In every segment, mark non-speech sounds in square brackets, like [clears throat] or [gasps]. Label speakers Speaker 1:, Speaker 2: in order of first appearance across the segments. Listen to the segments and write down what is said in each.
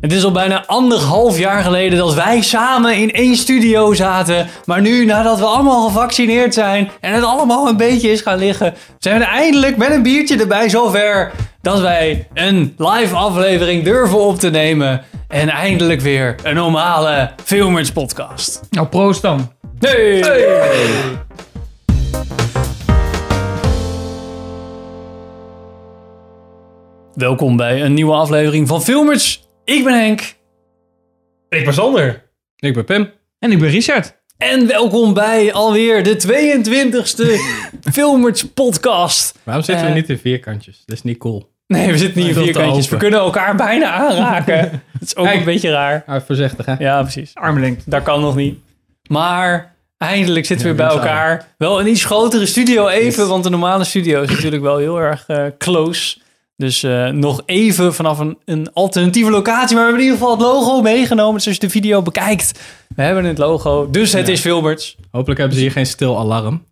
Speaker 1: Het is al bijna anderhalf jaar geleden dat wij samen in één studio zaten. Maar nu, nadat we allemaal gevaccineerd zijn en het allemaal een beetje is gaan liggen, zijn we eindelijk met een biertje erbij zover dat wij een live aflevering durven op te nemen. En eindelijk weer een normale Filmers podcast.
Speaker 2: Nou, proost dan.
Speaker 1: Hey! Welkom bij een nieuwe aflevering van Filmers. Ik ben Henk.
Speaker 3: Ik ben Sander.
Speaker 4: Ik ben Pim.
Speaker 2: En ik ben Richard.
Speaker 1: En welkom bij alweer de 22e
Speaker 4: [laughs]
Speaker 1: Filmers podcast.
Speaker 4: Waarom zitten
Speaker 1: Eh.
Speaker 4: we niet in vierkantjes? Dat is niet cool.
Speaker 1: Nee, we zitten niet in
Speaker 4: Veel te
Speaker 1: vierkantjes. We
Speaker 4: open.
Speaker 1: kunnen elkaar bijna aanraken.
Speaker 4: [laughs]
Speaker 1: Dat is ook
Speaker 4: Kijk.
Speaker 1: een beetje raar.
Speaker 4: Ah, voorzichtig hè?
Speaker 1: Ja, precies.
Speaker 2: Armlengte.
Speaker 1: Dat kan nog niet. Maar eindelijk zitten we
Speaker 4: Ja,
Speaker 1: bij
Speaker 4: dat is
Speaker 1: elkaar. Wel een iets grotere studio even,
Speaker 4: Yes.
Speaker 1: want de normale studio is natuurlijk wel heel erg eh, close. Dus eh, nog even vanaf een, een alternatieve locatie. Maar we hebben in ieder geval het logo meegenomen. Dus als je de video bekijkt, we hebben het logo. Dus het
Speaker 4: Ja.
Speaker 1: is Filberts.
Speaker 4: Hopelijk hebben ze hier geen stil alarm.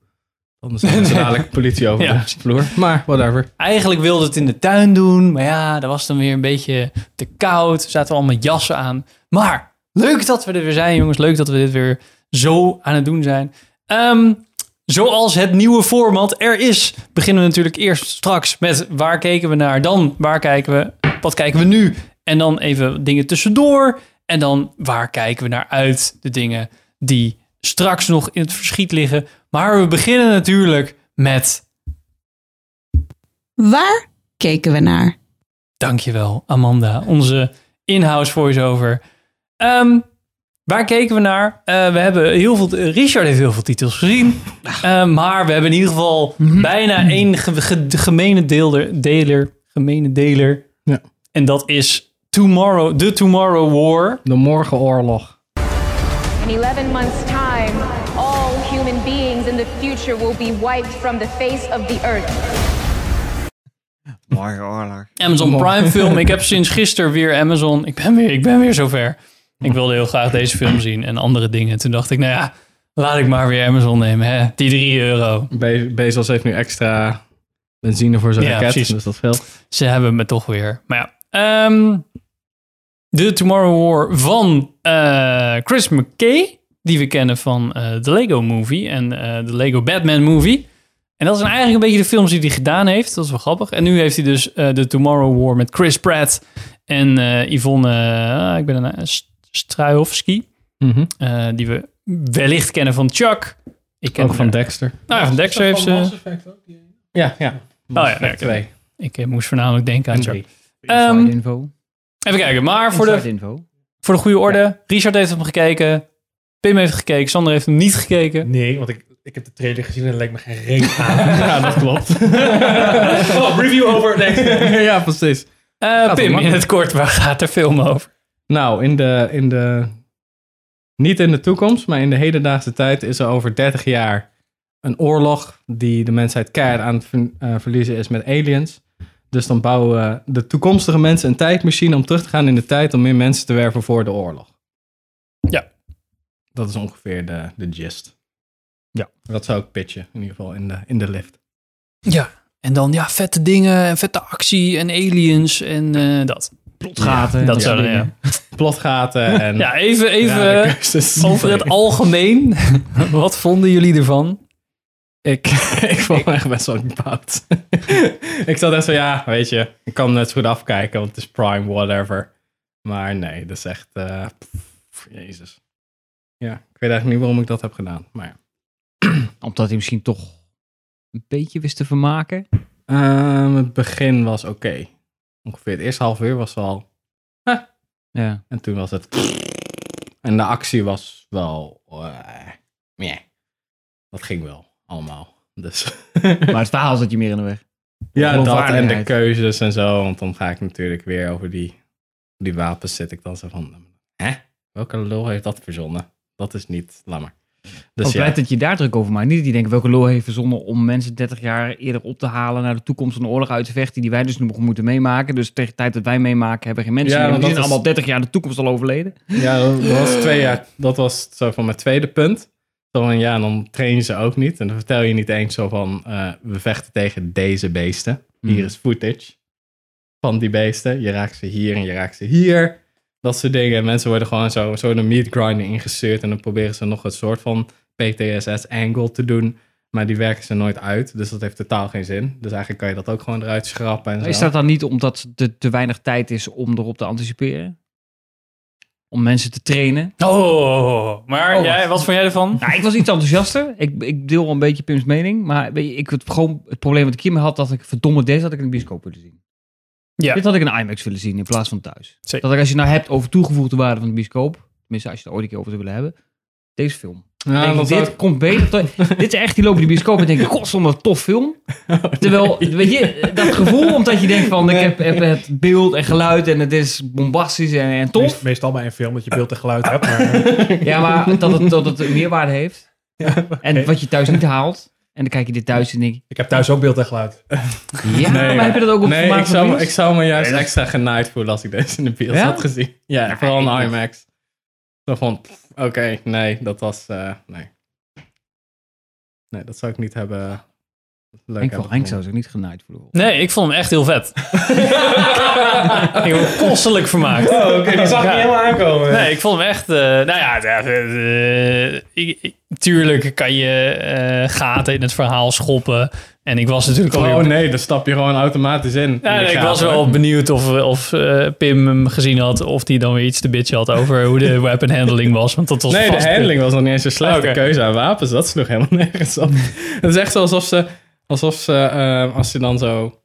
Speaker 4: Anders hebben ze dadelijk politie over
Speaker 1: Ja.
Speaker 4: de vloer. Maar whatever.
Speaker 1: Eigenlijk wilde het in de tuin doen. Maar ja, dat was dan weer een beetje te koud. Zaten we al met jassen aan. Maar leuk dat we er weer zijn, jongens. Leuk dat we dit weer zo aan het doen zijn. Ehm, zoals het nieuwe format er is, beginnen we natuurlijk eerst straks met waar keken we naar. Dan waar kijken we, wat kijken we nu. En dan even dingen tussendoor. En dan waar kijken we naar uit. De dingen die straks nog in het verschiet liggen. Maar we beginnen natuurlijk met
Speaker 5: Waar keken we naar?
Speaker 1: Dankjewel, Amanda, onze in-house voice-over. Ehm, waar keken we naar? Eh, we hebben heel veel, Richard heeft heel veel titels gezien. Eh, maar we hebben in ieder geval bijna één ge- ge- gemene deelder, deler, gemene deler.
Speaker 4: Ja.
Speaker 1: En dat is Tomorrow, The Tomorrow War.
Speaker 4: De morgenoorlog.
Speaker 6: In 11 months' time, all human beings in the future will be wiped from the face of the earth.
Speaker 3: Mooi oorlog.
Speaker 1: Amazon
Speaker 4: Mooi.
Speaker 1: Prime film. Ik heb sinds gisteren weer Amazon. Ik ben weer, ik ben weer zover. Ik wilde heel graag deze film zien en andere dingen. Toen dacht ik, nou ja, laat ik maar weer Amazon nemen. Hè? Die 3 euro.
Speaker 4: Be- Bezos heeft nu extra benzine voor zijn
Speaker 1: Ja,
Speaker 4: raket.
Speaker 1: precies.
Speaker 4: Dus dat scheelt.
Speaker 1: ze hebben me toch weer. Maar ja, ehm, de Tomorrow War van eh, Chris McKay, die we kennen van eh, de Lego Movie en eh, de Lego Batman Movie. En dat zijn eigenlijk een beetje de films die hij gedaan heeft. Dat is wel grappig. En nu heeft hij dus eh, de Tomorrow War met Chris Pratt en eh, Yvonne, eh, ik ben een Struijhofsky, eh, die we wellicht kennen van Chuck. Ik ken
Speaker 4: Ook
Speaker 1: hem
Speaker 4: van
Speaker 1: er-
Speaker 4: Dexter.
Speaker 1: Nou ja, van Dexter heeft ze. Oh
Speaker 4: Ja, ja.
Speaker 1: ja, ja, ik-
Speaker 4: [laughs] twee.
Speaker 1: Ik eh, moest voornamelijk denken aan
Speaker 4: En
Speaker 1: Chuck.
Speaker 4: drie.
Speaker 1: Ehm,
Speaker 2: info.
Speaker 1: even kijken, maar voor de
Speaker 2: info.
Speaker 1: Voor de goede orde, Richard heeft hem gekeken. Pim heeft gekeken, Sander heeft hem niet gekeken.
Speaker 3: Nee, want ik, ik heb de trailer gezien en dat lijkt me geen
Speaker 1: [laughs]
Speaker 3: reet aan.
Speaker 4: Ja, dat klopt.
Speaker 3: oh, review over next.
Speaker 4: ja, precies.
Speaker 1: Eh,
Speaker 4: wel
Speaker 1: Pim, in
Speaker 4: makkelijk.
Speaker 1: het kort, waar gaat de film over?
Speaker 4: Nou, in de, in de. Niet in de toekomst, maar in de hedendaagse tijd is er over 30 jaar een oorlog die de mensheid keihard aan het ver- eh, verliezen is met aliens. Dus dan bouwen de toekomstige mensen een tijdmachine om terug te gaan in de tijd om meer mensen te werven voor de oorlog.
Speaker 1: Ja.
Speaker 4: Dat is ongeveer de, de gist.
Speaker 2: Ja.
Speaker 4: Dat zou ik pitchen, in ieder geval in de, in de lift.
Speaker 1: Ja, en dan ja, vette dingen, vette actie en aliens en eh, dat.
Speaker 2: Gaten.
Speaker 1: dat
Speaker 2: Eh, Ja.
Speaker 1: zou dan, ja.
Speaker 4: Plotgaten en.
Speaker 1: [laughs] Ja, even,
Speaker 4: rare
Speaker 1: even
Speaker 4: keuzes.
Speaker 1: over
Speaker 4: [laughs]
Speaker 1: het algemeen. [laughs] Wat vonden jullie ervan?
Speaker 4: Ik, [laughs] ik vond me echt best wel gebouwd. [laughs] ik zat echt zo, ja, weet je, ik kan net zo goed afkijken, want het is prime, whatever. Maar nee, dat is echt, eh, pff, jezus. Ja, ik weet eigenlijk niet waarom ik dat heb gedaan, maar ja.
Speaker 2: Omdat hij misschien toch een beetje wist te vermaken.
Speaker 4: Ehm, het begin was oké. Ongeveer het eerste half uur was wel,
Speaker 2: Ja.
Speaker 4: en toen was het... [laughs] En de actie was wel, eh, meh. Dat ging wel, allemaal. Dus... [laughs]
Speaker 2: Maar het verhaal zat je meer in de weg.
Speaker 4: Ja, dat en de
Speaker 2: Geloofwaardigheid.
Speaker 4: keuzes en zo. Want dan ga ik natuurlijk weer over die, die wapens zit ik dan zo van... Hè? Welke lul heeft dat verzonnen? Dat is niet... Laat maar. Dus ja,
Speaker 2: Dus blij dat je daar druk over maakt. Niet dat je denkt welke lol heeft verzonnen om mensen 30 jaar eerder op te halen naar de toekomst van de oorlog uit te vechten die wij dus nu nog moeten meemaken. Dus tegen de tijd dat wij meemaken hebben geen
Speaker 4: Ja,
Speaker 2: mensen meer.
Speaker 4: want
Speaker 2: want Die
Speaker 4: dat
Speaker 2: zijn
Speaker 4: is-
Speaker 2: allemaal 30 jaar de toekomst al overleden.
Speaker 4: ja dat, dat was twee jaar, dat was zo van mijn tweede punt. Zo van, ja, dan trainen ze ook niet. En dan vertel je niet eens zo van... eh, we vechten tegen deze
Speaker 3: Mm.
Speaker 4: beesten. Hier is footage van die beesten. Je raakt ze hier en je raakt ze hier. Dat soort dingen. En mensen worden gewoon zo, zo in een meat grinder ingestuurd. En dan proberen ze nog een soort van PTSS-angle te doen. Maar die werken ze nooit uit. Dus dat heeft totaal geen zin. Dus eigenlijk kan je dat ook gewoon eruit schrappen. En zo.
Speaker 2: Is dat dan niet omdat er te, te weinig tijd is om erop te anticiperen? Om mensen te trainen?
Speaker 1: Oh, maar
Speaker 2: Oh,
Speaker 1: jij,
Speaker 2: wacht.
Speaker 1: wat vond jij ervan?
Speaker 2: Nou, ik was iets enthousiaster. Ik, ik deel wel een beetje Pim's mening. Maar weet je, ik, het, gewoon, het probleem wat ik hiermee had, dat ik verdomme deze had ik in de bioscoop willen zien.
Speaker 1: Ja.
Speaker 2: Dit had ik in de IMAX willen zien in plaats van thuis.
Speaker 1: Zeker.
Speaker 2: Dat ik, als je het nou hebt over toegevoegde waarde van de bioscoop, tenminste als je het ooit een keer over zou willen hebben, deze film.
Speaker 4: Ja,
Speaker 2: Denk ik,
Speaker 4: dat zou
Speaker 2: dit
Speaker 4: ik-
Speaker 2: komt beter.
Speaker 4: [laughs]
Speaker 2: tot- dit is echt, die lopen in de bioscoop en denken, god, wat een tof film. Terwijl, weet je, dat gevoel, omdat je denkt van, ik heb, heb het beeld en geluid en het is bombastisch en, en tof.
Speaker 3: Meest- meestal bij een film dat je beeld en geluid hebt. Maar,
Speaker 2: Ja, [laughs] maar dat het, dat het een meerwaarde heeft. En wat je thuis niet haalt. En dan kijk je dit thuis en denk je,
Speaker 3: ik heb thuis ook beeld en geluid.
Speaker 2: ja, [laughs] maar heb je dat ook op
Speaker 4: Nee,
Speaker 2: formaat
Speaker 4: ik
Speaker 2: van
Speaker 4: zou, me,
Speaker 2: bios?
Speaker 4: ik zou me juist extra genaaid voelen als ik deze in de bios
Speaker 2: Ja?
Speaker 4: had gezien. Ja,
Speaker 2: Ja,
Speaker 4: vooral
Speaker 2: ik-
Speaker 4: een IMAX. Zo van, pff, oké, nee, dat was, eh, nee. Nee, dat zou ik niet hebben leuk
Speaker 2: Henk,
Speaker 4: hebben
Speaker 2: van Henk
Speaker 4: gevonden.
Speaker 2: zou zich niet genaaid voelen.
Speaker 1: Nee, ik vond hem echt heel
Speaker 4: [laughs]
Speaker 1: vet. ik heb me kostelijk vermaakt.
Speaker 3: Oh, oké, die zag ik
Speaker 1: Ja.
Speaker 3: niet helemaal aankomen.
Speaker 1: Nee, ik vond hem echt. eh, nou ja, ja, eh, eh, ik- ik- tuurlijk kan je eh, gaten in het verhaal schoppen. En ik was natuurlijk alweer.
Speaker 4: Oh nee, dan stap je gewoon automatisch in.
Speaker 1: Ja,
Speaker 4: In de
Speaker 1: ik
Speaker 4: gaten.
Speaker 1: was wel benieuwd of, of eh, Pim hem gezien had. Of die dan weer iets te bitchen had over hoe
Speaker 4: [laughs]
Speaker 1: de weapon handling was. Want dat was
Speaker 4: Nee, de
Speaker 1: vast- Oh,
Speaker 4: handling was nog niet eens een slechte
Speaker 1: Oké.
Speaker 4: keuze aan wapens. Dat sloeg helemaal [laughs] nergens op. Het is echt zo alsof ze, alsof ze eh, als je dan zo,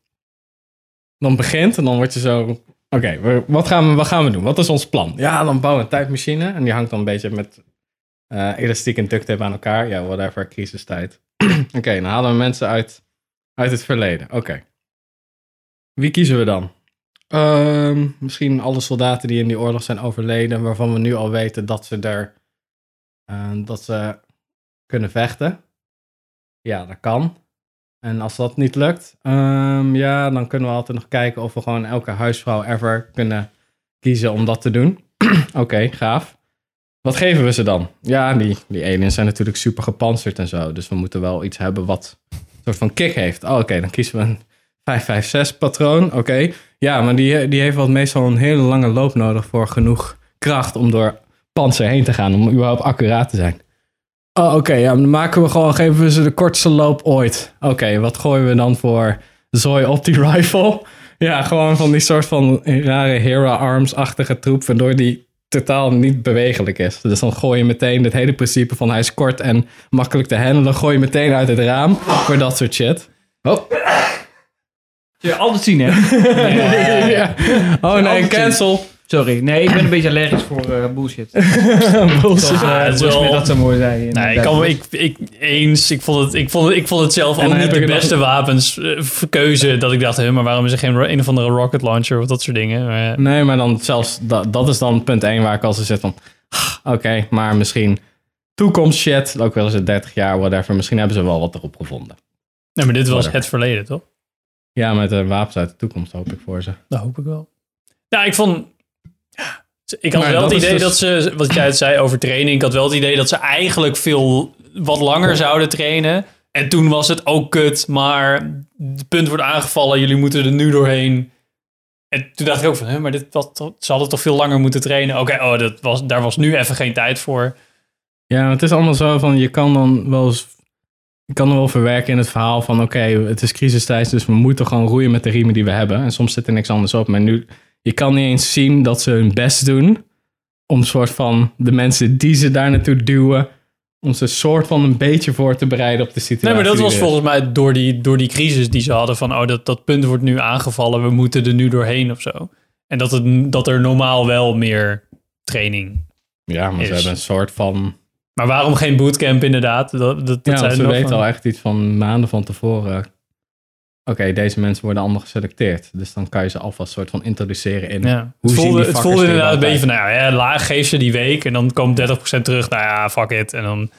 Speaker 4: dan begint en dan word je zo, oké, we- wat, gaan we- wat gaan we doen? Wat is ons plan? Ja, dan bouwen we een tijdmachine en die hangt dan een beetje met eh, elastiek en duct tape aan elkaar. Ja, whatever, crisistijd. [clears throat] oké, dan halen we mensen uit, uit het verleden. Oké. Wie kiezen we dan? Ehm, misschien alle soldaten die in die oorlog zijn overleden, waarvan we nu al weten dat ze er en Ehm, dat ze kunnen vechten. Ja, dat kan. En als dat niet lukt, ehm, ja, dan kunnen we altijd nog kijken of we gewoon elke huisvrouw ever kunnen kiezen om dat te doen. [clears throat] Oké, gaaf. Wat geven we ze dan? Ja, die, die aliens zijn natuurlijk super gepantserd en zo. Dus we moeten wel iets hebben wat een soort van kick heeft. Oh, oké, dan kiezen we een 556 patroon. Oké. Ja, maar die, die heeft wel meestal een hele lange loop nodig voor genoeg kracht om door panzer heen te gaan om überhaupt accuraat te zijn. Oh, oké, ja, dan maken we gewoon, geven we ze de kortste loop ooit. Oké, wat gooien we dan voor zooi op die [laughs] rifle? Ja, gewoon van die soort van rare Hera Arms-achtige troep, waardoor die totaal niet bewegelijk is. Dus dan gooi je meteen het hele principe van hij is kort en makkelijk te handelen, gooi je meteen uit het raam voor dat soort shit. Oh,
Speaker 2: Je altijd zien, hè?
Speaker 4: [laughs] ja. oh nee, cancel.
Speaker 2: Sorry, nee, ik ben een beetje allergisch voor eh, bullshit.
Speaker 1: Ja,
Speaker 4: Dus,
Speaker 2: Zoals, eh,
Speaker 1: Ah, het is
Speaker 2: Will Smith
Speaker 1: wel-
Speaker 2: dat zo mooi zei. in,
Speaker 1: Nee,
Speaker 2: eh,
Speaker 1: ik, kan,
Speaker 2: Duitsland.
Speaker 1: ik, ik, eens, ik vond, het, ik, vond, het- ik vond het zelf
Speaker 4: dan
Speaker 1: ook niet
Speaker 4: heb
Speaker 1: de
Speaker 4: ik nog-
Speaker 1: beste wapenskeuze. Dat ik dacht, hè, maar waarom is er geen ro- een of andere rocket launcher of dat soort dingen? Maar, eh,
Speaker 4: Nee, maar dan zelfs dat, dat is dan punt 1 waar ik al zo zit van. ah, Oké, maar misschien toekomst shit. Ook wel eens het 30 jaar, whatever. Misschien hebben ze wel wat erop gevonden.
Speaker 1: nee, maar dit was
Speaker 4: Whatever.
Speaker 1: het verleden, toch?
Speaker 4: Ja, met de wapens uit de toekomst hoop ik voor ze.
Speaker 1: Dat hoop ik wel. Nou, ik vond... ja, Ik had
Speaker 4: Maar
Speaker 1: wel het
Speaker 4: dat is
Speaker 1: idee
Speaker 4: dus-
Speaker 1: dat ze, wat jij het zei over training, ik had wel het idee dat ze eigenlijk veel wat langer zouden trainen. En toen was het ook kut, maar het punt wordt aangevallen, jullie moeten er nu doorheen. En toen dacht ik ook van, hè, maar dit, was toch- ze hadden toch veel langer moeten trainen? Oké, oh, dat was, daar was nu even geen tijd voor.
Speaker 4: Ja, maar het is allemaal zo van, je kan dan wel eens... Je kan er wel verwerken in het verhaal van, oké, het is crisistijd, dus we moeten gewoon roeien met de riemen die we hebben. En soms zit er niks anders op. Maar nu, je kan niet eens zien dat ze hun best doen om soort van de mensen die ze daar naartoe duwen, om ze soort van een beetje voor te bereiden op de situatie.
Speaker 1: Nee, maar dat
Speaker 4: die
Speaker 1: was
Speaker 4: er is.
Speaker 1: volgens mij door die, door die crisis die ze hadden van, oh, dat, dat punt wordt nu aangevallen, we moeten er nu doorheen of zo. En dat, het, dat er normaal wel meer training
Speaker 4: Ja, maar
Speaker 1: is.
Speaker 4: ze hebben een soort van...
Speaker 1: Maar waarom geen bootcamp inderdaad? Dat, dat, dat
Speaker 4: Ja,
Speaker 1: zijn
Speaker 4: want ze
Speaker 1: nog
Speaker 4: weten
Speaker 1: van-
Speaker 4: al echt iets van maanden van tevoren. Oké, deze mensen worden allemaal geselecteerd. Dus dan kan je ze alvast soort van introduceren in...
Speaker 1: Ja.
Speaker 4: Hoe
Speaker 1: het
Speaker 4: zien
Speaker 1: voelde,
Speaker 4: die
Speaker 1: het
Speaker 4: vakkers
Speaker 1: voelde
Speaker 4: er
Speaker 1: inderdaad een beetje
Speaker 4: überhaupt
Speaker 1: van, nou ja, laag geef ze die week en dan komt 30% terug. Nou ja, fuck it. En dan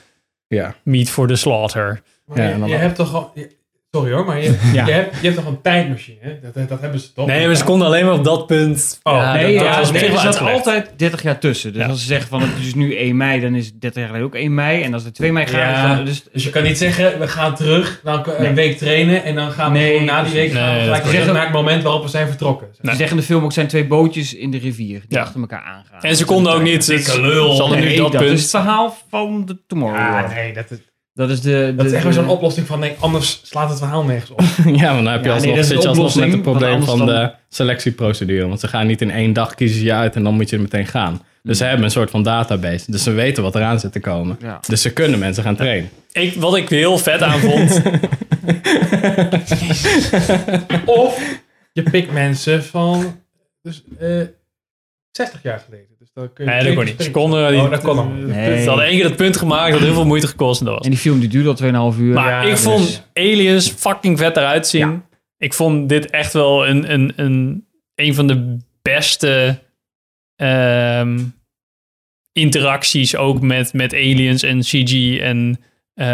Speaker 4: Ja.
Speaker 1: meat for the slaughter.
Speaker 3: Maar
Speaker 4: Ja,
Speaker 3: je-
Speaker 4: en dan-
Speaker 3: je, hebt toch al... je- Sorry hoor,
Speaker 7: [laughs]
Speaker 3: maar je,
Speaker 4: Ja.
Speaker 3: je, hebt, je hebt toch een tijdmachine? hè? Dat, dat, dat hebben ze toch?
Speaker 7: Nee, maar ze konden alleen maar op dat punt.
Speaker 3: Oh,
Speaker 2: Nee,
Speaker 3: dat
Speaker 2: ja,
Speaker 3: was
Speaker 2: nee,
Speaker 3: op zich
Speaker 2: er
Speaker 3: wel
Speaker 2: zat
Speaker 3: uitgelegd.
Speaker 2: altijd 30 jaar tussen. Dus als ze zeggen van het is nu 1 mei, dan is het 30 jaar geleden ook 1 mei. En als het 2 mei gaat,
Speaker 3: Ja.
Speaker 2: is dan- dus
Speaker 3: Dus je kan niet zeggen, we gaan terug, dan een week trainen en dan gaan we
Speaker 2: Nee,
Speaker 3: gewoon na die week gaan we
Speaker 7: nee, dat
Speaker 3: gelijk
Speaker 7: klopt.
Speaker 3: zeggen naar het moment waarop we zijn vertrokken.
Speaker 2: Ze zeggen in de film ook, zijn twee bootjes in de rivier die
Speaker 7: Ja.
Speaker 2: achter elkaar aangaan.
Speaker 7: En ze konden ook niet.
Speaker 3: Dikke
Speaker 7: Ze
Speaker 3: lul.
Speaker 7: ze hadden nu
Speaker 2: Nee,
Speaker 7: dat,
Speaker 2: dat,
Speaker 7: punt.
Speaker 2: is het verhaal van de Tomorrow.
Speaker 3: Ja,
Speaker 7: Oh.
Speaker 2: War.
Speaker 3: nee, dat is,
Speaker 2: Dat is de...
Speaker 3: dat is
Speaker 2: de-
Speaker 3: echt weer zo'n
Speaker 2: de-
Speaker 3: oplossing van nee, anders slaat het verhaal
Speaker 7: [laughs]
Speaker 3: nergens op.
Speaker 4: [laughs] Ja, want dan heb je
Speaker 2: Ja,
Speaker 4: alsnog,
Speaker 2: nee, dat is
Speaker 4: zit je
Speaker 2: de
Speaker 4: alsnog met het
Speaker 2: oplossing, want
Speaker 4: probleem van
Speaker 2: anders
Speaker 4: de selectieprocedure. Want ze gaan niet in één dag kiezen je uit en dan moet je er meteen gaan. Dus ze hebben een soort van database. Dus ze weten wat eraan zit te komen.
Speaker 2: Hmm. Ja.
Speaker 4: Dus ze kunnen mensen gaan trainen.
Speaker 7: Ik, wat ik heel vet aan vond.
Speaker 3: Of je pikt mensen van dus, eh, 60 jaar geleden. Dus dan kun je
Speaker 7: nee, dat kon niet. Ze konden.
Speaker 3: Oh,
Speaker 7: die-
Speaker 3: dat kon allemaal.
Speaker 2: Nee.
Speaker 7: Ze hadden één keer dat punt gemaakt dat heel veel moeite gekost en dat was.
Speaker 2: En die film die duurde al 2,5 uur.
Speaker 7: Maar
Speaker 3: Ja,
Speaker 7: ik
Speaker 3: dus-
Speaker 7: vond Aliens fucking vet eruit zien. Ik vond dit echt wel een, een, een, een van de beste ehm, interacties ook met, met aliens en CG. En eh,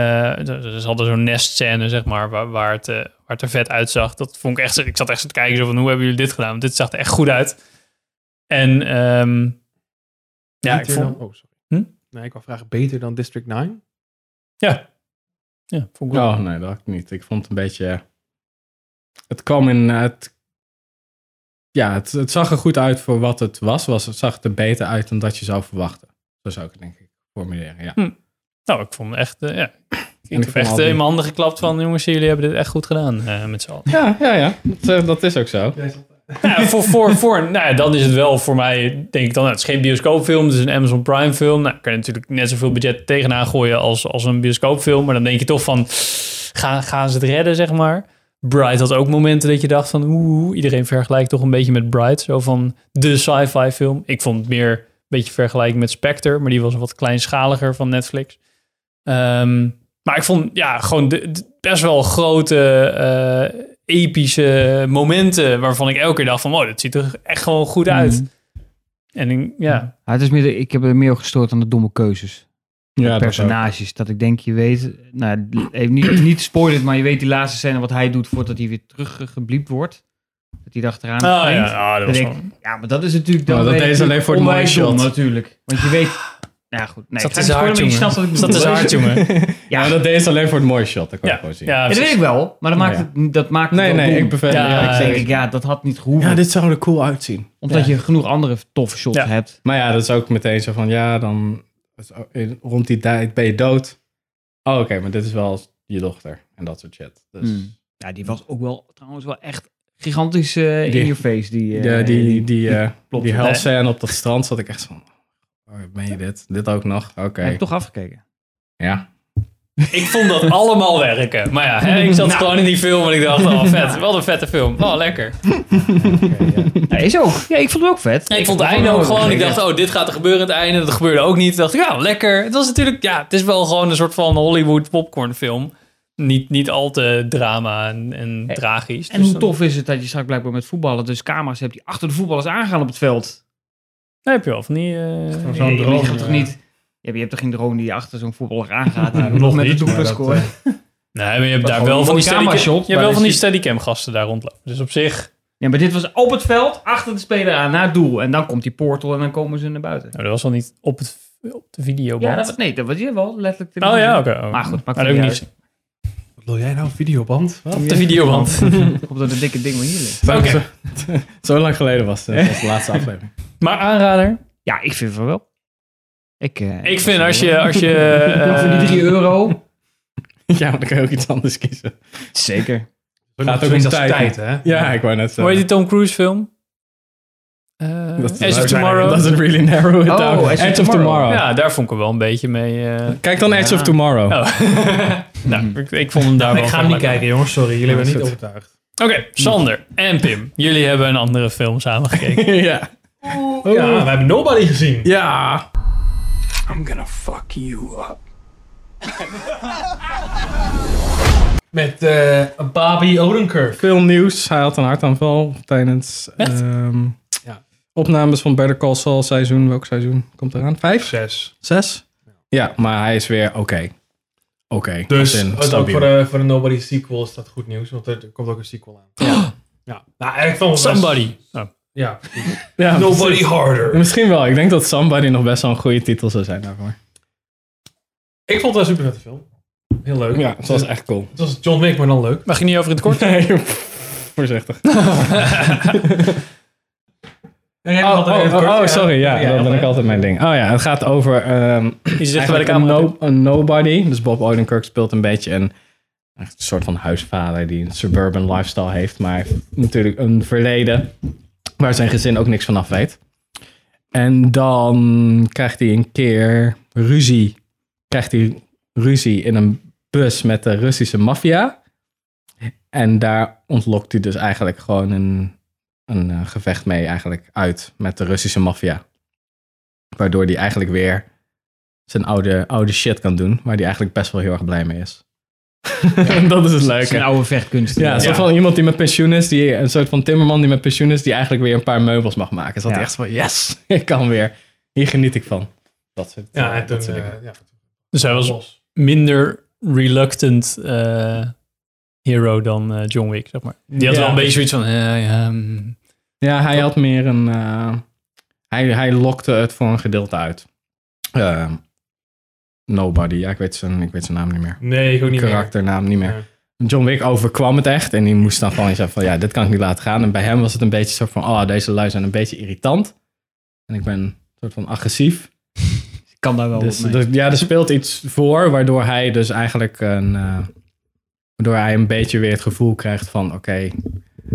Speaker 7: ze ze hadden zo'n nestscène, zeg maar, waar, waar, het, eh, waar het er vet uitzag. Dat vond ik echt... Ik zat echt zo te kijken zo van, hoe hebben jullie dit gedaan? Want dit zag er echt goed uit. En ehm, ja, ik
Speaker 3: Beter
Speaker 7: vond,
Speaker 3: dan- oh, sorry.
Speaker 7: Hm?
Speaker 3: Nee, ik wou vragen, beter dan District 9?
Speaker 7: ja, vond ik wel-
Speaker 4: Oh, nee, dat had ik niet. Ik vond het een beetje... Het kwam in... eh, Het, ja, het, het zag er goed uit voor wat het was. was het zag er beter uit dan dat je zou verwachten. Zo zou ik het denk ik formuleren, ja.
Speaker 7: Nou, ik vond echt, eh, ja. Ik
Speaker 4: vond
Speaker 7: heb echt
Speaker 4: al
Speaker 7: eh,
Speaker 4: die-
Speaker 7: in mijn handen geklapt van, jongens, jullie hebben dit echt goed gedaan eh, met z'n allen.
Speaker 4: Ja, ja, ja. Dat, eh, dat is ook zo.
Speaker 7: Nou ja, voor, voor, voor, [laughs] nou ja, dan is het wel voor mij, denk ik dan, nou, het is geen bioscoopfilm, het is een Amazon Prime film. Nou, kan je natuurlijk net zoveel budget tegenaan gooien als, als een bioscoopfilm, maar dan denk je toch van, gaan, gaan ze het redden, zeg maar. Bright had ook momenten dat je dacht van, oeh, iedereen vergelijkt toch een beetje met Bright, zo van de sci-fi film. Ik vond het meer een beetje vergelijking met Spectre, maar die was wat kleinschaliger van Netflix. Ehm, maar ik vond, ja, gewoon de, de- best wel grote... eh, epische momenten waarvan ik elke keer dacht van, wow, dat ziet er echt gewoon goed uit. En ik- ja,
Speaker 2: Ja, het is meer, de- ik heb er meer gestoord aan de domme keuzes.
Speaker 4: Ja, dat ook.
Speaker 2: personages. Dat ik denk, je weet, nou, [clears throat] even niet, niet spoilend, maar je weet die laatste scène wat hij doet voordat hij weer teruggebliept wordt. Dat hij erachteraan
Speaker 7: Ah,
Speaker 2: springt.
Speaker 7: ja, ah, dat
Speaker 2: Dan
Speaker 7: was
Speaker 2: denk
Speaker 7: gewoon-
Speaker 2: Ja, maar dat is natuurlijk...
Speaker 4: Maar Oh, Nou, dat
Speaker 2: ben je
Speaker 4: deed ze alleen voor het mooie
Speaker 2: onwijs
Speaker 4: shot.
Speaker 2: dom natuurlijk. Want je weet... Nou ja, goed. Nee, ik
Speaker 7: Zat
Speaker 2: ga
Speaker 7: in
Speaker 2: niet
Speaker 7: zijn
Speaker 2: spoilen, maar je snapt
Speaker 7: hart,
Speaker 2: wat ik bedoel.
Speaker 7: dat
Speaker 4: [laughs]
Speaker 7: is hard, jongen.
Speaker 2: Ja,
Speaker 4: Maar
Speaker 2: dat,
Speaker 4: dat deed ze alleen voor het mooie shot. Dat kan ik
Speaker 7: Ja,
Speaker 4: gewoon zien.
Speaker 7: ja,
Speaker 2: ja, dat weet ik wel. Maar dat maakt
Speaker 4: Ja.
Speaker 2: het, dat maakt het
Speaker 4: Nee,
Speaker 2: wel
Speaker 4: nee,
Speaker 2: dom.
Speaker 4: ik beveel.
Speaker 7: Ja,
Speaker 4: Ja, ik
Speaker 2: Dan
Speaker 4: zeg-
Speaker 2: denk ik, ja, dat had niet gehoeven.
Speaker 4: ja, dit zou er cool uitzien.
Speaker 2: omdat je genoeg andere toffe shots
Speaker 7: Ja.
Speaker 2: hebt.
Speaker 4: Maar ja, dat is ook meteen zo van, ja, dan is ook- in- rond die tijd ben je dood. Oh, oké, maar dit is wel je dochter en dat soort shit. Dus,
Speaker 2: Hmm. Ja, die was ook wel trouwens wel echt gigantisch eh, in
Speaker 4: Die-
Speaker 2: your face. Die, eh,
Speaker 4: Ja, die, die, die, eh,
Speaker 2: klopt.
Speaker 4: die
Speaker 2: Nee.
Speaker 4: helscène op dat strand zat ik echt van, oh, ben je dit? Dit ook nog? Oké.
Speaker 2: Heb je toch afgekeken?
Speaker 4: Ja.
Speaker 7: Ik vond dat allemaal werken. Maar ja, hè, ik zat gewoon in die film en ik dacht, oh vet, wel een vette film. Oh, lekker.
Speaker 2: [laughs] Ja, is ook. Ja, ik vond het ook vet.
Speaker 7: ik vond het einde ook gewoon, ik dacht, oh, dit gaat er gebeuren het einde. Dat gebeurde ook niet. Toen dacht ik, ja, lekker. Het was natuurlijk, ja, het is wel gewoon een soort van Hollywood popcorn film. Niet, niet al te drama en, en tragisch.
Speaker 2: En
Speaker 7: Dus
Speaker 2: hoe
Speaker 7: dan-
Speaker 2: tof is het dat je straks blijkbaar met voetballen dus camera's hebt die achter de voetballers aangaan op het veld.
Speaker 7: Nee, heb je wel van die... eh,
Speaker 3: Zo'n
Speaker 2: Nee, maar
Speaker 3: drone,
Speaker 2: je gaat toch
Speaker 3: ja.
Speaker 2: niet... Ja, maar je hebt toch geen drone die achter zo'n voetballer
Speaker 3: [laughs]
Speaker 2: aangaat en
Speaker 3: nog
Speaker 2: nog met de
Speaker 3: niet, maar
Speaker 2: doelpunt
Speaker 3: dat, eh,
Speaker 2: scoort?
Speaker 7: eh, Nee, maar je hebt daar
Speaker 2: gewoon
Speaker 7: wel
Speaker 2: een
Speaker 7: van die
Speaker 2: mooi
Speaker 7: steadicam,
Speaker 2: kamershot,
Speaker 7: je
Speaker 2: maar
Speaker 7: hebt wel
Speaker 2: dat
Speaker 7: van die
Speaker 2: je-
Speaker 7: steadicam gasten daar rondlopen. Dus op zich,
Speaker 2: Ja, maar dit was op het veld, achter de speler aan, naar het doel. En dan komt die portal en dan komen ze naar buiten.
Speaker 7: nou, dat was wel niet op, het, op de video.
Speaker 2: Ja, dat, nee, dat was je wel letterlijk. te
Speaker 7: Oh
Speaker 2: zien.
Speaker 7: ja, oké. oh.
Speaker 2: Maar goed, maakt het
Speaker 7: dat heb ik
Speaker 2: niet
Speaker 7: niet.
Speaker 3: Wat wil jij nou, videoband? Wat?
Speaker 7: Op de videoband.
Speaker 2: Ik hoop dat het dikke ding maar hier ligt.
Speaker 4: Zo-
Speaker 7: Oké.
Speaker 4: Zo, zo lang geleden was het. Dat was de laatste aflevering.
Speaker 7: Maar aanrader.
Speaker 2: Ja, ik vind van wel. Ik, eh,
Speaker 7: Ik vind als je... Als
Speaker 3: [laughs]
Speaker 7: je eh,
Speaker 2: Ja, voor die 3 euro.
Speaker 4: [laughs] ja, maar dan kan je ook iets anders kiezen.
Speaker 2: Zeker.
Speaker 4: Gaat ook
Speaker 3: Zoiets
Speaker 4: om
Speaker 3: als
Speaker 4: tijd.
Speaker 3: hè?
Speaker 4: Ja, ik wou net
Speaker 7: hoe heet
Speaker 4: zeggen.
Speaker 7: die Tom Cruise film? Eh
Speaker 4: Dat-
Speaker 7: Edge of
Speaker 3: dat-
Speaker 7: Tomorrow.
Speaker 4: Doesn't really narrow it
Speaker 2: Oh,
Speaker 4: down.
Speaker 2: Edge of Tomorrow.
Speaker 7: ja, daar vond ik hem wel een beetje mee...
Speaker 4: [laughs]
Speaker 7: eh
Speaker 4: Kijk dan Edge
Speaker 2: Ja.
Speaker 4: of Tomorrow.
Speaker 7: Oh. nou, ik, ik vond hem daar wel
Speaker 3: [laughs] Ik ga
Speaker 7: van
Speaker 3: hem niet
Speaker 7: lekker.
Speaker 3: kijken, jongens. Sorry, jullie hebben me niet
Speaker 4: goed.
Speaker 3: overtuigd.
Speaker 7: Oké, Sander en Pim. Jullie hebben een andere film samen
Speaker 4: [laughs] [laughs]
Speaker 7: gekeken.
Speaker 4: ja.
Speaker 3: Ja, we hebben Nobody gezien.
Speaker 4: Ja.
Speaker 3: Met eh Bobby Odenkirk.
Speaker 4: veel nieuws. Hij had een hartaanval tijdens ehm,
Speaker 3: Ja.
Speaker 4: opnames van Better Call Saul seizoen. Welk seizoen komt eraan? Vijf?
Speaker 3: Zes.
Speaker 4: Zes? Ja, maar hij is weer oké. Oké.
Speaker 3: Dus
Speaker 4: als in
Speaker 3: het ook
Speaker 4: stabiel.
Speaker 3: voor de, voor de Nobody sequel is dat goed nieuws, want er komt ook een sequel aan. Ja, nou eigenlijk vond ik het best-
Speaker 1: Somebody.
Speaker 3: Ja,
Speaker 4: Ja,
Speaker 3: Nobody
Speaker 4: misschien-
Speaker 3: Harder.
Speaker 4: Misschien wel. Ik denk dat Somebody nog best wel een goede titel zou zijn daarvoor.
Speaker 3: Ik vond het een super vette film. Heel leuk.
Speaker 4: Ja, het was echt cool.
Speaker 3: Het was John Wick, maar dan leuk.
Speaker 1: We gaan niet over in het kort.
Speaker 4: Nee, joh, voorzichtig.
Speaker 3: Oh,
Speaker 4: Oh, oh, oh, sorry. Ja, dat ben ik altijd mijn ding. Oh ja, het gaat over... ehm,
Speaker 1: Je zegt bij de
Speaker 4: eigenlijk een,
Speaker 1: camera.
Speaker 4: no- een nobody. Dus Bob Odenkirk speelt een beetje een, een soort van huisvader die een suburban lifestyle heeft. Maar heeft natuurlijk een verleden waar zijn gezin ook niks van af weet. En dan krijgt hij een keer ruzie. Krijgt hij ruzie in een bus met de Russische maffia. En daar ontlokt hij dus eigenlijk gewoon een, een eh, gevecht mee eigenlijk uit met de Russische maffia. Waardoor hij eigenlijk weer zijn oude, oude shit kan doen, waar hij eigenlijk best wel heel erg blij mee is. [laughs] dat is het
Speaker 2: Het is een
Speaker 7: Nou,
Speaker 4: leuke.
Speaker 2: oude vechtkunst.
Speaker 4: Ja, een soort van iemand die met pensioen is, die, een soort van timmerman die met pensioen is, die eigenlijk weer een paar meubels mag maken. Dus dat
Speaker 2: Ja.
Speaker 4: hij echt van, yes, [laughs] ik kan weer. Hier geniet ik van. Dat soort,
Speaker 3: Ja, en
Speaker 4: dat
Speaker 3: toen...
Speaker 4: soort dingen.
Speaker 3: eh, ja,
Speaker 1: Dus hij was
Speaker 3: los.
Speaker 1: minder reluctant eh, hero dan eh, John Wick, zeg maar. Die had
Speaker 4: Ja.
Speaker 1: wel een beetje zoiets van... eh, ja, mm.
Speaker 4: Ja, hij had meer een. eh, hij, hij lokte het voor een gedeelte uit. Eh, nobody, ja, ik weet, zijn, ik weet zijn naam niet meer.
Speaker 3: Nee, ik ook niet meer.
Speaker 4: Karakternaam niet meer. John Wick overkwam het echt en die moest dan gewoon zeggen van ja, dit kan ik niet laten gaan. En bij hem was het een beetje soort van, oh, deze lui zijn een beetje irritant. En ik ben een soort van agressief.
Speaker 2: [laughs] kan daar wel
Speaker 4: Dus
Speaker 2: op mee.
Speaker 4: er- ja, er speelt iets voor waardoor hij dus eigenlijk een... eh, waardoor hij een beetje weer het gevoel krijgt van oké,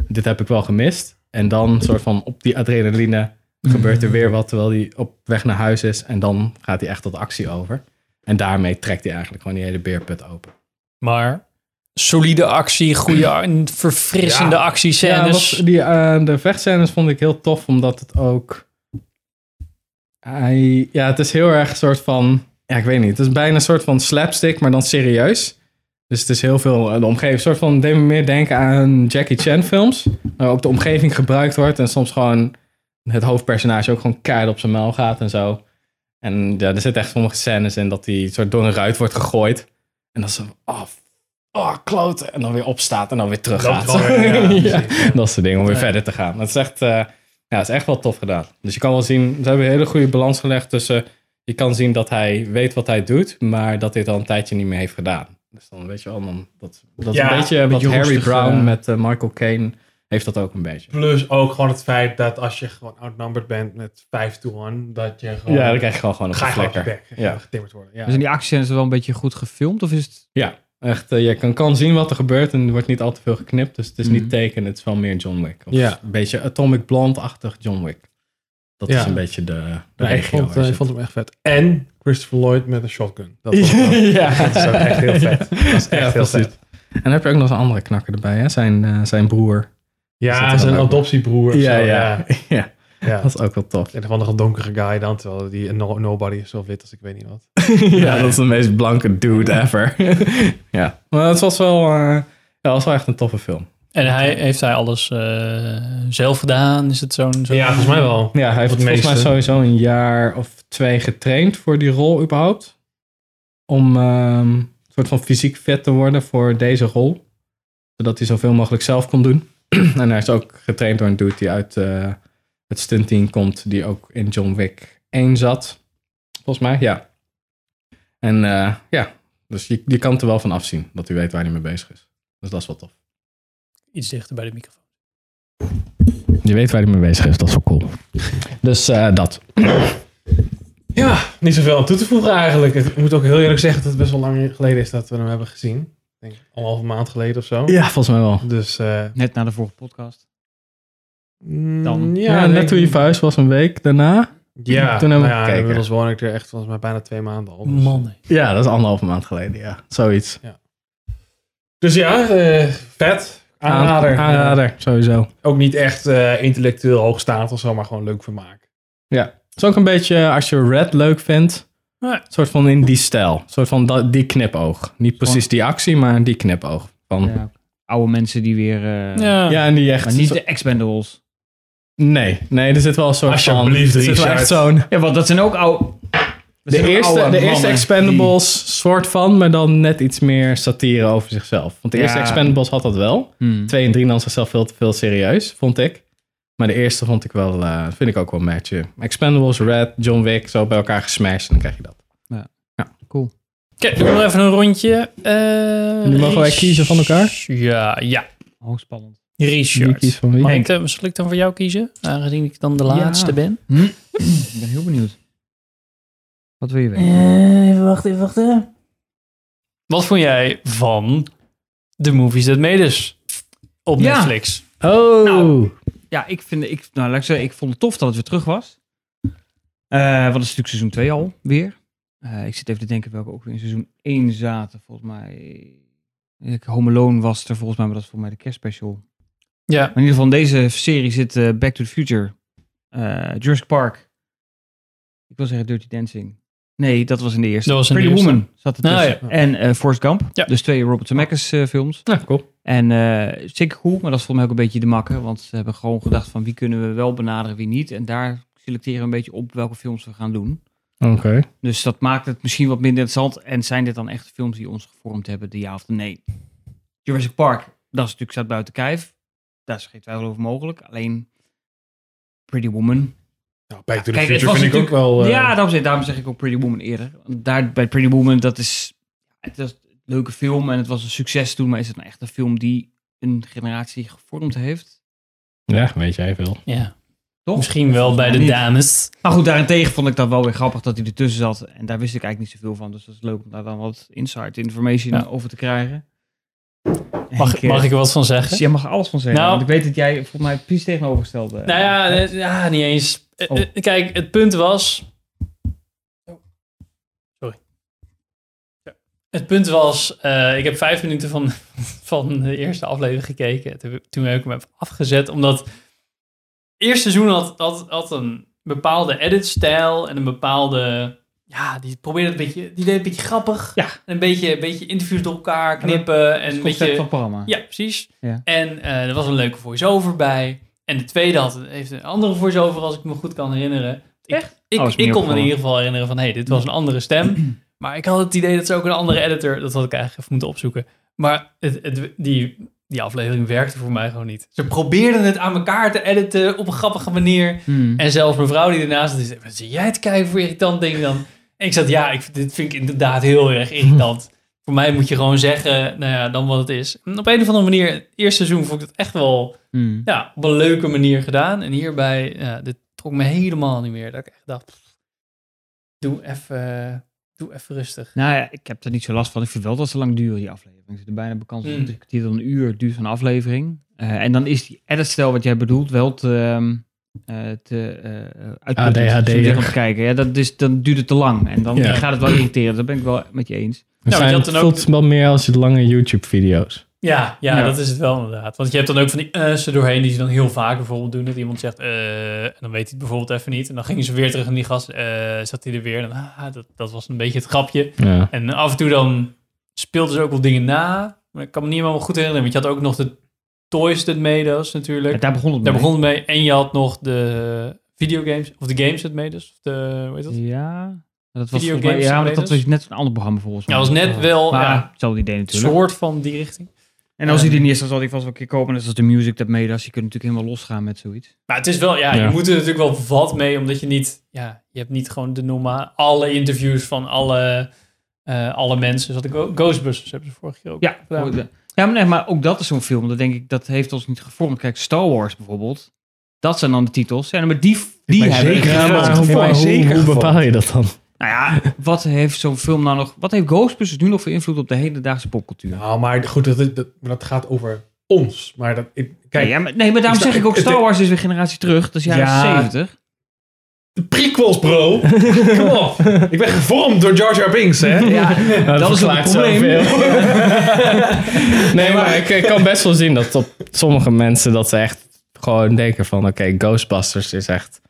Speaker 4: dit heb ik wel gemist. En dan soort van op die adrenaline gebeurt er weer wat terwijl hij op weg naar huis is. En dan gaat hij echt tot actie over. En daarmee trekt hij eigenlijk gewoon die hele beerput open.
Speaker 1: Maar solide actie, goede, en verfrissende
Speaker 4: Ja,
Speaker 1: actiescènes.
Speaker 4: wat- die, eh, de vechtscènes vond ik heel tof, omdat het ook... Hij, ja, het is heel erg een soort van... Ja, ik weet niet. Het is bijna een soort van slapstick, maar dan serieus. Dus het is heel veel eh, de omgeving. Een soort van, deed me meer denken aan Jackie Chan films. Waar ook de omgeving gebruikt wordt. En soms gewoon het hoofdpersonage ook gewoon keihard op zijn muil gaat en zo. En ja, er zitten echt sommige scènes in dat hij soort door een ruit wordt gegooid. En dan zo, oh, f- oh klote. En dan weer opstaat en dan weer terug
Speaker 3: Loopt
Speaker 4: gaat. [laughs]
Speaker 3: gewoon weer, ja,
Speaker 4: Ja,
Speaker 3: precies, ja.
Speaker 4: dat soort dingen, om weer verder te gaan. Dat is echt, eh, ja, het is echt wel tof gedaan. Dus je kan wel zien, ze hebben een hele goede balans gelegd tussen... Je kan zien dat hij weet wat hij doet, maar dat hij het al een tijdje niet meer heeft gedaan. Dus dan weet je wel, dan, dat, dat
Speaker 3: Ja,
Speaker 4: is een beetje
Speaker 3: een
Speaker 4: wat
Speaker 3: beetje
Speaker 4: Harry
Speaker 3: roestig,
Speaker 4: Brown
Speaker 3: eh.
Speaker 4: met eh, Michael Caine heeft dat ook een beetje.
Speaker 3: Plus ook gewoon het feit dat als je gewoon outnumbered bent met 5 to 1, dat je gewoon...
Speaker 4: Ja, dan krijg je gewoon, gewoon op
Speaker 3: Ga
Speaker 4: de
Speaker 3: je gewoon op je
Speaker 4: flikker.
Speaker 3: bek.
Speaker 4: Ja.
Speaker 3: Ja. Getimmerd worden. Ja.
Speaker 2: Dus in die actiescènes wel een beetje goed gefilmd? Of is het...
Speaker 4: Ja, echt. eh, je kan, kan zien wat er gebeurt en er wordt niet al te veel geknipt. Dus het is
Speaker 2: Mhm.
Speaker 4: niet teken, het is wel meer John Wick. Of
Speaker 3: Ja.
Speaker 4: Een beetje Atomic Blonde-achtig John Wick. Dat
Speaker 3: Ja.
Speaker 4: is een beetje de, de
Speaker 3: Ja, ik,
Speaker 4: regio.
Speaker 3: vond,
Speaker 4: waar
Speaker 3: eh,
Speaker 4: je
Speaker 3: ik vond hem echt vet. En Christopher Lloyd met een shotgun. Dat
Speaker 4: zit. [laughs]
Speaker 3: vond ik wel-
Speaker 4: ja,
Speaker 3: Dat is ook echt heel vet. Dat is echt
Speaker 4: Ja,
Speaker 3: heel
Speaker 4: precies.
Speaker 3: vet.
Speaker 4: En dan heb je ook nog een andere knakker erbij, hè? Zijn, eh, zijn broer. Dat
Speaker 3: Ja,
Speaker 4: is
Speaker 3: zijn
Speaker 4: wel leuk.
Speaker 3: adoptiebroer. of zo, ja.
Speaker 4: [laughs] ja.
Speaker 3: ja.
Speaker 4: Dat is ook wel [laughs] tof.
Speaker 3: Een of andere donkere guy dan, terwijl die een no- nobody is zo wit als ik weet niet wat.
Speaker 4: ja, dat is de meest blanke dude ever. [laughs] ja, maar het was wel, eh, ja, het was wel echt een toffe film.
Speaker 1: En hij, heeft hij alles eh, zelf gedaan? Is het zo'n... zo'n-
Speaker 3: Ja, volgens mij wel.
Speaker 4: Ja, hij heeft
Speaker 3: Het
Speaker 4: volgens mij
Speaker 3: meeste.
Speaker 4: sowieso een jaar of twee getraind voor die rol überhaupt. Om ehm, een soort van fysiek vet te worden voor deze rol. Zodat hij zoveel mogelijk zelf kon doen. [clears throat] en hij is ook getraind door een dude die uit eh, het stuntteam komt. Die ook in John Wick 1 zat. Volgens mij, ja. En eh, ja, dus je, je kan het er wel van afzien. Dat hij weet waar hij mee bezig is. Dus dat is wel tof.
Speaker 1: Iets dichter bij de microfoon.
Speaker 4: Je weet waar hij mee bezig is. Dat is wel cool. Dus eh, dat.
Speaker 3: Ja, niet zoveel aan toe te voegen eigenlijk. Ik moet ook heel eerlijk zeggen dat het best wel lang geleden is dat we hem hebben gezien. Ik denk anderhalve maand geleden of zo.
Speaker 4: Ja, volgens mij wel.
Speaker 3: Dus eh,
Speaker 2: Net na de vorige podcast.
Speaker 3: mm,
Speaker 2: Dan.
Speaker 4: Ja,
Speaker 3: denk
Speaker 4: net toen je
Speaker 3: ik-
Speaker 4: verhuisd was een week daarna.
Speaker 3: Ja,
Speaker 4: toen hebben we
Speaker 3: nou ja,
Speaker 4: gekeken.
Speaker 3: inmiddels woon ik er echt volgens mij bijna twee maanden al. Dus,
Speaker 1: Man.
Speaker 4: Ja, dat is anderhalve maand geleden, ja. Zoiets.
Speaker 3: dus ja, eh, vet. Aanrader.
Speaker 4: Aanrader, sowieso.
Speaker 3: Ook niet echt eh, intellectueel hoogstaand of zo, maar gewoon leuk vermaak.
Speaker 4: Het is ook een beetje, als je Red leuk vindt,
Speaker 1: Ja.
Speaker 4: een soort van in die stijl. Een soort van dat- die knipoog. Niet precies die actie, maar die knipoog. Van, ja.
Speaker 2: Ja. Oude mensen die weer... eh,
Speaker 1: Ja.
Speaker 4: en die echt...
Speaker 2: Maar niet de expendables.
Speaker 4: Nee, nee, er zit wel een soort van...
Speaker 3: Alsjeblieft,
Speaker 4: er zit wel
Speaker 3: Richard.
Speaker 4: echt zo'n...
Speaker 2: Ja, want dat zijn ook oude...
Speaker 4: De
Speaker 2: zijn
Speaker 4: eerste,
Speaker 2: oude
Speaker 4: de eerste
Speaker 2: mannen
Speaker 4: Expendables soort van, maar dan net iets meer satire over zichzelf. Want de eerste
Speaker 2: Ja.
Speaker 4: Expendables had dat wel.
Speaker 2: Hmm.
Speaker 4: Twee en drie nam zichzelf veel te veel serieus, vond ik. Maar de eerste vond ik wel, eh, vind ik ook wel een matchje. Expendables, Red, John Wick, zo bij elkaar gesmashed en dan krijg je dat.
Speaker 7: Oké, doen we nog even een rondje. Eh,
Speaker 4: Nu mogen wij
Speaker 7: Rich-
Speaker 4: kiezen van elkaar?
Speaker 7: Ja, ja.
Speaker 2: Oh, spannend.
Speaker 4: Wie
Speaker 7: Richard.
Speaker 4: kiest van wie?
Speaker 7: Mag ik, eh, zal ik dan voor jou kiezen? Aangezien ik dan de
Speaker 2: Ja.
Speaker 7: laatste ben.
Speaker 2: Ik ben heel benieuwd. Wat wil je weten?
Speaker 1: Eh,
Speaker 7: Eh, even wachten, even wachten. Wat vond jij van de movies that made us op
Speaker 2: Ja.
Speaker 7: Netflix?
Speaker 4: Oh,
Speaker 2: Nou, Ja, ik vind, ik, nou, laat ik zeggen, ik vond het tof dat het weer terug was. Eh, want het is natuurlijk seizoen 2 al, weer. Eh, ik zit even te denken welke ook weer in seizoen 1 zaten, volgens mij. Ik, Home Alone was er volgens mij, maar dat is volgens mij de kerstspecial.
Speaker 7: Ja.
Speaker 2: Maar in ieder geval, in deze serie zit eh, Back to the Future, eh, Jurassic Park. Ik wil zeggen Dirty Dancing. Nee, dat was in de eerste.
Speaker 7: Dat was in de
Speaker 2: Pretty
Speaker 7: eerste.
Speaker 2: Woman zat er
Speaker 7: Ah,
Speaker 2: tussen. En eh Forrest Gump.
Speaker 7: Ja.
Speaker 2: Dus twee Robert Zemeckis eh, films.
Speaker 4: nou, cool.
Speaker 2: En eh, zeker cool, maar dat is volgens mij ook een beetje de makker. Want ze hebben gewoon gedacht van wie kunnen we wel benaderen, wie niet. En daar selecteren we een beetje op welke films we gaan doen.
Speaker 4: Oké.
Speaker 2: Dus dat maakt het misschien wat minder interessant. En zijn dit dan echt films die ons gevormd hebben, de ja of de nee? Jurassic Park, dat is natuurlijk staat buiten kijf. Daar is geen twijfel over mogelijk. Alleen Pretty Woman.
Speaker 3: Nou, Back to the
Speaker 2: Kijk, het
Speaker 3: Future
Speaker 2: was
Speaker 3: vind ik ook
Speaker 2: natuurlijk-
Speaker 3: wel... eh,
Speaker 2: ja, daarom zeg, daarom zeg ik ook Pretty Woman eerder. Want Daar, bij Pretty Woman, dat is, het was een leuke film en het was een succes toen. Maar is het nou echt een film die een generatie gevormd heeft?
Speaker 4: Ja, weet jij veel.
Speaker 7: ja.
Speaker 2: Toch?
Speaker 7: Misschien wel bij de
Speaker 2: niet.
Speaker 7: dames.
Speaker 2: Maar goed, daarentegen vond ik dat wel weer grappig dat hij ertussen zat. En daar wist ik eigenlijk niet zoveel van. Dus dat is leuk om daar dan wat insight information
Speaker 7: Ja.
Speaker 2: over te krijgen.
Speaker 7: Mag,
Speaker 2: En, eh,
Speaker 7: mag ik er wat van zeggen?
Speaker 2: dus jij mag er alles van zeggen.
Speaker 7: Nou.
Speaker 2: want ik weet dat jij volgens mij precies tegenovergestelde.
Speaker 7: Nou ja, eh, ja niet eens. Eh,
Speaker 2: Oh.
Speaker 7: eh, Kijk, het punt was. Sorry. Ja. Het punt was, eh, ik heb vijf minuten van, [laughs] van de eerste aflevering gekeken. Toen heb- Toen heb ik hem even afgezet, omdat het eerste seizoen had, had, had een bepaalde editstijl en een bepaalde... Ja, die probeerde het een beetje, die deed het een beetje grappig.
Speaker 2: Ja.
Speaker 7: Een beetje, een beetje interviews door elkaar knippen. En
Speaker 2: het
Speaker 7: een
Speaker 2: concept
Speaker 7: beetje,
Speaker 2: van het programma.
Speaker 7: ja, precies.
Speaker 2: Ja.
Speaker 7: En eh, er was een leuke voice-over bij. En de tweede had, heeft een andere voice-over, als ik me goed kan herinneren. Ik, Ik,
Speaker 2: Oh, is me niet
Speaker 7: ik kon me in
Speaker 2: opgevallen.
Speaker 7: ieder geval herinneren van, hé, hey, dit was een andere
Speaker 2: [clears throat]
Speaker 7: stem. Maar ik had het idee dat ze ook een andere editor... Dat had ik eigenlijk even moeten opzoeken. Maar het, het, die, die aflevering werkte voor mij gewoon niet. Ze probeerden het aan elkaar te editen op een grappige manier.
Speaker 2: Hmm.
Speaker 7: En zelfs mevrouw die ernaast zat, die zei, wat zie jij het kijken voor irritant ding dan? En ik zat, ja, ik, dit vind ik inderdaad heel erg irritant. voor mij moet je gewoon zeggen, nou ja, dan wat het is. En op een of andere manier, het eerste seizoen vond ik het echt wel
Speaker 2: Hmm.
Speaker 7: ja, op een leuke manier gedaan. En hierbij, ja, dit trok me helemaal niet meer. Dat ik echt dacht, pff, doe even... Doe even rustig.
Speaker 2: Nou ja, ik heb er niet zo last van. Ik vind wel dat ze lang duren, die aflevering. Ze er bijna bekend
Speaker 7: Mm.
Speaker 2: dat het kwartier dan een uur duurt van aflevering. Eh, en dan is die editstijl wat jij bedoelt wel te, ehm, eh, te eh, uitputtend.
Speaker 4: ADHD.
Speaker 2: Zo zeg om te kijken. Ja, dat is, dan duurt het te lang. En dan
Speaker 4: Ja.
Speaker 2: gaat het wel irriteren. Dat ben ik wel met je eens.
Speaker 7: want je
Speaker 4: zijn, het
Speaker 7: had dan ook-
Speaker 4: voelt wel meer als de lange YouTube-video's.
Speaker 7: Ja, ja,
Speaker 2: Ja.
Speaker 7: dat is het wel inderdaad. Want je hebt dan ook van die eh's er doorheen die ze dan heel vaak bijvoorbeeld doen. Dat iemand zegt eh, en dan weet hij het bijvoorbeeld even niet. En dan gingen ze weer terug en die gast eh, zat hij er weer. En dan, ah, dat, dat was een beetje het grapje.
Speaker 4: Ja.
Speaker 7: En af en toe dan speelden ze ook wel dingen na. Maar ik kan me niet helemaal goed herinneren. Want je had ook nog de Toys That Made Us natuurlijk.
Speaker 2: Ja, daar begon het
Speaker 7: Daar
Speaker 2: mee.
Speaker 7: begon het mee. En je had nog de videogames. Of de games That Made Us. Of de, hoe heet dat?
Speaker 2: Ja, dat was volgens mij,
Speaker 7: Videogames
Speaker 2: ja, maar
Speaker 7: spelers.
Speaker 2: dat was net een ander programma volgens
Speaker 7: Ja,
Speaker 2: mij.
Speaker 7: dat was net wel
Speaker 2: Maar
Speaker 7: ja,
Speaker 2: hetzelfde idee
Speaker 7: een
Speaker 2: natuurlijk.
Speaker 7: soort van die richting.
Speaker 2: En als hij er niet is, dan zal hij vast wel een keer komen. Dat is de music dat mede. Als je kunt natuurlijk helemaal losgaan met zoiets.
Speaker 7: Maar het is wel, ja,
Speaker 4: Ja.
Speaker 7: je moet er natuurlijk wel wat mee, omdat je niet, ja, je hebt niet gewoon de normaal, alle interviews van alle, eh, alle mensen. Zat ik ook, Ghostbusters hebben ze vorig jaar ook.
Speaker 2: Ja,
Speaker 7: gedaan.
Speaker 2: ja. maar, nee, maar ook dat is zo'n film. Dat denk ik, dat heeft ons niet gevormd. Kijk, Star Wars bijvoorbeeld. Dat zijn dan de titels. Ja, maar die, die
Speaker 3: mij
Speaker 2: hebben
Speaker 3: zeker
Speaker 2: echt
Speaker 3: Ja,
Speaker 2: gevormd.
Speaker 3: maar hoe-
Speaker 4: hoe,
Speaker 3: hoe- hoe
Speaker 4: bepaal
Speaker 3: bepaal
Speaker 4: je dat dan?
Speaker 2: Nou ja, wat heeft zo'n film nou nog... Wat heeft Ghostbusters nu nog voor invloed op de hedendaagse popcultuur?
Speaker 3: Nou, maar goed, dat, dat, maar dat gaat over ons. Maar dat, ik, kijk,
Speaker 2: Nee, ja, maar, nee, maar daarom
Speaker 3: Ik sta-
Speaker 2: zeg ik ook,
Speaker 3: het-
Speaker 2: Star Wars is weer generatie terug. Dat is jaren
Speaker 3: Ja. [laughs]
Speaker 2: 70.
Speaker 3: de
Speaker 2: [laughs]
Speaker 3: prequels, bro. Kom op. Ik ben gevormd door Jar Jar Binks, hè.
Speaker 2: Ja, dat, is ook het probleem.
Speaker 4: [laughs] nee, maar ik, ik kan best wel zien dat op sommige mensen dat ze echt gewoon denken van... Oké, Ghostbusters is echt...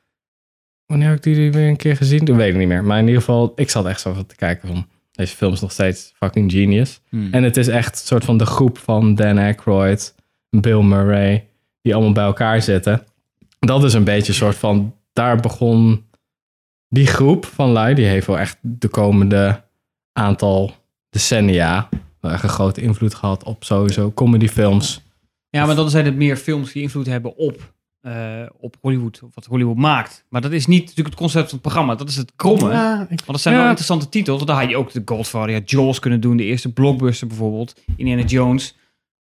Speaker 4: Wanneer heb ik die weer een keer gezien? Toen weet ik niet meer. Maar in ieder geval, ik zat echt zo van te kijken van... Deze film is nog steeds fucking genius.
Speaker 2: Hmm.
Speaker 4: En het is echt een soort van de groep van Dan Aykroyd, Bill Murray, die allemaal bij elkaar zitten. Dat is een beetje een soort van, daar begon die groep van lui, die heeft wel echt de komende aantal decennia wel echt een grote invloed gehad op sowieso comedyfilms.
Speaker 2: Ja, maar dan zijn het meer films die invloed hebben op, eh, op Hollywood, of wat Hollywood maakt. Maar dat is niet natuurlijk het concept van het programma, dat is het kromme.
Speaker 3: Ja, ik-
Speaker 2: Want dat zijn
Speaker 4: Ja.
Speaker 2: wel interessante titels. Want daar had je ook de Godfather, ja, Jaws kunnen doen, de eerste blockbuster bijvoorbeeld, Indiana Jones.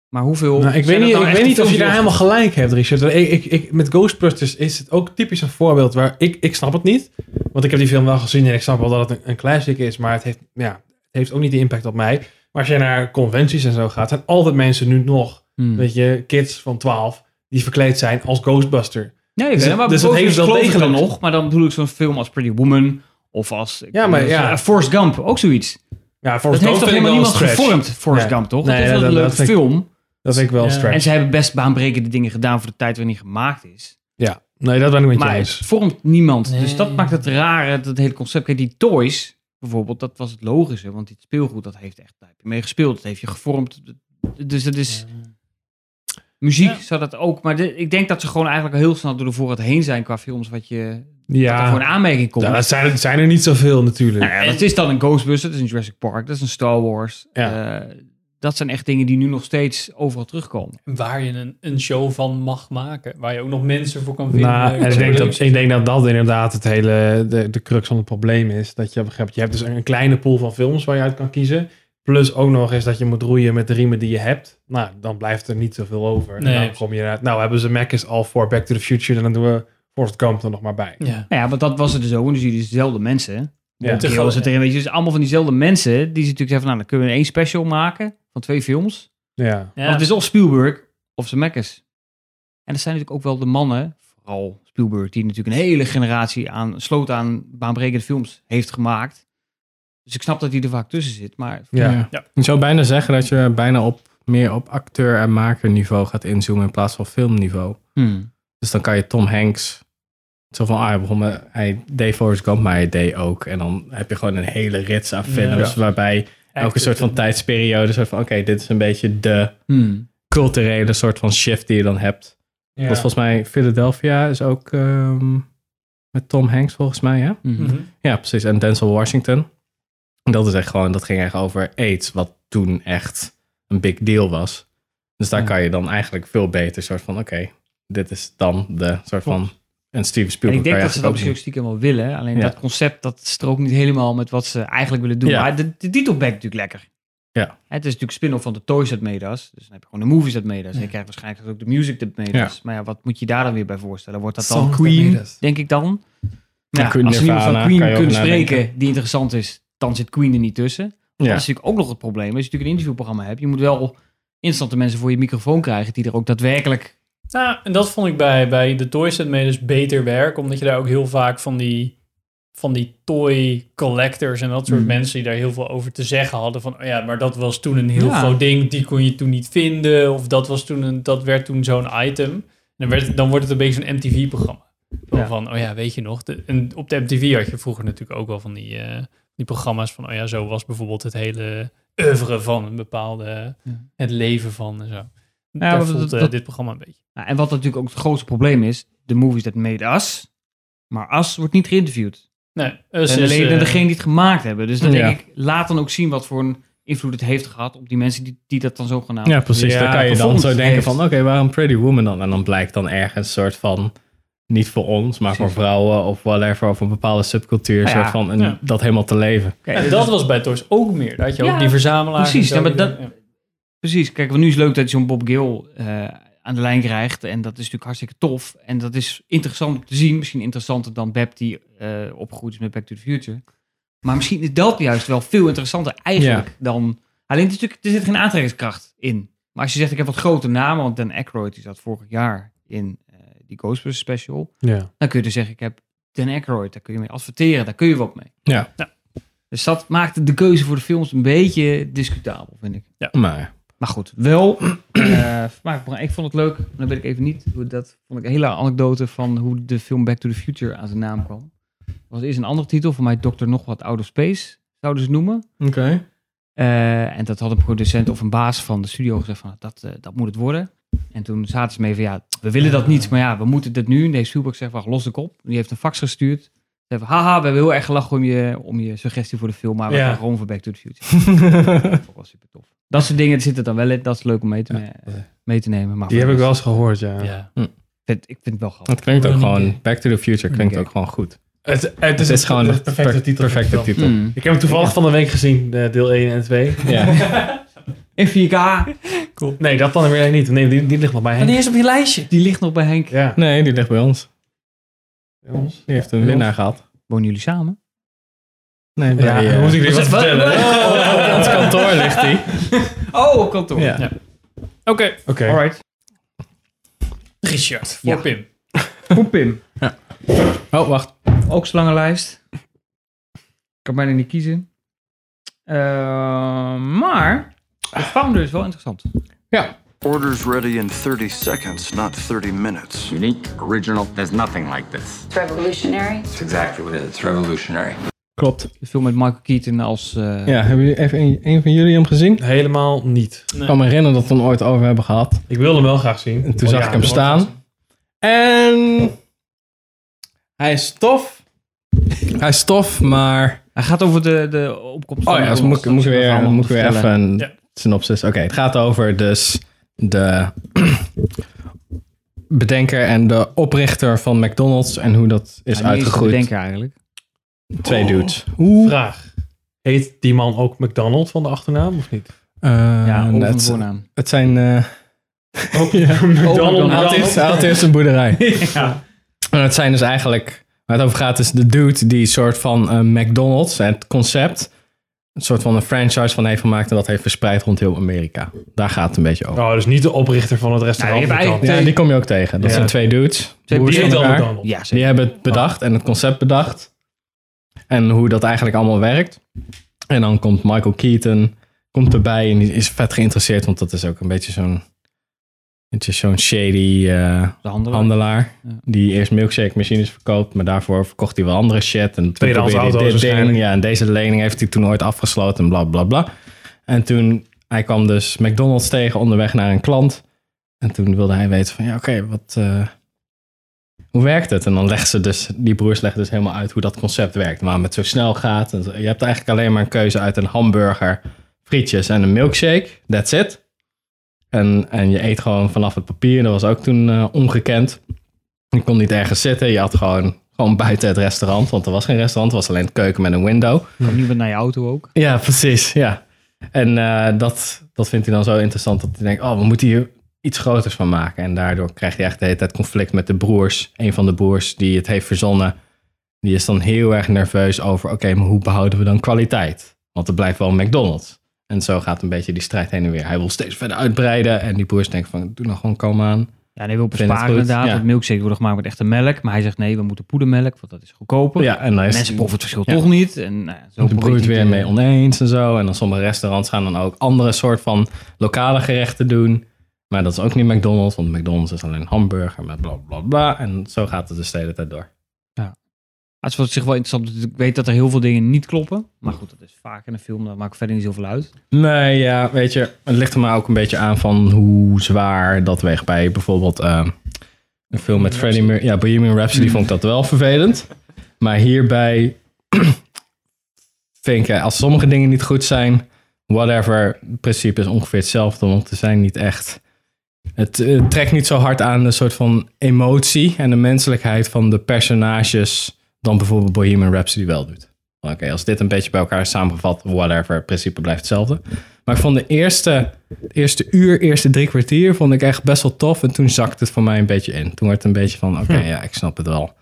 Speaker 2: Maar hoeveel...
Speaker 3: Nou, ik
Speaker 2: zijn
Speaker 3: weet
Speaker 2: dat
Speaker 3: niet,
Speaker 2: nou
Speaker 3: ik
Speaker 2: echt
Speaker 3: weet
Speaker 2: die
Speaker 3: niet of je
Speaker 2: films
Speaker 3: daar
Speaker 2: die-
Speaker 3: helemaal gelijk hebt, Richard. Want Ik, ik, ik, met Ghostbusters is het ook typisch een voorbeeld waar ik, ik snap het niet. Want ik heb die film wel gezien en ik snap wel dat het een, een classic is. Maar het heeft, ja, het heeft ook niet de impact op mij. Maar als je naar conventies en zo gaat, zijn altijd mensen nu nog,
Speaker 2: Hmm.
Speaker 3: weet je, kids van 12 die verkleed zijn als Ghostbuster.
Speaker 2: Nee,
Speaker 3: Dus
Speaker 2: dus,
Speaker 3: het-
Speaker 2: maar dus
Speaker 3: dus het
Speaker 2: dat
Speaker 3: heeft
Speaker 2: heeft
Speaker 3: wel
Speaker 2: wel degelijk
Speaker 3: degelijk-
Speaker 2: nog. Maar dan bedoel ik zo'n film als Pretty Woman of als ik
Speaker 3: Ja,
Speaker 2: weet
Speaker 3: maar
Speaker 2: niet,
Speaker 3: ja.
Speaker 2: eh, Forrest Gump, ook zoiets.
Speaker 3: Ja, voor
Speaker 2: Dat heeft toch helemaal niemand gevormd, Forrest
Speaker 3: Nee.
Speaker 2: Gump, toch?
Speaker 3: Nee,
Speaker 2: dat is
Speaker 3: dat-
Speaker 2: wel een
Speaker 3: dat
Speaker 2: leuke
Speaker 3: vind ik-
Speaker 2: film.
Speaker 3: Dat vind ik wel
Speaker 1: Ja.
Speaker 3: stretch.
Speaker 2: En ze hebben best baanbrekende dingen gedaan voor de tijd waarin hij gemaakt is.
Speaker 3: Ja, nee, dat ben ik met je
Speaker 2: Maar het
Speaker 3: eens.
Speaker 2: vormt niemand. Dus dat
Speaker 1: Nee.
Speaker 2: maakt het rare, dat hele concept. Kijk, die toys bijvoorbeeld, dat was het logische. Want dit speelgoed, dat heeft echt, daar heb je mee gespeeld. Dat heeft je gevormd. Dus dat is... Muziek
Speaker 1: Ja.
Speaker 2: zou dat ook. Maar de- ik denk dat ze gewoon eigenlijk al heel snel door de voorraad heen zijn qua films. Wat je dat er
Speaker 3: Ja,
Speaker 2: voor een aanmerking komt.
Speaker 3: Ja, dat zijn, er- zijn er niet zoveel natuurlijk.
Speaker 2: Nou ja, dat is dan een Ghostbusters, dat is een Jurassic Park, dat is een Star Wars.
Speaker 3: Ja.
Speaker 2: Eh, dat zijn echt dingen die nu nog steeds overal terugkomen.
Speaker 1: Waar je een, een show van mag maken. Waar je ook nog mensen voor kan vinden.
Speaker 3: Nou,
Speaker 4: eh,
Speaker 3: en ik, denk dat, ik denk dat dat inderdaad het hele, de, de crux van het probleem is. Dat je, op een gegeven moment- je hebt dus een, een kleine pool van films waar je uit kan kiezen. Plus ook nog eens dat je moet roeien met de riemen die je hebt. Nou, dan blijft er niet zoveel over.
Speaker 1: Nee.
Speaker 3: En dan kom je eruit. Nou, hebben ze Mac is al voor Back to the Future. En dan doen we Forrest Gump er nog maar bij.
Speaker 1: Ja.
Speaker 2: Nou ja, want dat was het dus ook. En dus jullie dezelfde mensen.
Speaker 3: Ja.
Speaker 2: Te was het erin, weet je, dus allemaal van diezelfde mensen die ze natuurlijk zeggen van, nou, dan kunnen we één special maken van twee films.
Speaker 3: Ja.
Speaker 1: Ja.
Speaker 2: Want het is of Spielberg of Zemeckis. En dat zijn natuurlijk ook wel de mannen, vooral Spielberg, die natuurlijk een hele generatie aan sloot aan baanbrekende films heeft gemaakt. Dus ik snap dat hij er vaak tussen zit, maar
Speaker 3: Ja.
Speaker 1: Ja.
Speaker 4: Ik zou bijna zeggen dat je bijna op, meer op acteur- en makerniveau gaat inzoomen in plaats van filmniveau.
Speaker 2: hmm.
Speaker 4: Dus dan kan je Tom Hanks. Zo van, ah, hij, begon met, hij deed Forrest Gump, maar hij deed ook. En dan heb je gewoon een hele rits aan films... waarbij elke soort van tijdsperiode... soort van, oké, dit is een beetje de
Speaker 2: Hmm.
Speaker 4: culturele soort van shift die je dan hebt.
Speaker 3: Ja.
Speaker 4: Want volgens mij Philadelphia is ook ehm, met Tom Hanks volgens mij, hè?
Speaker 2: Mhm.
Speaker 1: Mhm.
Speaker 4: Ja, precies. En Denzel Washington. En Dat is echt gewoon, dat ging echt over AIDS, wat toen echt een big deal was. Dus daar
Speaker 2: Ja.
Speaker 4: kan je dan eigenlijk veel beter soort van, oké, dit is dan de soort van een Steven Spielberg.
Speaker 2: En ik denk
Speaker 4: kan
Speaker 2: dat
Speaker 4: je
Speaker 2: ze dat misschien ook
Speaker 4: eigenlijk
Speaker 2: stiekem wel willen. Alleen
Speaker 4: Ja.
Speaker 2: dat concept, dat strookt niet helemaal met wat ze eigenlijk willen doen.
Speaker 4: Ja.
Speaker 2: Maar de, de titel bekt natuurlijk lekker.
Speaker 4: Ja.
Speaker 2: Het is natuurlijk spin-off van de Toys dat Medas. Dus dan heb je gewoon de movies dat Medas. En je krijgt waarschijnlijk ook de music dat Medas. Maar ja, wat moet je daar dan weer bij voorstellen? Wordt dat dan
Speaker 3: Songs that
Speaker 2: Queen,
Speaker 3: made us.
Speaker 2: denk ik dan?
Speaker 4: Ja,
Speaker 2: Nou,
Speaker 4: Queen
Speaker 2: als ze niemand van
Speaker 4: Nirvana, kan
Speaker 2: Queen
Speaker 4: je over
Speaker 2: kunnen
Speaker 4: nadenken.
Speaker 2: spreken die interessant is, dan zit Queen er niet tussen.
Speaker 4: doen.
Speaker 2: Dat is natuurlijk ook nog het probleem. Als je natuurlijk een interviewprogramma hebt, je moet wel instante mensen voor je microfoon krijgen die er ook daadwerkelijk...
Speaker 1: Nou, en dat vond ik bij, bij de Toy Set mee dus beter werk. Omdat je daar ook heel vaak van die, van die toy collectors en dat soort
Speaker 2: Mm.
Speaker 1: mensen die daar heel veel over te zeggen hadden. Van, oh ja, maar dat was toen een heel
Speaker 2: Ja.
Speaker 1: groot ding. Die kon je toen niet vinden. Of dat, was toen een, dat werd toen zo'n item. En dan, werd, het- dan wordt het een beetje zo'n MTV-programma.
Speaker 2: Ja.
Speaker 1: Van, oh ja, weet je nog. De, en op de MTV had je vroeger natuurlijk ook wel van die, eh, die programma's van... Oh ja, zo was bijvoorbeeld het hele oeuvre van een bepaalde...
Speaker 2: Ja.
Speaker 1: Het leven van en zo.
Speaker 2: maar
Speaker 1: daar
Speaker 2: dat-
Speaker 1: voelt eh,
Speaker 2: dat-
Speaker 1: dit programma een beetje.
Speaker 2: Nou, en wat natuurlijk ook het grootste probleem is, de movies that made us, maar us wordt niet geïnterviewd.
Speaker 1: Nee, dus,
Speaker 2: en de
Speaker 1: dus,
Speaker 2: leden,
Speaker 1: eh,
Speaker 2: degene die het gemaakt hebben. Dus dan
Speaker 4: Ja.
Speaker 2: denk ik, laat dan ook zien wat voor een invloed het heeft gehad op die mensen die, die dat dan zogenaamd...
Speaker 4: Ja, precies.
Speaker 3: Ja,
Speaker 4: dan kan je dan
Speaker 2: gevonden
Speaker 4: zo denken
Speaker 2: heeft.
Speaker 4: van, oké, waarom Pretty Woman dan? En dan blijkt dan ergens een soort van, niet voor ons, maar voor
Speaker 2: Precies.
Speaker 4: vrouwen of whatever, of een bepaalde subcultuur,
Speaker 2: Nou ja,
Speaker 4: soort van, en
Speaker 1: ja.
Speaker 4: dat helemaal te leven.
Speaker 2: Kijk,
Speaker 1: En
Speaker 2: dit
Speaker 1: dat
Speaker 2: is-
Speaker 1: was bij Toys ook meer. Dat je
Speaker 2: Ja,
Speaker 1: ook die verzamelaar.
Speaker 2: precies.
Speaker 1: en zo,
Speaker 2: Ja, maar
Speaker 1: die-
Speaker 2: dat- Precies, kijk, want nu is het leuk dat je zo'n Bob Gill eh, aan de lijn krijgt. En dat is natuurlijk hartstikke tof. En dat is interessant om te zien. Misschien interessanter dan Beb die eh, opgegroeid is met Back to the Future. Maar misschien is dat juist wel veel interessanter eigenlijk dan... Alleen het is natuurlijk, er zit geen aantrekkingskracht in. Maar als je zegt, ik heb wat grote namen. Want Dan Aykroyd die zat vorig jaar in eh, die Ghostbusters special.
Speaker 3: Ja.
Speaker 2: Dan kun je dus zeggen, ik heb Dan Aykroyd. Daar kun je mee adverteren, daar kun je wat mee.
Speaker 4: Ja.
Speaker 2: Dus dat maakt de keuze voor de films een beetje discutabel, vind ik.
Speaker 4: Maar,
Speaker 2: Maar goed, wel. [clears throat] eh, vermaakprogramma. ik vond het leuk. maar Dan weet ik even niet hoe dat. Vond ik een hele anekdote van hoe de film Back to the Future aan zijn naam kwam. Er was eerst een andere titel, voor mij Dokter Nog Wat Out of Space, zouden ze het noemen.
Speaker 4: oké.
Speaker 2: Eh, en dat had een producent of een baas van de studio gezegd van dat, eh, dat moet het worden. En toen zaten ze mee van ja, we willen dat niet, maar ja, we moeten dit nu. Nee, Spielberg zegt wacht, los de kop. Die heeft een fax gestuurd Ze hebben, haha, we hebben heel erg gelachen om je, om je suggestie voor de film, maar we
Speaker 3: Ja.
Speaker 2: gaan gewoon voor Back to the Future. [laughs] dat vond ik wel super tof. Dat soort dingen zitten dan wel in. Dat is leuk om mee te, eh, mee te nemen. Maar
Speaker 3: Die
Speaker 2: voor
Speaker 3: heb ik
Speaker 2: de
Speaker 3: wel
Speaker 2: rest,
Speaker 3: eens gehoord, ja.
Speaker 1: Ja.
Speaker 2: Ik vind, ik vind het wel grappig.
Speaker 4: Het klinkt ook
Speaker 1: Running
Speaker 4: gewoon,
Speaker 1: Gag.
Speaker 4: Back to the Future klinkt ook gewoon goed.
Speaker 3: Het, het,
Speaker 4: Het is gewoon
Speaker 3: de
Speaker 4: een
Speaker 3: perfecte
Speaker 4: per-
Speaker 3: titel.
Speaker 4: Perfecte titel.
Speaker 2: Mm.
Speaker 3: Ik heb hem toevallig van de week gezien, eh, deel 1 en 2.
Speaker 4: Ja.
Speaker 2: In 4K.
Speaker 3: Nee, dat dan weer niet. Nee, die, die ligt nog
Speaker 4: Oh,
Speaker 3: bij
Speaker 1: Wanneer is
Speaker 3: Henk.
Speaker 1: op je lijstje?
Speaker 2: Die ligt nog bij Henk.
Speaker 3: Ja.
Speaker 4: Nee, die ligt bij ons.
Speaker 3: Jongens.
Speaker 4: Die heeft een winnaar gehad.
Speaker 2: Wonen jullie samen?
Speaker 4: Nee,
Speaker 3: Ja,
Speaker 4: bij, eh,
Speaker 3: dan moet ik dit wat
Speaker 1: Wat-
Speaker 3: vertellen.
Speaker 4: op ons kantoor ligt die.
Speaker 2: Oh, op kantoor.
Speaker 4: Ja.
Speaker 1: Oké.
Speaker 3: Oké.
Speaker 2: Alright.
Speaker 1: Richard, voor
Speaker 2: Ja.
Speaker 1: Pim.
Speaker 2: Voor Pim.
Speaker 4: Oh, wacht.
Speaker 2: Ook slangenlijst. Ik kan bijna niet kiezen. Eh, maar de
Speaker 4: Ah.
Speaker 2: founder is wel interessant.
Speaker 8: Orders ready in 30 seconds, not 30 minutes.
Speaker 9: unique, original. There's nothing like this.
Speaker 5: It's revolutionary.
Speaker 9: That's exactly what it is. It's revolutionary.
Speaker 4: Klopt.
Speaker 2: De film met Michael Keaton als... eh,
Speaker 4: Ja, hebben jullie even een, een van jullie hem gezien?
Speaker 3: Helemaal niet.
Speaker 4: Ik kan me herinneren dat we hem ooit over hebben gehad.
Speaker 3: Ik wilde hem wel graag zien.
Speaker 4: En toen
Speaker 3: Oh,
Speaker 4: zag
Speaker 3: ja,
Speaker 4: ik hem
Speaker 3: dat was-
Speaker 4: staan. En hij is tof. Hij is tof, maar...
Speaker 2: Hij gaat over de, de opkomst
Speaker 4: Oh ja, dus moet, ik- moet ik weer, moet ik weer even een
Speaker 1: Ja.
Speaker 4: synopsis. Oké, het gaat over dus de [clears throat] bedenker en de oprichter van McDonald's en hoe dat is uitgegroeid.
Speaker 2: Denk eigenlijk. Oh.
Speaker 4: Twee dudes.
Speaker 3: Vraag. Heet die man ook McDonald van de achternaam of niet?
Speaker 4: Eh,
Speaker 2: Ja,
Speaker 4: nou,
Speaker 2: over een
Speaker 4: het,
Speaker 2: voornaam.
Speaker 4: het zijn... eh
Speaker 3: [laughs] Ook McDonald.
Speaker 4: hij had eerst- hij had eerst een
Speaker 2: [laughs]
Speaker 4: boerderij. En het zijn dus eigenlijk, waar het over gaat, is de dude die soort van eh, McDonald's, het concept, een soort van een franchise van heeft gemaakt en dat heeft verspreid rond heel Amerika. Daar gaat het een beetje over.
Speaker 3: Oh, dus niet de oprichter van het restaurant.
Speaker 2: Ja, die hebben
Speaker 3: McDonald's.
Speaker 4: Ja, die kom je ook tegen. Dat
Speaker 3: Ja.
Speaker 4: zijn twee dudes.
Speaker 2: Twee
Speaker 4: broers
Speaker 3: die
Speaker 4: van
Speaker 3: heet al
Speaker 4: elkaar.
Speaker 3: McDonald.
Speaker 2: Ja,
Speaker 4: Die
Speaker 2: zeker.
Speaker 4: hebben het bedacht en het concept bedacht. En hoe dat eigenlijk allemaal werkt. En dan komt Michael Keaton komt erbij en die is vet geïnteresseerd, want dat is ook een beetje zo'n beetje zo'n shady eh,
Speaker 2: De handelaar.
Speaker 4: handelaar.
Speaker 2: Ja.
Speaker 4: Die eerst milkshake machines verkoopt, maar daarvoor verkocht hij wel andere shit. En toen
Speaker 3: Tweedehands
Speaker 4: probeerde hij dit
Speaker 3: auto's
Speaker 4: ding.
Speaker 3: waarschijnlijk.
Speaker 4: Ja, en deze lening heeft hij toen ooit afgesloten en bla bla bla. En toen, hij kwam dus McDonald's tegen onderweg naar een klant. En toen wilde hij weten van, ja oké, wat... eh, hoe werkt het? En dan leggen ze dus, die broers leggen dus helemaal uit hoe dat concept werkt. Waarom het zo snel gaat. En zo. je hebt eigenlijk alleen maar een keuze uit een hamburger, frietjes en een milkshake. That's it. En, en je eet gewoon vanaf het papier. Dat was ook toen eh, ongekend. Je kon niet ergens zitten. Je had gewoon, gewoon buiten het restaurant. Want er was geen restaurant. Het was alleen een keuken met een window.
Speaker 2: Komt niemand naar je auto ook.
Speaker 4: Ja, precies. Ja. En eh, dat, dat vindt hij dan zo interessant dat hij denkt, oh, we moeten hier iets groters van maken. En daardoor krijgt hij echt de hele tijd conflict met de broers. Een van de broers die het heeft verzonnen, die is dan heel erg nerveus over, oké, maar hoe behouden we dan kwaliteit? Want het blijft wel een McDonald's. En zo gaat een beetje die strijd heen en weer. Hij wil steeds verder uitbreiden en die broers denken van, doe nou gewoon kalm aan.
Speaker 2: Ja, en hij wil
Speaker 4: Vind het
Speaker 2: besparen
Speaker 4: goed,
Speaker 2: inderdaad.
Speaker 4: ja.
Speaker 2: Dat milkshake wordt gemaakt met echte melk. Maar hij zegt nee, we moeten poedermelk, want dat is goedkoper.
Speaker 4: Ja, en dan is
Speaker 2: Mensen proeven het verschil
Speaker 4: Ja.
Speaker 2: toch niet. En nou ja, zo
Speaker 4: Ook de
Speaker 2: probeert
Speaker 4: broert
Speaker 2: hij
Speaker 4: weer
Speaker 2: te-
Speaker 4: mee oneens en zo. En dan sommige restaurants gaan dan ook andere soort van lokale gerechten doen. Maar dat is ook niet McDonald's, want McDonald's is alleen hamburger met bla bla bla. En zo gaat het dus de hele tijd door.
Speaker 2: Ah, Het is op zich wel interessant. want Ik weet dat er heel veel dingen niet kloppen. Maar goed, dat is vaak in een film. Dat maakt verder niet zoveel uit.
Speaker 4: Nee, ja, weet je, het ligt er maar ook een beetje aan van hoe zwaar dat weegt bij bijvoorbeeld eh, een film met Freddie Mercury. Ja, Bohemian Rhapsody vond ik dat wel vervelend. Maar hierbij vind ik, ja, als sommige dingen niet goed zijn, whatever, het principe is ongeveer hetzelfde, want er zijn niet echt... Het eh, trekt niet zo hard aan de soort van emotie en de menselijkheid van de personages dan bijvoorbeeld Bohemian Rhapsody wel doet. Oké, als dit een beetje bij elkaar is samengevat, whatever, het principe blijft hetzelfde. Maar ik vond de eerste, de eerste uur, eerste drie kwartier, vond ik echt best wel tof. En toen zakte het voor mij een beetje in. Toen werd het een beetje van, oké, ja, ik snap het wel.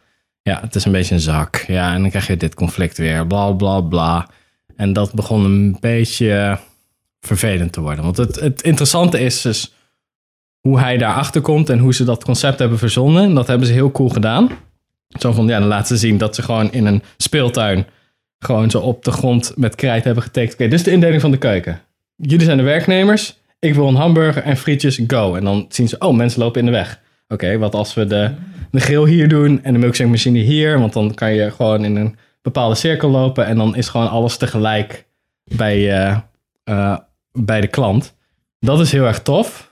Speaker 4: Ja, het is een beetje een zak. Ja, en dan krijg je dit conflict weer, bla, bla, bla. En dat begon een beetje vervelend te worden. Want het, het interessante is dus hoe hij daarachter komt en hoe ze dat concept hebben verzonnen. En dat hebben ze heel cool gedaan. Zo van, ja, dan laten ze zien dat ze gewoon in een speeltuin gewoon zo op de grond met krijt hebben getekend. Oké, dit is de indeling van de keuken. Jullie zijn de werknemers. Ik wil een hamburger en frietjes, go. En dan zien ze, oh, mensen lopen in de weg. Oké, wat als we de, de grill hier doen en de milkshake machine hier? Want dan kan je gewoon in een bepaalde cirkel lopen en dan is gewoon alles tegelijk bij, eh, eh, bij de klant. Dat is heel erg tof.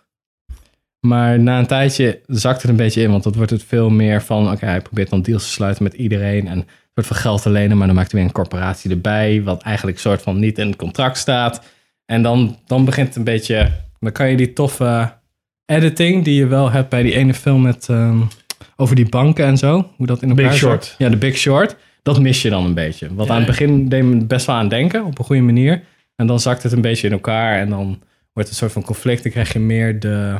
Speaker 4: Maar na een tijdje zakt het een beetje in, want dat wordt het veel meer van, oké, hij probeert dan deals te sluiten met iedereen en soort van geld te lenen, maar dan maakt hij weer een corporatie erbij, wat eigenlijk soort van niet in het contract staat. En dan, dan begint het een beetje, dan kan je die toffe editing die je wel hebt bij die ene film met, ehm, over die banken en zo, hoe dat in elkaar
Speaker 3: Big
Speaker 4: zit.
Speaker 3: Short.
Speaker 4: Ja, de Big Short. Dat mis je dan een beetje. Want
Speaker 1: Ja.
Speaker 4: aan het begin deed me best wel aan denken, op een goede manier. En dan zakt het een beetje in elkaar en dan wordt het een soort van conflict. Dan krijg je meer de,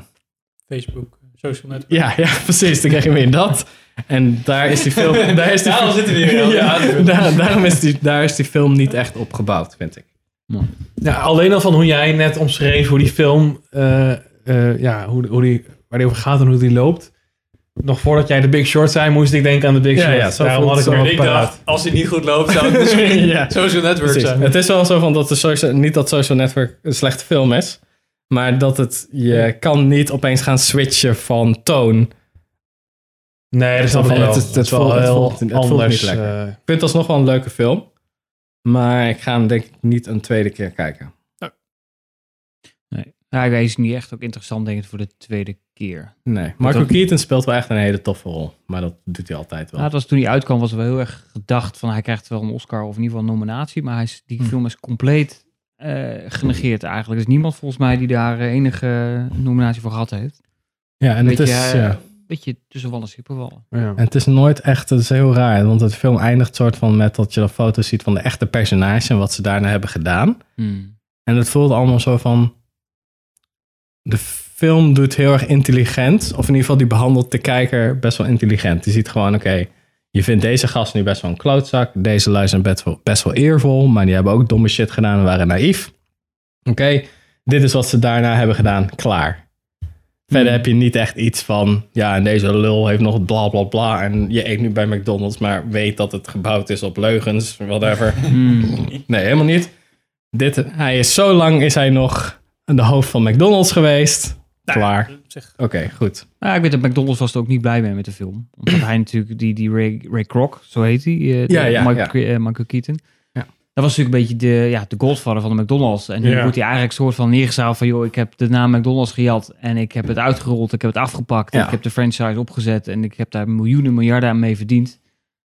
Speaker 1: Facebook, social network.
Speaker 4: ja, ja, precies. Dan krijg je weer dat. En daar is die
Speaker 1: [laughs]
Speaker 4: film... Daar is die
Speaker 1: Daarom
Speaker 4: film-
Speaker 1: zitten we hier.
Speaker 4: [laughs] Ja, daar, daarom is die, daar is die film niet echt op gebouwd, vind ik.
Speaker 3: Ja, alleen al van hoe jij net omschreef hoe die film, eh, eh, ja, hoe, hoe die, waar die over gaat en hoe die loopt. Nog voordat jij de Big Short zei, moest ik denken aan de Big
Speaker 4: Ja,
Speaker 3: Short.
Speaker 4: ja, zo
Speaker 3: Daarom
Speaker 4: voelt
Speaker 3: had ik
Speaker 4: het
Speaker 3: hem
Speaker 4: zo.
Speaker 3: ook
Speaker 1: Ik
Speaker 3: paraat.
Speaker 1: dacht, als hij niet goed loopt, zou het
Speaker 7: [laughs]
Speaker 1: misschien
Speaker 4: Ja.
Speaker 1: social network
Speaker 4: Precies.
Speaker 1: zijn.
Speaker 4: Het is wel zo van dat de social, niet dat Social Network een slechte film is, maar dat het, je kan niet opeens gaan switchen van toon.
Speaker 3: Nee, dat snap ik
Speaker 4: Het-
Speaker 3: wel.
Speaker 4: het- het
Speaker 3: Dat is wel
Speaker 4: voelt- het
Speaker 3: heel
Speaker 4: voelt- het voelt niet
Speaker 3: anders,
Speaker 4: lekker.
Speaker 3: eh,
Speaker 4: Ik vind het alsnog wel een leuke film, maar ik ga hem denk ik niet een tweede keer kijken.
Speaker 2: Nee. Ja, hij is niet echt ook interessant, denk ik, voor de tweede keer.
Speaker 4: Nee, Michael
Speaker 2: Dat-
Speaker 4: Keaton speelt wel echt een hele toffe rol, maar dat doet hij altijd
Speaker 1: Ah,
Speaker 4: wel.
Speaker 2: Ja, het Nou, was toen hij uitkwam, was er wel heel erg gedacht van hij krijgt wel een Oscar of in ieder geval een nominatie. Maar hij is,
Speaker 4: Hm.
Speaker 2: die film is compleet eh, genegeerd eigenlijk. Er is niemand volgens mij die daar eh, enige nominatie voor gehad heeft.
Speaker 4: Ja, en
Speaker 2: Een beetje, eh,
Speaker 4: ja.
Speaker 2: beetje tussen wallen en schippenwallen.
Speaker 3: ja.
Speaker 4: En het is nooit echt, het is heel raar, want het film eindigt soort van met dat je dan foto's ziet van de echte personages en wat ze daarna hebben gedaan. En het voelt allemaal zo van, de film doet heel erg intelligent, of in ieder geval die behandelt de kijker best wel intelligent. Die ziet gewoon, oké, je vindt deze gast nu best wel een klootzak, deze lui zijn best wel, best wel eervol, maar die hebben ook domme shit gedaan en waren naïef. Oké, dit is wat ze daarna hebben gedaan, klaar. Verder heb je niet echt iets van, ja, en deze lul heeft nog bla bla bla. En je eet nu bij McDonald's, maar weet dat het gebouwd is op leugens, whatever.
Speaker 2: Hm.
Speaker 4: Nee, helemaal niet. Dit, hij is zo lang is hij nog de hoofd van McDonald's geweest. Klaar. Oké, goed.
Speaker 2: Nou, ik weet dat McDonald's was er ook niet blij mee met de film. Omdat hij natuurlijk, die, die Ray, Ray Kroc, zo heet hij, eh, de-
Speaker 4: Ja, ja,
Speaker 2: Michael,
Speaker 4: ja.
Speaker 2: Ke- eh, Michael Keaton.
Speaker 4: Ja.
Speaker 2: Dat was natuurlijk een beetje de, ja, de godfather van de McDonald's. En nu
Speaker 3: Ja.
Speaker 2: wordt hij eigenlijk soort van neergezaald van... joh, ik heb de naam McDonald's gejat en ik heb het uitgerold, ik heb het afgepakt...
Speaker 4: Ja.
Speaker 2: ik heb de franchise opgezet en ik heb daar miljoenen, miljarden aan mee verdiend.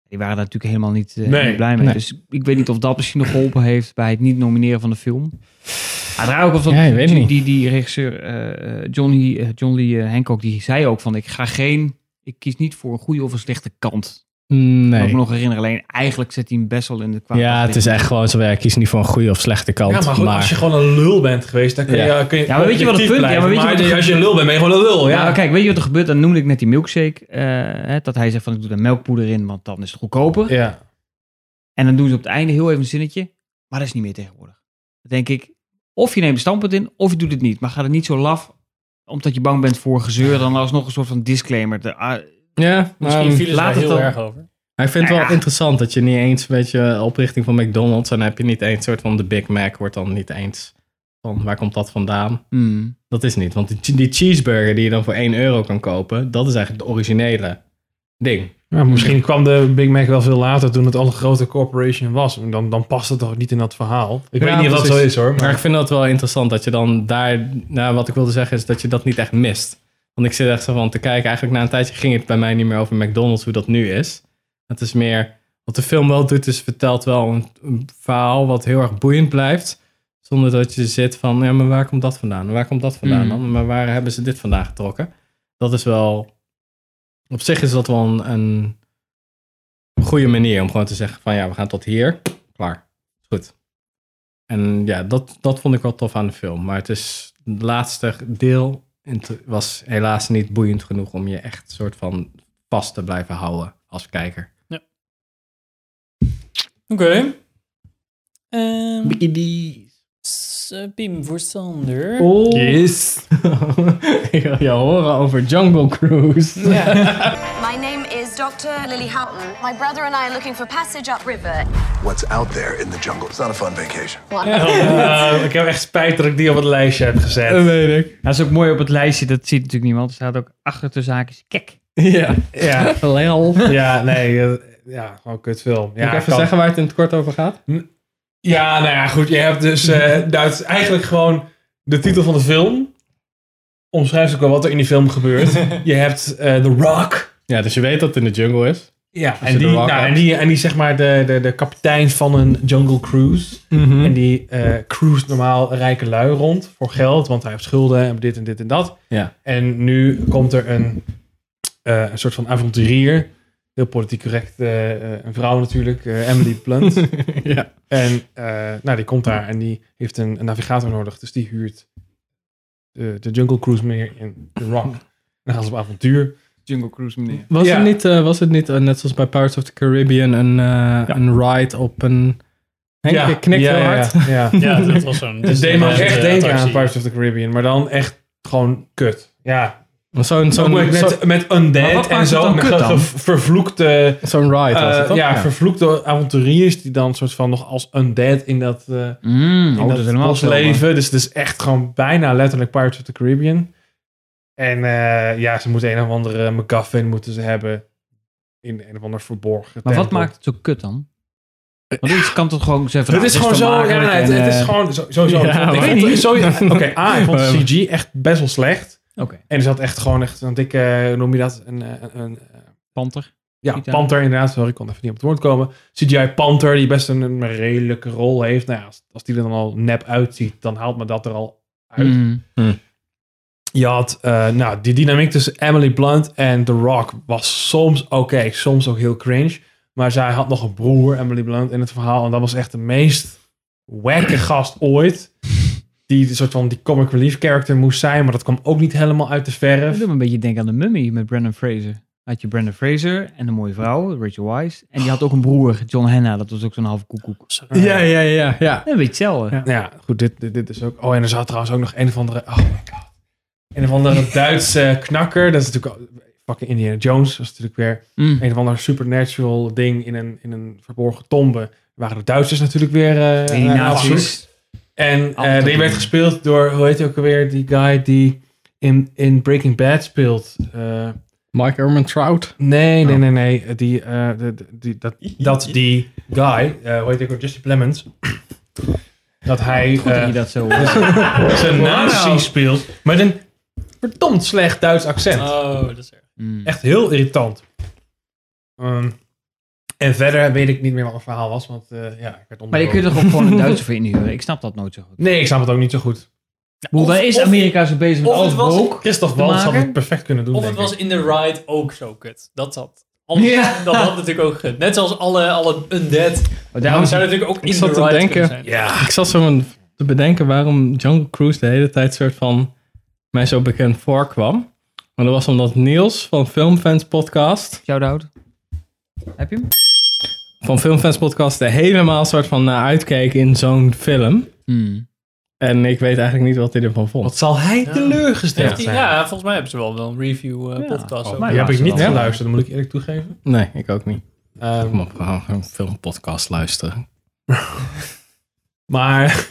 Speaker 2: Die waren daar natuurlijk helemaal niet, eh,
Speaker 3: Nee.
Speaker 2: niet blij mee.
Speaker 4: Nee.
Speaker 2: Dus ik weet niet of dat misschien nog geholpen heeft bij het niet nomineren van de film. Uiteraard ook of dat
Speaker 4: Ja, ik weet
Speaker 2: die,
Speaker 4: niet.
Speaker 2: die, die regisseur eh, eh, John, Lee, eh, John Lee eh, Hancock, die zei ook van ik ga geen, ik kies niet voor een goede of een slechte kant. Dat Kan ik
Speaker 4: Nee.
Speaker 2: me nog herinneren. Alleen eigenlijk zit hij hem best wel in de kwaad.
Speaker 4: Ja, het is echt gewoon zo. Ja, kies niet voor een goede of slechte kant.
Speaker 3: Ja, maar goed, als je gewoon een lul bent geweest, dan kun je...
Speaker 4: Ja.
Speaker 3: kun je
Speaker 2: Ja, maar weet je wat het
Speaker 3: objectief
Speaker 2: punt- ja, maar
Speaker 3: blijven.
Speaker 2: weet je wat het-
Speaker 3: als je een lul bent, ben je gewoon een lul.
Speaker 2: Ja,
Speaker 3: Ja,
Speaker 2: maar kijk, weet je wat er gebeurt? Dan noemde ik net die milkshake. eh, hè, dat hij zegt van ik doe daar melkpoeder in, want dan is het goedkoper.
Speaker 3: ja.
Speaker 2: En dan doen ze op het einde heel even een zinnetje. Maar dat is niet meer tegenwoordig. Dan denk ik, of je neemt een standpunt in, of je doet het niet. Maar ga het niet zo laf, omdat je bang bent voor gezeur. Dan alsnog een soort van disclaimer. De, ah,
Speaker 4: Ja,
Speaker 1: Misschien
Speaker 4: ehm,
Speaker 1: vielen ze
Speaker 2: laat
Speaker 1: daar
Speaker 2: het
Speaker 1: heel
Speaker 2: dan.
Speaker 1: erg
Speaker 2: [laughs]
Speaker 1: over.
Speaker 4: Maar ik vind het wel
Speaker 2: Ja.
Speaker 4: interessant dat je niet eens, weet je, oprichting van McDonald's, en dan heb je niet eens soort van de Big Mac, wordt dan niet eens van waar komt dat vandaan?
Speaker 2: hmm.
Speaker 4: Dat is niet, want die, die cheeseburger die je dan voor 1 euro kan kopen, dat is eigenlijk het originele ding.
Speaker 3: Ja, misschien kwam de Big Mac wel veel later toen het al een grote corporation was. En Dan, dan past het toch niet in dat verhaal. Ik
Speaker 4: Ja,
Speaker 3: weet niet of dat zo
Speaker 4: precies.
Speaker 3: is hoor.
Speaker 4: Maar ik
Speaker 3: Maar,
Speaker 4: vind dat wel interessant dat je dan daar, nou wat ik wilde zeggen is dat je dat niet echt mist. Want ik zit echt zo van te kijken, eigenlijk na een tijdje ging het bij mij niet meer over McDonald's, hoe dat nu is. Het is meer, wat de film wel doet is vertelt wel een, een verhaal wat heel erg boeiend blijft. Zonder dat je zit van, ja maar waar komt dat vandaan? Waar komt dat vandaan
Speaker 2: Mm.
Speaker 4: dan? Maar waar hebben ze dit vandaan getrokken? Dat is wel, op zich is dat wel een, een goede manier om gewoon te zeggen van ja, we gaan tot hier, klaar, is goed. En ja, dat, dat vond ik wel tof aan de film. Maar het is het laatste deel en het was helaas niet boeiend genoeg om je echt soort van vast te blijven houden als kijker.
Speaker 1: Oké. Ehm, s- eh, Pim voor Sander.
Speaker 4: Oh. Yes. [laughs] ik wil jou horen over Jungle Cruise.
Speaker 1: Ja.
Speaker 10: My name is Dr. Lily Houghton. My brother and I are looking for passage upriver.
Speaker 11: What's out there in the jungle? It's not a fun vacation.
Speaker 3: Eh, ik heb echt spijt dat ik die op het lijstje heb gezet.
Speaker 4: Dat weet ik.
Speaker 2: Dat is ook mooi op het lijstje, dat ziet natuurlijk niemand. Er staat ook achter de zaakjes kek.
Speaker 4: Ja.
Speaker 3: Ja, [laughs]
Speaker 4: Lel.
Speaker 3: ja nee. eh, Ja, gewoon kut film. Ja,
Speaker 4: Moet ik even
Speaker 3: kan.
Speaker 4: zeggen waar het in het kort over gaat?
Speaker 3: Ja, nou ja, goed. Je hebt dus. eh nou, het is eigenlijk gewoon de titel van de film.
Speaker 4: [laughs]
Speaker 3: Omschrijft ook wel wat er in die film gebeurt. je hebt eh, The Rock.
Speaker 4: Ja, dus je weet dat het in de jungle is.
Speaker 3: Ja, en
Speaker 4: zit
Speaker 3: die,
Speaker 4: er wel
Speaker 3: nou,
Speaker 4: uit.
Speaker 3: en die, en die zeg maar de, de, de kapitein van een jungle cruise.
Speaker 4: Hm.
Speaker 3: En die eh cruise normaal rijke lui rond voor geld, want hij heeft schulden en dit en dit en dat.
Speaker 4: Ja.
Speaker 3: En nu komt er een, eh, een soort van avonturier. Heel politiek correct. eh, eh, een vrouw natuurlijk, eh, Emily Blunt.
Speaker 4: [laughs] ja.
Speaker 3: en eh, nou, die komt daar en die heeft een, een navigator nodig. Dus die huurt de, de Jungle Cruise meer in The Rock. En dan gaan ze op avontuur.
Speaker 2: Jungle Cruise, meneer.
Speaker 4: Was,
Speaker 3: Ja.
Speaker 4: het niet, eh, was het niet, eh, net zoals bij Pirates of the Caribbean, een, eh, een ride op een... Henk,
Speaker 3: ja,
Speaker 4: je knikt
Speaker 3: ja,
Speaker 4: heel
Speaker 3: ja,
Speaker 4: hard.
Speaker 3: Ja,
Speaker 4: [laughs]
Speaker 3: ja.
Speaker 7: Ja, dat was zo'n...
Speaker 3: Dus deed me
Speaker 7: maar
Speaker 3: ook echt denken aan Pirates of the Caribbean. Maar dan echt gewoon kut. Ja,
Speaker 4: Zo'n
Speaker 3: ook
Speaker 4: zo'n
Speaker 3: met,
Speaker 4: zo,
Speaker 3: met, met
Speaker 2: Maar
Speaker 3: undead
Speaker 2: wat
Speaker 3: en
Speaker 2: maakt het
Speaker 3: zo.
Speaker 2: dan
Speaker 3: Met
Speaker 2: kut
Speaker 3: ge-
Speaker 2: dan?
Speaker 3: ge- vervloekte,
Speaker 4: zo'n ride was het
Speaker 3: eh,
Speaker 4: toch?
Speaker 3: ja, vervloekte avonturiers die dan soort van nog als undead in dat, eh
Speaker 2: Mm,
Speaker 3: in dat bos leven. Dus het is echt gewoon bijna letterlijk Pirates of the Caribbean. En eh, ja, ze moeten een of andere MacGuffin moeten ze hebben in een of ander verborgen
Speaker 2: Maar wat
Speaker 3: tempel.
Speaker 2: maakt het zo kut dan? Want iets kan toch gewoon zeggen van...
Speaker 3: Het is
Speaker 2: nou,
Speaker 3: gewoon
Speaker 2: te
Speaker 3: zo. Ja,
Speaker 2: makkelijk
Speaker 3: nee, het,
Speaker 2: en,
Speaker 3: het is
Speaker 2: eh,
Speaker 3: gewoon zo- sowieso.
Speaker 4: Ja,
Speaker 3: ik
Speaker 4: maar-
Speaker 3: vond- ik vond- zo- Oké, A, ik vond
Speaker 4: Maar-
Speaker 3: de CG echt best wel slecht.
Speaker 2: Oké.
Speaker 3: En er zat echt gewoon echt een dikke, hoe noem je dat? Een, eh, een, eh,
Speaker 2: Panter.
Speaker 3: ja,
Speaker 2: Iets aan.
Speaker 3: panter inderdaad. Sorry, ik kon even niet op het woord komen. CGI panter, die best een, een redelijke rol heeft. Nou ja, als, als die er dan al nep uitziet, dan haalt me dat er al uit.
Speaker 2: Mm.
Speaker 3: Je had, eh, nou, die dynamiek tussen Emily Blunt en The Rock was soms oké, soms ook heel cringe. Maar zij had nog een broer, Emily Blunt, in het verhaal. En dat was echt de meest wacke gast ooit. Die een soort van die comic relief character moest zijn. Maar dat kwam ook niet helemaal uit de
Speaker 2: Dat
Speaker 3: verf.
Speaker 2: doet me een beetje denken aan de mummy met Brandon Fraser. Had je Brandon Fraser en een mooie vrouw, Rachel Wise. En die had ook een broer, John Hanna. Dat was ook zo'n halve koekoek.
Speaker 4: ja, ja, ja, ja.
Speaker 2: Een beetje hetzelfde.
Speaker 3: Nou ja, goed, dit, dit, dit is ook... Oh, en er zat trouwens ook nog een of andere... Oh my god. Een of
Speaker 2: [laughs]
Speaker 3: andere Duitse knakker. Dat is natuurlijk... al- Fucking Indiana Jones. Dat is natuurlijk weer...
Speaker 2: Mm.
Speaker 3: een of ander supernatural ding in een, in een verborgen tombe. Er waren de Duitsers natuurlijk weer eh
Speaker 2: Die
Speaker 3: aan
Speaker 2: nazi's.
Speaker 3: het zoeken. En eh
Speaker 2: Altijd.
Speaker 3: die werd gespeeld door, hoe heet hij ook alweer, die guy die in, in Breaking Bad speelt. Eh,
Speaker 4: Mike Ehrmantraut.
Speaker 3: nee,
Speaker 2: Oh.
Speaker 3: nee, nee, nee. Die, eh, de- de- die, dat, dat die guy, eh, hoe heet hij ook, Justin Clemens. [clears throat] Dat hij
Speaker 2: Goed dat
Speaker 3: eh,
Speaker 2: je dat zo...
Speaker 3: zijn nazi speelt, maar een verdomd slecht Duits accent.
Speaker 7: Oh, dat is erg.
Speaker 2: Mm.
Speaker 3: Echt heel irritant. Ehm, en verder weet ik niet meer wat het verhaal was, want eh, ja, ik
Speaker 2: [laughs]
Speaker 3: werd
Speaker 2: Maar je
Speaker 3: onderbroken.
Speaker 2: kunt toch ook gewoon een Duitser voor inhuren? Ik snap dat nooit zo goed.
Speaker 3: Nee, ik snap het ook niet zo goed.
Speaker 2: Hoe
Speaker 7: of-
Speaker 2: daar is
Speaker 7: of-
Speaker 2: Amerika zo bezig met
Speaker 7: of het
Speaker 2: alles
Speaker 7: was-
Speaker 2: woke?
Speaker 3: Christophe
Speaker 2: te
Speaker 3: Waltz had
Speaker 2: maken?
Speaker 3: het perfect kunnen doen,
Speaker 7: Of het
Speaker 3: denk
Speaker 7: was
Speaker 3: ik.
Speaker 7: in de ride ook zo kut. Dat had. Anders,
Speaker 2: Ja. Oh,
Speaker 7: Dat had natuurlijk ook gekund. Net zoals alle, alle undead.
Speaker 2: Daarom
Speaker 7: Dat zou natuurlijk ook in de
Speaker 4: zat
Speaker 7: ride
Speaker 4: te denken-
Speaker 7: kunnen zijn.
Speaker 3: Ja.
Speaker 4: Ik zat zo aan te bedenken waarom Jungle Cruise de hele tijd soort van mij zo bekend voorkwam. Maar dat was omdat Niels van Filmfans Podcast,
Speaker 2: Shout-out. Heb je hem?
Speaker 4: van Filmfans Podcast, er helemaal soort van naar uitkeek in zo'n film. En ik weet eigenlijk niet Hmm. wat hij ervan vond.
Speaker 3: Wat zal hij teleurgesteld
Speaker 7: Heeft die-
Speaker 3: zijn?
Speaker 7: ja, volgens mij hebben ze wel, wel een review eh,
Speaker 2: Ja.
Speaker 7: podcast.
Speaker 2: Oh,
Speaker 7: ook.
Speaker 2: maar
Speaker 3: Die heb ik niet
Speaker 2: Ja.
Speaker 3: geluisterd, dat moet ik eerlijk toegeven.
Speaker 4: Nee, ik ook niet.
Speaker 3: Ehm,
Speaker 4: Kom op, we gaan gewoon een filmpodcast luisteren.
Speaker 3: maar...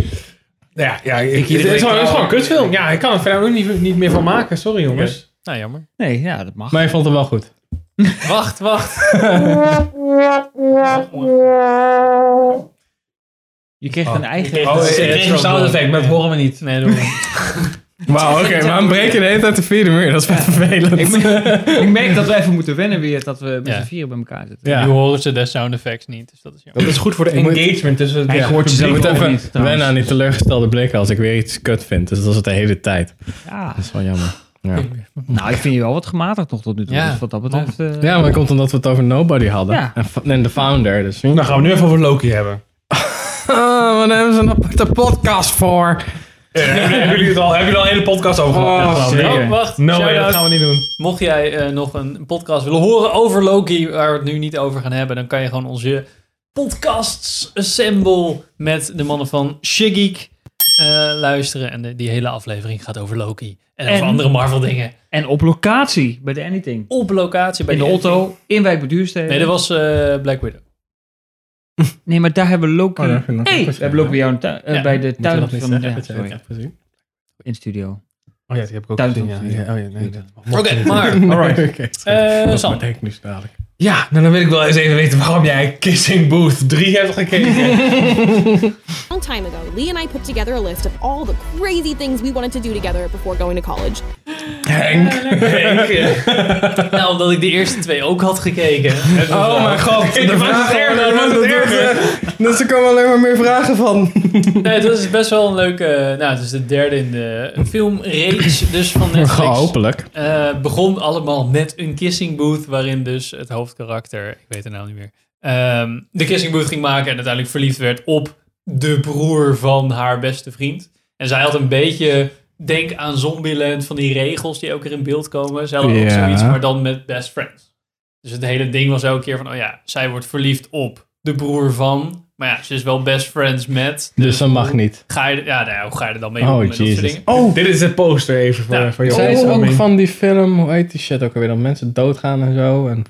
Speaker 3: [laughs] Ja, ja ik,
Speaker 2: iedere week
Speaker 3: het is gewoon, het is
Speaker 2: trouw.
Speaker 3: gewoon een kutfilm. Ja, ik kan er verder ook niet, niet meer van maken. Sorry, jongens.
Speaker 7: Nou, jammer.
Speaker 2: Nee, ja, dat mag.
Speaker 4: Maar je vond hem wel goed.
Speaker 7: Wacht, wacht.
Speaker 2: je kreeg een eigen...
Speaker 7: Oh, ik kreeg een sound effect, maar dat
Speaker 3: horen we niet.
Speaker 7: Nee, doe
Speaker 4: Wauw, oké, [laughs] maar we breken de hele tijd de vierde muur. Dat is best vervelend.
Speaker 2: Ik merk, ik merk dat we even moeten wennen weer dat we met
Speaker 7: Ja.
Speaker 2: z'n vieren bij elkaar zitten.
Speaker 7: Nu
Speaker 4: [laughs] ja.
Speaker 7: horen ze de sound effects niet, dus dat is jammer.
Speaker 3: Dat is goed voor de
Speaker 4: Ik moet-
Speaker 3: engagement tussen het
Speaker 2: Hij
Speaker 3: ja,
Speaker 2: hoort jezelf
Speaker 4: Ik
Speaker 3: publiek.
Speaker 4: moet
Speaker 2: ook
Speaker 4: even
Speaker 2: niet, trouwens.
Speaker 4: wennen aan die teleurgestelde blikken als ik weer iets kut vind. Dus dat is het de hele tijd.
Speaker 2: Ja.
Speaker 4: Dat is wel jammer. Ja,
Speaker 2: Nou, ik vind je wel wat gematigd nog tot nu toe.
Speaker 7: Ja.
Speaker 2: Dus wat dat betreft... eh,
Speaker 4: ja maar dat komt omdat we het over Nobody hadden.
Speaker 2: Ja.
Speaker 4: En, fa- en de founder. Dus.
Speaker 3: Dan Nou, gaan we nu even over Loki hebben.
Speaker 4: [laughs] Ah, maar daar hebben ze een aparte podcast voor.
Speaker 3: Eh, hebben jullie het al, hebben jullie al een hele podcast over gehad?
Speaker 4: Oh,
Speaker 3: Ja, geloof ik.
Speaker 4: zeker.
Speaker 7: Oh, wacht.
Speaker 3: No way,
Speaker 7: Shout-out.
Speaker 3: dat gaan we niet doen.
Speaker 7: Mocht jij eh, nog een podcast willen horen over Loki, waar we het nu niet over gaan hebben, dan kan je gewoon onze podcasts assemble met de mannen van Shiggeek eh, luisteren. En de- die hele aflevering gaat over Loki en, over
Speaker 2: En-
Speaker 7: andere Marvel dingen.
Speaker 2: En op locatie bij de Anything.
Speaker 7: Op locatie bij
Speaker 2: In de
Speaker 7: die-
Speaker 2: Otto, in wijk bij Duurstede.
Speaker 7: Nee, dat was eh, Black Widow.
Speaker 2: Nee, maar daar hebben we Loki...
Speaker 4: Oh, daar vind ik nog
Speaker 2: hey, we
Speaker 4: precies,
Speaker 2: hebben Loki bij, jou in tuin- eh,
Speaker 7: Ja,
Speaker 2: bij de
Speaker 4: Moeten we
Speaker 2: tuin
Speaker 4: dat niet
Speaker 2: van...
Speaker 4: zeggen?
Speaker 2: Ja,
Speaker 4: Dat zeg ik
Speaker 2: sorry.
Speaker 4: echt precies.
Speaker 2: In studio.
Speaker 3: Oh ja, die heb ik ook
Speaker 2: Tuinfilm.
Speaker 3: gezien. Ja. Ja, oh ja, nee, dat
Speaker 7: Oké, [laughs] maar
Speaker 4: Alright.
Speaker 3: [laughs]
Speaker 7: eh
Speaker 4: dat
Speaker 7: Sam,
Speaker 4: bedenk ik nu zo dadelijk.
Speaker 3: Ja, nou dan wil ik wel eens even weten waarom jij Kissing Booth 3 hebt [laughs] gekeken.
Speaker 10: A long time ago, Lee and I put together a list of all the crazy things we wanted to do together before going to college.
Speaker 4: Henk.
Speaker 7: nou, omdat ik de eerste twee ook had [laughs] gekeken.
Speaker 4: Oh mijn god.
Speaker 7: Ik
Speaker 4: de
Speaker 7: was
Speaker 4: vragen
Speaker 7: het erger,
Speaker 4: waren-
Speaker 7: ik was het
Speaker 4: dat- dat- Dus er komen alleen maar meer vragen
Speaker 3: [laughs]
Speaker 4: van.
Speaker 7: Nee, het was best wel een leuke... Nou, het is de derde in de filmreeks dus van Netflix.
Speaker 4: Hopelijk.
Speaker 7: Eh, begon allemaal met een kissing booth, waarin dus het hoofdkarakter, ik weet de naam niet meer, ehm, de kissing booth ging maken en uiteindelijk verliefd werd op de broer van haar beste vriend. En zij had een beetje, denk aan Zombieland, van die regels die elke keer in beeld komen. Zij had ook
Speaker 4: Ja.
Speaker 7: zoiets, maar dan met best friends. Dus het hele ding was elke keer van, oh ja, zij wordt verliefd op de broer van, maar ja, ze is wel best friends met.
Speaker 4: Dus dat mag niet.
Speaker 7: Ga je, ja, nou ja, hoe ga je er dan mee om
Speaker 4: Oh,
Speaker 7: en dat soort
Speaker 4: jezus.
Speaker 7: dingen?
Speaker 4: Oh,
Speaker 3: Dit is de poster even voor,
Speaker 7: Ja.
Speaker 3: voor je
Speaker 4: Nou, zij is ook
Speaker 3: opzomming.
Speaker 4: van die film, hoe heet die shit ook alweer, dat mensen doodgaan en zo. En...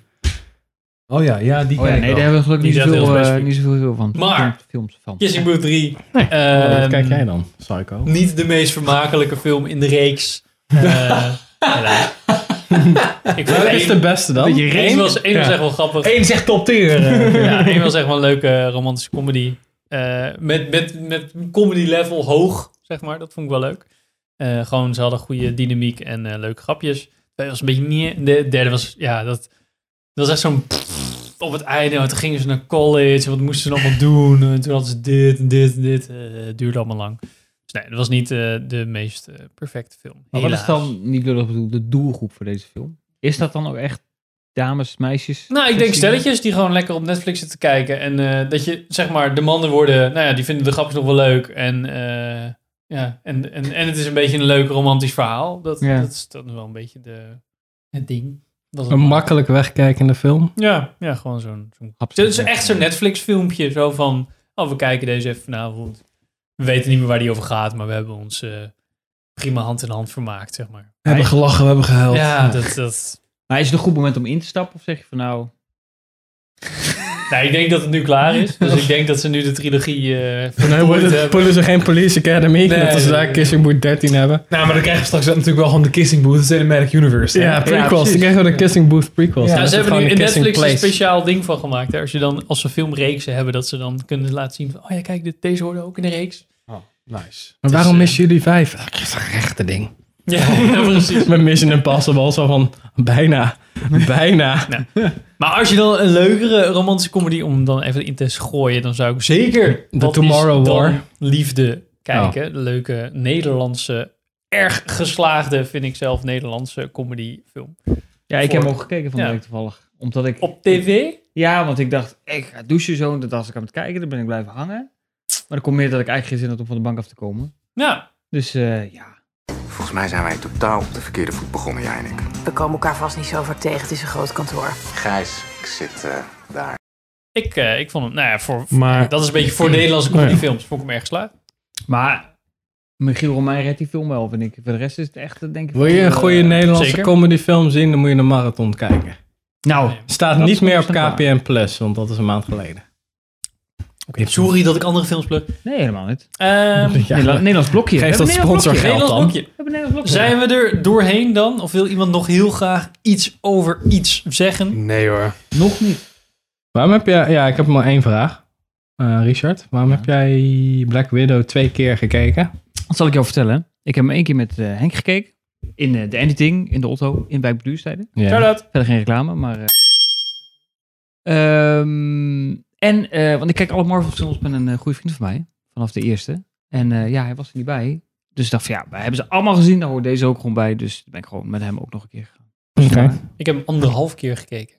Speaker 3: Oh ja, ja die
Speaker 2: Oh ja,
Speaker 3: ken ik
Speaker 2: nee,
Speaker 3: wel.
Speaker 2: daar hebben we gelukkig niet
Speaker 7: Die zijn heel
Speaker 2: zoveel, eh,
Speaker 7: specifiek.
Speaker 2: niet zoveel van.
Speaker 7: Maar-
Speaker 2: Films van.
Speaker 7: Kissing Booth 3.
Speaker 4: Oh,
Speaker 7: Ehm,
Speaker 4: wat kijk jij dan, Psycho?
Speaker 7: niet de meest vermakelijke film in de reeks. Eh, ja, nou. [laughs] ik vond
Speaker 4: Welke is de
Speaker 7: één,
Speaker 4: beste dan?
Speaker 7: één was, één was echt wel grappig.
Speaker 3: Eén zegt top tier. eh.
Speaker 7: Ja, één was echt wel een leuke romantische comedy. Eh, met, met, met comedy level hoog, zeg maar. Dat vond ik wel leuk. Eh, gewoon, ze hadden goede dynamiek en eh, leuke grapjes. Twee was een beetje niet. De derde was, ja, dat, dat was echt zo'n op het einde. want Toen gingen ze naar college. en Wat moesten ze allemaal doen? En toen hadden ze dit en dit en dit. Eh, het duurde allemaal lang. Dus nee, dat was niet eh, de meest eh, perfecte film.
Speaker 2: Maar wat is
Speaker 7: Helaas.
Speaker 2: dan, niet lullig bedoeld, de doelgroep voor deze film? Is dat dan ook echt dames, meisjes?
Speaker 7: Nou, ik denk
Speaker 2: 16?
Speaker 7: stelletjes die gewoon lekker op Netflix zitten kijken. En eh, dat je, zeg maar, de mannen worden... Nou ja, die vinden de grapjes nog wel leuk. En, eh, ja, en, en, en het is een beetje een leuk romantisch verhaal. Dat,
Speaker 2: Ja.
Speaker 7: dat is dan wel een beetje de, het ding. Dat het
Speaker 4: Een
Speaker 7: maakt.
Speaker 4: makkelijk wegkijkende film.
Speaker 7: Ja, ja gewoon zo'n... zo'n
Speaker 2: eh,
Speaker 7: Dus
Speaker 2: Absoluut.
Speaker 7: het is echt zo'n Netflix filmpje. Zo van, oh, we kijken deze even vanavond. We weten niet meer waar die over gaat. Maar we hebben ons eh, prima hand in hand vermaakt, zeg maar.
Speaker 3: We hebben gelachen, we hebben gehuild.
Speaker 7: Ja, dat... dat
Speaker 2: Maar is het een goed moment om in te stappen? Of zeg je van nou...
Speaker 7: nou, ik denk dat het nu klaar is. Dus ik denk dat ze nu de trilogie eh
Speaker 4: Nee,
Speaker 7: voltooid
Speaker 4: worden,
Speaker 7: hebben.
Speaker 4: pullen ze geen Police Academy,
Speaker 7: Nee,
Speaker 4: dat ze
Speaker 7: nee,
Speaker 4: daar
Speaker 7: nee.
Speaker 4: Kissing Booth 13 hebben.
Speaker 3: Nou, maar dan krijgen we straks natuurlijk wel gewoon de Kissing Booth, het Cinematic Universe. hè?
Speaker 4: Ja, prequels.
Speaker 2: precies.
Speaker 4: dan krijgen we de Kissing Booth prequels.
Speaker 7: Ja,
Speaker 4: Dan is
Speaker 7: ze
Speaker 4: het
Speaker 7: hebben nu
Speaker 4: gewoon een
Speaker 7: in
Speaker 4: Kissing
Speaker 7: Netflix een
Speaker 4: Place.
Speaker 7: speciaal ding van gemaakt. Hè? Als, je dan, als ze filmreeksen hebben, dat ze dan kunnen laten zien van... Oh ja, kijk, dit, deze hoorde ook in de reeks.
Speaker 3: Oh, nice.
Speaker 4: Maar
Speaker 7: Het is,
Speaker 4: waarom
Speaker 7: eh,
Speaker 4: missen jullie vijf? Ah, Dat is een rechte ding.
Speaker 7: [laughs] Ja, precies.
Speaker 4: Met Mission Impossible zo van bijna, bijna.
Speaker 7: Maar als je dan een leukere romantische comedy... om dan even in te gooien, dan zou ik zeker...
Speaker 4: The
Speaker 7: Wat is
Speaker 4: Tomorrow
Speaker 7: dan
Speaker 4: War. Oh.
Speaker 7: Liefde kijken. De leuke Nederlandse... Erg geslaagde, vind ik zelf, Nederlandse comedyfilm.
Speaker 2: Ja, ik
Speaker 7: Voor-
Speaker 2: heb hem ook gekeken van de
Speaker 7: Ja.
Speaker 2: week toevallig. Omdat ik...
Speaker 7: Op tv?
Speaker 2: Ja, want ik dacht, ik ga douchen zo. En dat als ik aan het kijken, dan ben ik blijven hangen. Maar dan komt meer dat ik eigenlijk geen zin had om van de bank af te komen.
Speaker 7: Nou,
Speaker 2: Dus eh, ja.
Speaker 9: Volgens mij zijn wij totaal op de verkeerde voet begonnen, jij en ik.
Speaker 12: We komen elkaar vast niet zo vaak tegen. Het is een groot kantoor.
Speaker 9: Gijs, ik zit eh, daar.
Speaker 7: ik, eh, ik vond hem... Nou ja, voor,
Speaker 3: Maar
Speaker 7: dat is een beetje voor Nederlandse comedyfilms. Vond ik hem erg geslaagd.
Speaker 2: Maar Michiel Romein redt die film wel, vind ik. Voor de rest is het echt, eh, denk ik...
Speaker 4: Wil je een
Speaker 2: eh,
Speaker 4: goede Nederlandse
Speaker 7: zeker.
Speaker 4: comedyfilm zien, dan moet je de marathon kijken.
Speaker 2: Nou,
Speaker 4: Staat
Speaker 2: Dat
Speaker 4: niet
Speaker 2: is
Speaker 4: meer op
Speaker 2: best waar.
Speaker 4: KPN Plus, want dat is een maand geleden.
Speaker 7: Sorry dat ik andere films plug.
Speaker 2: nee, helemaal niet.
Speaker 7: Ehm,
Speaker 4: Ja,
Speaker 2: Nederla- Nederlands blokje. We
Speaker 4: Geef dat
Speaker 2: hebben een Nederlands blokje.
Speaker 4: sponsorgeld
Speaker 7: Nederlands
Speaker 4: dan.
Speaker 7: blokje.
Speaker 2: We hebben een Nederlands blokje.
Speaker 7: Zijn we er doorheen dan? Of wil iemand nog heel graag iets over iets zeggen?
Speaker 3: nee hoor.
Speaker 2: Nog niet.
Speaker 4: Waarom heb jij... Ja, ik heb maar één vraag. Eh, Richard, waarom heb jij Black Widow twee keer gekeken?
Speaker 2: Dat zal ik jou vertellen. Ik heb hem één keer met eh, Henk gekeken. In eh, de editing, in de auto, in bij beduurstijden.
Speaker 4: Ja.
Speaker 2: Verder geen reclame, maar... eh. Ehm, en, eh, want ik kijk alle Marvel films met een eh, goede vriend van mij. Vanaf de eerste. En eh, ja, hij was er niet bij. Dus ik dacht van ja, wij hebben ze allemaal gezien. Daar hoort deze ook gewoon bij. Dus ben ik gewoon met hem ook nog een keer gegaan.
Speaker 4: Oké.
Speaker 7: Ik heb hem anderhalf keer gekeken.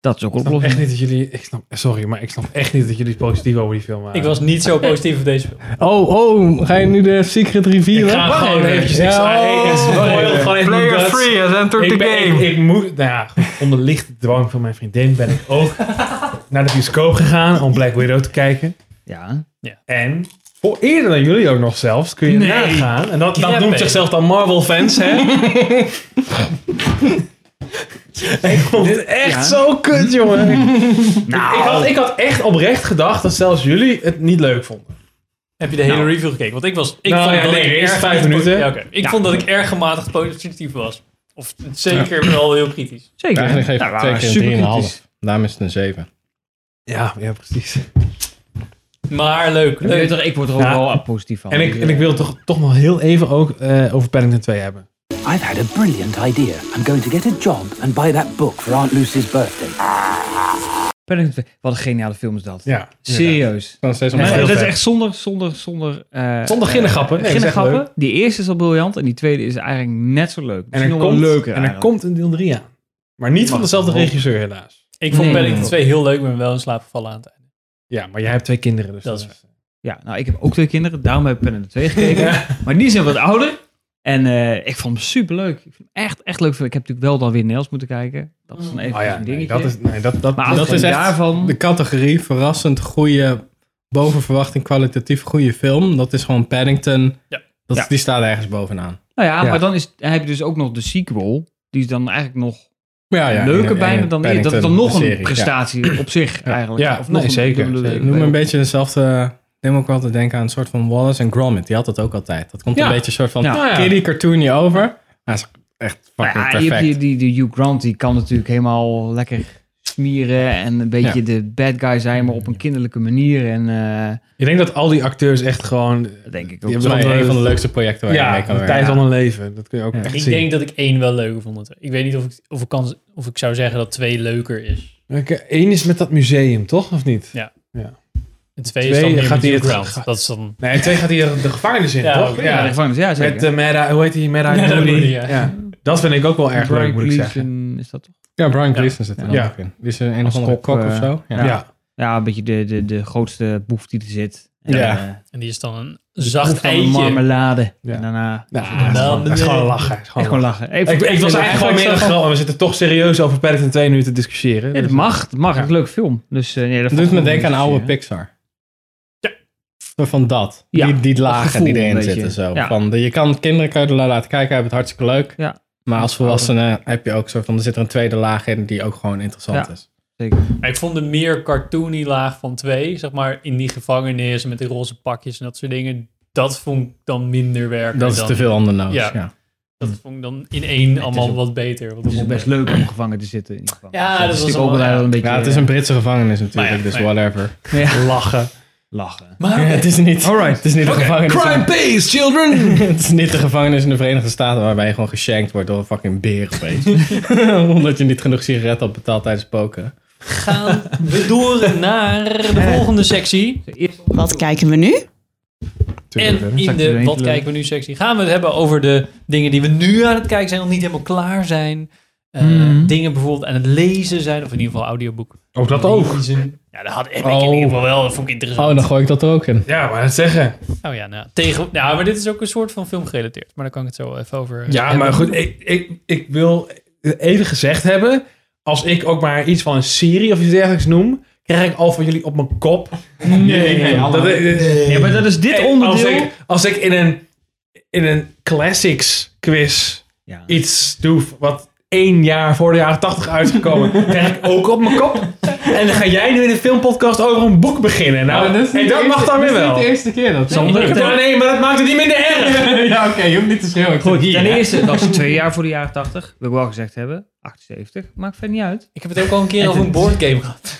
Speaker 2: Dat is ook
Speaker 3: Ik snap
Speaker 2: oplossing.
Speaker 3: echt niet dat jullie... Ik snap, sorry, maar ik snap echt niet dat jullie positief over die film waren.
Speaker 7: Ik was niet zo positief op deze film.
Speaker 4: Oh, oh, ga je nu de secret revealen?
Speaker 7: Ik ga hem gewoon eventjes extra-
Speaker 4: oh.
Speaker 3: Player free has entered
Speaker 4: the game.
Speaker 3: Ik, ik moet... Nou ja, goed, onder lichte dwang van mijn vriendin ben ik ook naar de bioscoop gegaan om Black Widow te kijken.
Speaker 2: Ja.
Speaker 3: En... Voor eerder dan jullie ook nog zelfs, kun je
Speaker 7: Nee.
Speaker 3: nagaan. En dat, dat
Speaker 7: Kreppen.
Speaker 3: noemt zichzelf dan Marvel-fans, [laughs] hè? ik vond het echt
Speaker 2: Ja.
Speaker 3: zo kut, [laughs] jongen.
Speaker 2: Nou.
Speaker 3: Ik had, ik had echt oprecht gedacht dat zelfs jullie het niet leuk vonden.
Speaker 7: Heb je de hele review gekeken? Want ik was. Ik
Speaker 3: Nou
Speaker 7: vond
Speaker 3: ja,
Speaker 7: dat
Speaker 3: nee,
Speaker 7: ik
Speaker 3: de eerste
Speaker 7: erg
Speaker 3: vijf
Speaker 7: gematigd-
Speaker 3: minuten.
Speaker 7: Ja, oké. Ik
Speaker 2: Ja.
Speaker 7: vond dat ik erg gematigd positief was. Of zeker wel heel kritisch.
Speaker 2: Zeker.
Speaker 4: Eigenlijk geef ik
Speaker 2: Nou,
Speaker 4: twee
Speaker 2: nou,
Speaker 4: keer een
Speaker 2: super
Speaker 4: drieënhalf.
Speaker 2: kritisch.
Speaker 4: Daarom is het een zeven.
Speaker 3: Ja, ja precies.
Speaker 7: Maar leuk.
Speaker 2: Ik weet
Speaker 7: leuk.
Speaker 2: toch, Ik word er ook
Speaker 3: Ja.
Speaker 2: wel positief van.
Speaker 3: En ik,
Speaker 2: Dus,
Speaker 3: en ik wil toch, toch nog heel even ook eh, over Paddington 2 hebben.
Speaker 13: I've had a brilliant idea. I'm going to get a job and buy that book for Aunt Lucy's birthday.
Speaker 2: Paddington 2. Wat een geniale film is dat.
Speaker 3: Ja,
Speaker 2: Serieus.
Speaker 4: Van steeds
Speaker 2: Nee,
Speaker 4: allemaal
Speaker 2: dat
Speaker 4: heel
Speaker 2: is
Speaker 4: vet.
Speaker 2: echt zonder, zonder, zonder... eh,
Speaker 3: Zonder ginnengappen.
Speaker 2: eh,
Speaker 3: Nee, dat is echt
Speaker 2: ginnengappen.
Speaker 3: leuk.
Speaker 2: Die eerste is al briljant en die tweede is eigenlijk net zo leuk.
Speaker 3: En er,
Speaker 2: Misschien nog wel
Speaker 3: komt,
Speaker 2: leuker
Speaker 3: en er
Speaker 2: eigenlijk.
Speaker 3: komt een deel 3 aan. Maar niet van
Speaker 2: Mag
Speaker 3: dezelfde
Speaker 2: wel.
Speaker 3: regisseur, helaas.
Speaker 7: Ik vond
Speaker 2: Nee.
Speaker 7: Paddington 2 heel leuk, maar wel in slaap gevallen aan het einde.
Speaker 3: Ja, maar jij hebt twee kinderen. Dus
Speaker 7: Dat is
Speaker 2: Ja, nou, ik heb ook twee kinderen. Daarom heb ik Pen en de Twee gekeken. Maar die zijn wat ouder. En eh, ik vond hem superleuk. Ik vond hem echt, echt leuk. Ik heb natuurlijk wel dan weer Nederlands moeten kijken. Dat is dan even
Speaker 3: Oh ja,
Speaker 2: een
Speaker 3: nee,
Speaker 2: dingetje.
Speaker 3: dat is, nee, dat, dat,
Speaker 2: maar
Speaker 3: dat
Speaker 2: afgezien
Speaker 4: is echt-
Speaker 2: daarvan...
Speaker 4: De categorie verrassend goede, boven verwachting kwalitatief goede film. Dat is gewoon Paddington.
Speaker 7: Ja.
Speaker 4: Dat,
Speaker 2: Ja.
Speaker 4: Die staat ergens bovenaan.
Speaker 2: Nou ja,
Speaker 4: Ja.
Speaker 2: maar dan is, heb je dus ook nog de sequel. Die is dan eigenlijk nog
Speaker 4: Ja, ja,
Speaker 2: leuker
Speaker 4: en- en
Speaker 2: bijna dan... Dat is dan
Speaker 4: Paddington,
Speaker 2: nog
Speaker 4: de
Speaker 2: een
Speaker 4: serie, ja.
Speaker 2: prestatie op zich eigenlijk.
Speaker 3: Ja,
Speaker 2: of
Speaker 3: nee,
Speaker 2: nog een
Speaker 3: zeker,
Speaker 2: dubbele-
Speaker 3: zeker.
Speaker 4: Doe me een beetje dezelfde. Neem ook altijd denken aan een soort van Wallace en Gromit. Die had dat ook altijd. Dat komt
Speaker 2: Ja.
Speaker 4: een beetje een soort van
Speaker 2: Ja.
Speaker 4: kiddie cartoonje over. Maar dat is echt
Speaker 2: Nou
Speaker 4: fucking
Speaker 2: ja, je hebt
Speaker 4: perfect.
Speaker 2: die, die, die Hugh Grant, die kan natuurlijk helemaal lekker smieren en een beetje
Speaker 4: Ja.
Speaker 2: de bad guy zijn, maar op een kinderlijke manier. En eh,
Speaker 3: Ik denk dat al die acteurs echt gewoon...
Speaker 2: dat denk ik
Speaker 3: Die
Speaker 2: ook.
Speaker 4: Dat is
Speaker 3: hebben
Speaker 4: wel
Speaker 3: andere-
Speaker 4: een van de leukste projecten waar je mee
Speaker 3: Ja,
Speaker 4: kan
Speaker 3: de
Speaker 4: werken.
Speaker 3: tijd
Speaker 2: ja.
Speaker 3: van een leven. Dat kun je ook
Speaker 2: Ja.
Speaker 3: echt
Speaker 7: Ik
Speaker 3: zien.
Speaker 7: denk dat ik één wel leuker vond. dan twee. Ik weet niet of ik, of ik, kan, of ik zou zeggen dat twee leuker is.
Speaker 3: Oké, Eén eh, is met dat museum, toch? Of niet?
Speaker 7: En twee, is
Speaker 3: Twee,
Speaker 7: dan meer
Speaker 3: gaat
Speaker 7: gaat
Speaker 3: die
Speaker 7: die
Speaker 3: het-
Speaker 7: ground.
Speaker 3: gaat-
Speaker 7: Dat is dan...
Speaker 3: Nee, twee gaat hier de gevangenis in,
Speaker 7: Ja,
Speaker 3: toch?
Speaker 7: oké.
Speaker 2: Ja, de gevangenis, ja zeker.
Speaker 3: Met de Mera, hoe heet die? Mera
Speaker 7: Ja,
Speaker 3: Moody.
Speaker 7: Moody,
Speaker 3: Ja.
Speaker 7: ja.
Speaker 3: Dat vind ik ook wel erg
Speaker 2: Brian
Speaker 3: leuk, moet ik zeggen.
Speaker 2: Gleason is dat toch?
Speaker 4: Ja, Brian Gleason zit er dan
Speaker 3: Ja.
Speaker 4: ook in. Die is een, een of
Speaker 2: Als
Speaker 4: andere
Speaker 2: kok,
Speaker 4: kok
Speaker 2: eh,
Speaker 4: of zo. Ja.
Speaker 3: Ja.
Speaker 2: Ja, een beetje de, de, de grootste boef die er zit. En,
Speaker 4: Ja.
Speaker 2: eh,
Speaker 7: En die is dan een
Speaker 2: boef
Speaker 7: zacht
Speaker 2: van een
Speaker 7: eitje.
Speaker 2: marmelade.
Speaker 3: Ja.
Speaker 2: En daarna
Speaker 3: Ja, het is
Speaker 7: Nou,
Speaker 3: gewoon- het is gewoon lachen. het is
Speaker 2: echt
Speaker 3: gewoon
Speaker 2: gewoon lachen.
Speaker 3: lachen. Ik, ik was eigenlijk gewoon meer een grap, maar we zitten toch serieus over Paddington 2 nu te discussiëren.
Speaker 2: Ja, dat
Speaker 3: Dus-
Speaker 2: mag, dat mag.
Speaker 3: Ja.
Speaker 2: Het is een leuke film. Dus, eh, nee, dat
Speaker 4: Dat doet me
Speaker 2: valt
Speaker 4: denken aan
Speaker 2: wel
Speaker 4: oude
Speaker 2: mee
Speaker 4: Pixar. Ja. Van dat.
Speaker 2: Ja,
Speaker 4: Die, die lagen
Speaker 2: gevoel
Speaker 4: die
Speaker 2: een
Speaker 4: erin
Speaker 2: beetje.
Speaker 4: zitten. Zo.
Speaker 2: Ja.
Speaker 4: Van de, je kan kinderen kan je er laten kijken, hebben het hartstikke leuk.
Speaker 2: Ja.
Speaker 4: Maar als volwassene heb je ook zo van, er zit er een tweede laag in die ook gewoon interessant
Speaker 2: Ja.
Speaker 4: is.
Speaker 2: te zien, hè. Zeker.
Speaker 7: Maar ik vond de meer cartoony laag van twee, zeg maar, in die gevangenis en met die roze pakjes en dat soort dingen, dat vond ik dan minder werken.
Speaker 4: Dat is
Speaker 7: dan,
Speaker 4: te veel on the nose.
Speaker 7: Ja.
Speaker 4: Ja.
Speaker 7: Dat vond ik dan in één allemaal
Speaker 2: ook-
Speaker 7: wat beter. Want
Speaker 2: Het is
Speaker 7: dat-
Speaker 2: best leuk om gevangen te zitten. In ieder geval.
Speaker 7: Ja, dat
Speaker 2: is
Speaker 7: was
Speaker 2: natuurlijk ook
Speaker 7: allemaal-
Speaker 2: wel een beetje eh,
Speaker 4: Ja, het is een Britse gevangenis natuurlijk,
Speaker 7: Maar ja,
Speaker 4: dus
Speaker 7: maar ja.
Speaker 4: whatever.
Speaker 7: lachen.
Speaker 2: lachen.
Speaker 4: Ja, het is niet, het is niet de gevangenis.
Speaker 3: Crime pays, children!
Speaker 4: [laughs] Het is niet de gevangenis in de Verenigde Staten waarbij je gewoon geshankt wordt door een fucking beer opeens. [laughs] Omdat je niet genoeg sigaretten had betaald tijdens poken.
Speaker 7: Gaan we door naar de volgende sectie.
Speaker 5: Wat kijken we nu?
Speaker 7: En in de Wat kijken we nu sectie gaan we het hebben over de dingen die we nu aan het kijken zijn, nog niet helemaal klaar zijn. Eh,
Speaker 4: Mm.
Speaker 1: Hm?
Speaker 2: Mhm.
Speaker 7: Dingen bijvoorbeeld aan het lezen zijn, of in ieder geval audioboek.
Speaker 3: Ook dat ook.
Speaker 7: Lezen. Ja, dat had ik in
Speaker 4: Oh.
Speaker 7: ieder geval wel. Dat vond ik
Speaker 4: Oh,
Speaker 7: interessant.
Speaker 4: dan gooi ik dat er ook in.
Speaker 3: Ja, maar dat zeggen.
Speaker 7: Oh ja, nou, tegen, ja, maar dit is ook een soort van film gerelateerd. Maar daar kan ik het zo even over eh,
Speaker 3: Ja,
Speaker 7: hebben.
Speaker 3: maar goed, ik, ik, ik wil even gezegd hebben, als ik ook maar iets van een serie of iets dergelijks noem, krijg ik al van jullie op mijn kop. Nee, dat,
Speaker 2: Ja, maar dat is dit
Speaker 3: Hey, Als
Speaker 2: onderdeel.
Speaker 3: ik, als ik in, een, in een classics quiz
Speaker 2: Ja.
Speaker 3: iets doe wat één jaar voor de jaren 80 uitgekomen, [laughs] krijg ik ook op mijn kop. En dan ga jij nu in een filmpodcast over een boek beginnen. Nou, en dat mag dan weer wel.
Speaker 4: eerste keer dat
Speaker 3: Ik heb- Ja, nee, maar dat maakt het niet minder
Speaker 4: [laughs]
Speaker 3: erg.
Speaker 4: Ja, oké, je hoeft niet te schreeuwen.
Speaker 2: Goed, ten eerste, dat is twee jaar voor de jaren 80. Wil ik wel gezegd hebben. 78, maakt verder niet uit.
Speaker 7: Ik heb het ook al een keer over een boardgame gehad.
Speaker 2: [laughs]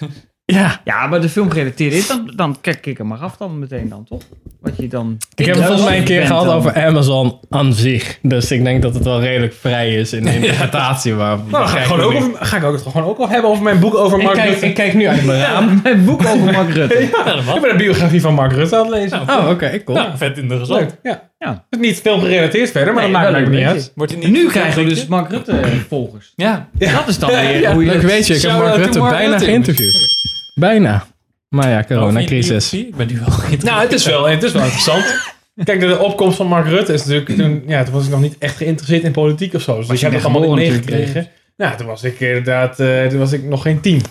Speaker 2: Ja. Ja, maar de film gerelateerd is, dan, dan kijk ik er maar af dan meteen dan, toch? Wat je dan... [laughs]
Speaker 4: Ik heb het volgens mij een keer
Speaker 2: bent
Speaker 4: gehad
Speaker 2: dan.
Speaker 4: over Amazon aan zich. Dus ik denk dat het wel redelijk vrij is in de interpretatie. Waar,
Speaker 3: Nou, dan ga ik, gewoon ook, over- ga ik ook, het gewoon ook wel hebben over mijn boek over
Speaker 4: ik,
Speaker 3: Mark
Speaker 4: kijk,
Speaker 3: Rutte.
Speaker 4: ik kijk nu
Speaker 3: [laughs]
Speaker 4: uit mijn raam.
Speaker 2: Ja, mijn boek over Mark Rutte.
Speaker 7: Ja, dat
Speaker 3: Ik
Speaker 7: was
Speaker 3: ben een biografie van Mark Rutte aan het lezen.
Speaker 4: Oh, oké, cool.
Speaker 7: nou, vet interessant.
Speaker 3: Leuk, ja.
Speaker 2: Ja.
Speaker 3: Het is niet veel gerelateerd verder, maar
Speaker 2: Nee,
Speaker 3: dat maakt
Speaker 2: wel
Speaker 3: eigenlijk niet
Speaker 2: een
Speaker 3: uit.
Speaker 7: Wordt het
Speaker 2: En
Speaker 7: niet
Speaker 2: nu krijgen we dus Mark Rutte volgers.
Speaker 7: Ja,
Speaker 2: Dat is dan weer
Speaker 3: Ja.
Speaker 2: hoe je...
Speaker 4: Leuk weet je, ik heb
Speaker 7: Shout-out
Speaker 4: Mark
Speaker 7: to
Speaker 4: Rutte
Speaker 7: Mark
Speaker 4: bijna
Speaker 7: Rutte.
Speaker 4: geïnterviewd. Bijna. Maar ja, coronacrisis.
Speaker 7: Ik ben nu wel geïnteresseerd.
Speaker 3: Nou, het is wel, het is wel interessant. Kijk, de, de opkomst van Mark Rutte is natuurlijk... Toen, ja, toen was ik nog niet echt geïnteresseerd in politiek of zo. Dus ik
Speaker 2: je
Speaker 3: heb dat
Speaker 2: bent
Speaker 3: allemaal niet
Speaker 2: geboren
Speaker 3: meegekregen. Nou, toen was ik inderdaad... eh, toen was ik nog geen tien.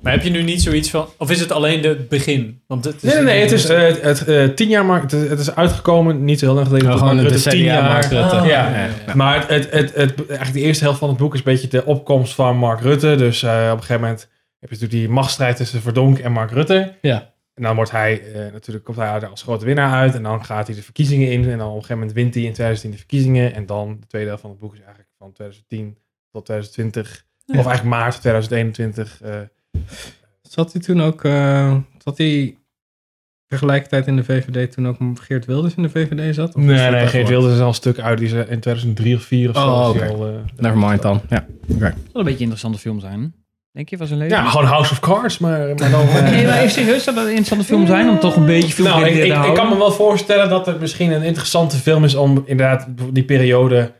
Speaker 7: Maar heb je nu niet zoiets van... Of is het alleen het begin? Want het is
Speaker 3: Nee, nee, nee. Het is eh, het, het, eh, tien jaar Mark... Het, is- het is uitgekomen, niet zo heel lang geleden.
Speaker 4: Nou,
Speaker 3: dat
Speaker 4: gewoon een
Speaker 3: Mark Rutte tien
Speaker 4: decennia
Speaker 3: jaar-
Speaker 4: Mark Rutte.
Speaker 7: Ah,
Speaker 3: ja.
Speaker 7: ja, ja,
Speaker 3: Maar het, het, het, het- eigenlijk de eerste helft van het boek is een beetje de opkomst van Mark Rutte. Dus eh, op een gegeven moment heb je natuurlijk die machtsstrijd tussen Verdonk en Mark Rutte.
Speaker 4: Ja.
Speaker 3: En dan wordt hij, eh, natuurlijk komt hij er als grote winnaar uit. En dan gaat hij de verkiezingen in. En dan op een gegeven moment wint hij in 2010 de verkiezingen. En dan de tweede helft van het boek is eigenlijk van 2010 tot 2020. Of eigenlijk maart 2021. eh,
Speaker 4: Zat hij toen ook... eh, zat hij tegelijkertijd in de VVD toen ook Geert Wilders in de VVD zat? Of is
Speaker 3: Nee,
Speaker 4: dat
Speaker 3: nee,
Speaker 4: echt
Speaker 3: Geert
Speaker 4: wat?
Speaker 3: Wilders is al een stuk uit. Die is eh, in 2003 of 2004 of zo.
Speaker 4: Oh,
Speaker 3: is die
Speaker 4: oké.
Speaker 3: al, eh,
Speaker 4: Never mind dan. Ja, oké.
Speaker 2: zal een beetje een interessante film zijn. Denk je, was een leven?
Speaker 3: ja, gewoon House of Cards, maar,
Speaker 4: [laughs]
Speaker 3: maar dan... eh,
Speaker 2: Nee, maar even serieus, zou dat een interessante film zijn? Om toch een beetje veel
Speaker 3: nou, ik,
Speaker 2: te
Speaker 3: ik, ik
Speaker 2: houden?
Speaker 3: kan me wel voorstellen dat het misschien een interessante film is om inderdaad die periode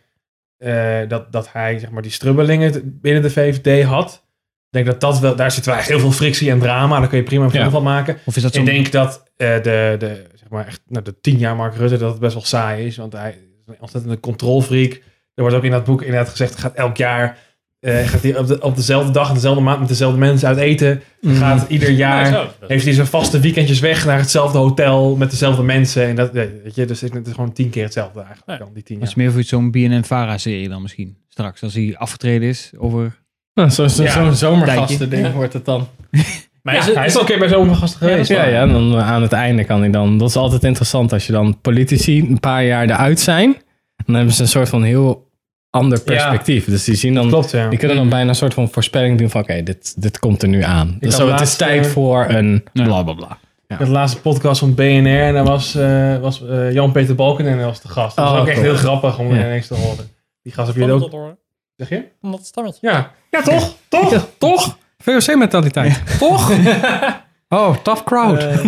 Speaker 3: eh, dat, dat hij zeg maar die strubbelingen t- binnen de VVD had. Ik denk dat dat wel, daar zit wel echt heel veel frictie en drama. Daar kun je prima een film
Speaker 2: Ja.
Speaker 3: van maken.
Speaker 2: Of is dat
Speaker 3: ik
Speaker 2: zo'n-
Speaker 3: denk dat eh, de, de, zeg maar echt, nou, de tien jaar Mark Rutte dat het best wel saai is. Want hij is een ontzettende controlfreak. Er wordt ook in dat boek inderdaad gezegd, gaat elk jaar eh, gaat hij op, de, op dezelfde dag en dezelfde maand met dezelfde mensen uit eten.
Speaker 2: Mhm.
Speaker 3: Gaat ieder jaar,
Speaker 7: Nou, zo. Dat-
Speaker 3: heeft hij zijn vaste weekendjes weg naar hetzelfde hotel met dezelfde mensen. En dat, nee, weet je, dus het is gewoon tien keer hetzelfde eigenlijk dan die tien
Speaker 2: Dat
Speaker 3: jaar.
Speaker 2: is meer voor iets zo'n BNN-Vara-serie dan misschien. Straks, als hij afgetreden is over...
Speaker 4: Nou, Zo'n zo,
Speaker 3: Ja,
Speaker 4: zo'n zomergasten
Speaker 2: tijdje.
Speaker 4: ding wordt het dan.
Speaker 7: Maar
Speaker 3: Ja,
Speaker 7: is het,
Speaker 3: hij is al een keer bij zo'n gast geweest.
Speaker 4: Ja, ja, en dan eh, aan het einde kan hij dan. Dat is altijd interessant als je dan politici een paar jaar eruit zijn. Dan hebben ze een soort van heel ander perspectief. Dus die zien dan.
Speaker 3: Klopt, Mm. ja.
Speaker 4: Die kunnen dan bijna een soort van voorspelling doen van oké, dit, dit komt er nu aan. Dus
Speaker 3: had
Speaker 4: zo, het is
Speaker 3: laatst,
Speaker 4: tijd
Speaker 3: eh,
Speaker 4: voor een
Speaker 2: Ja.
Speaker 4: bla bla bla.
Speaker 3: Ik had de laatste podcast van BNR en daar was, eh, was eh, Jan-Peter Balkenende als de gast. Dat was
Speaker 4: Oh,
Speaker 3: ook echt
Speaker 4: cool.
Speaker 3: heel grappig om
Speaker 4: Ja.
Speaker 3: ineens te horen. Die gast heb je
Speaker 7: Van
Speaker 3: ook...
Speaker 7: dat hoor.
Speaker 3: Zeg je?
Speaker 7: Van dat stammelt.
Speaker 3: Ja. Ja, toch? Toch?
Speaker 4: toch? VOC-mentaliteit. Toch? oh, tough crowd.
Speaker 3: Eh,
Speaker 2: Dat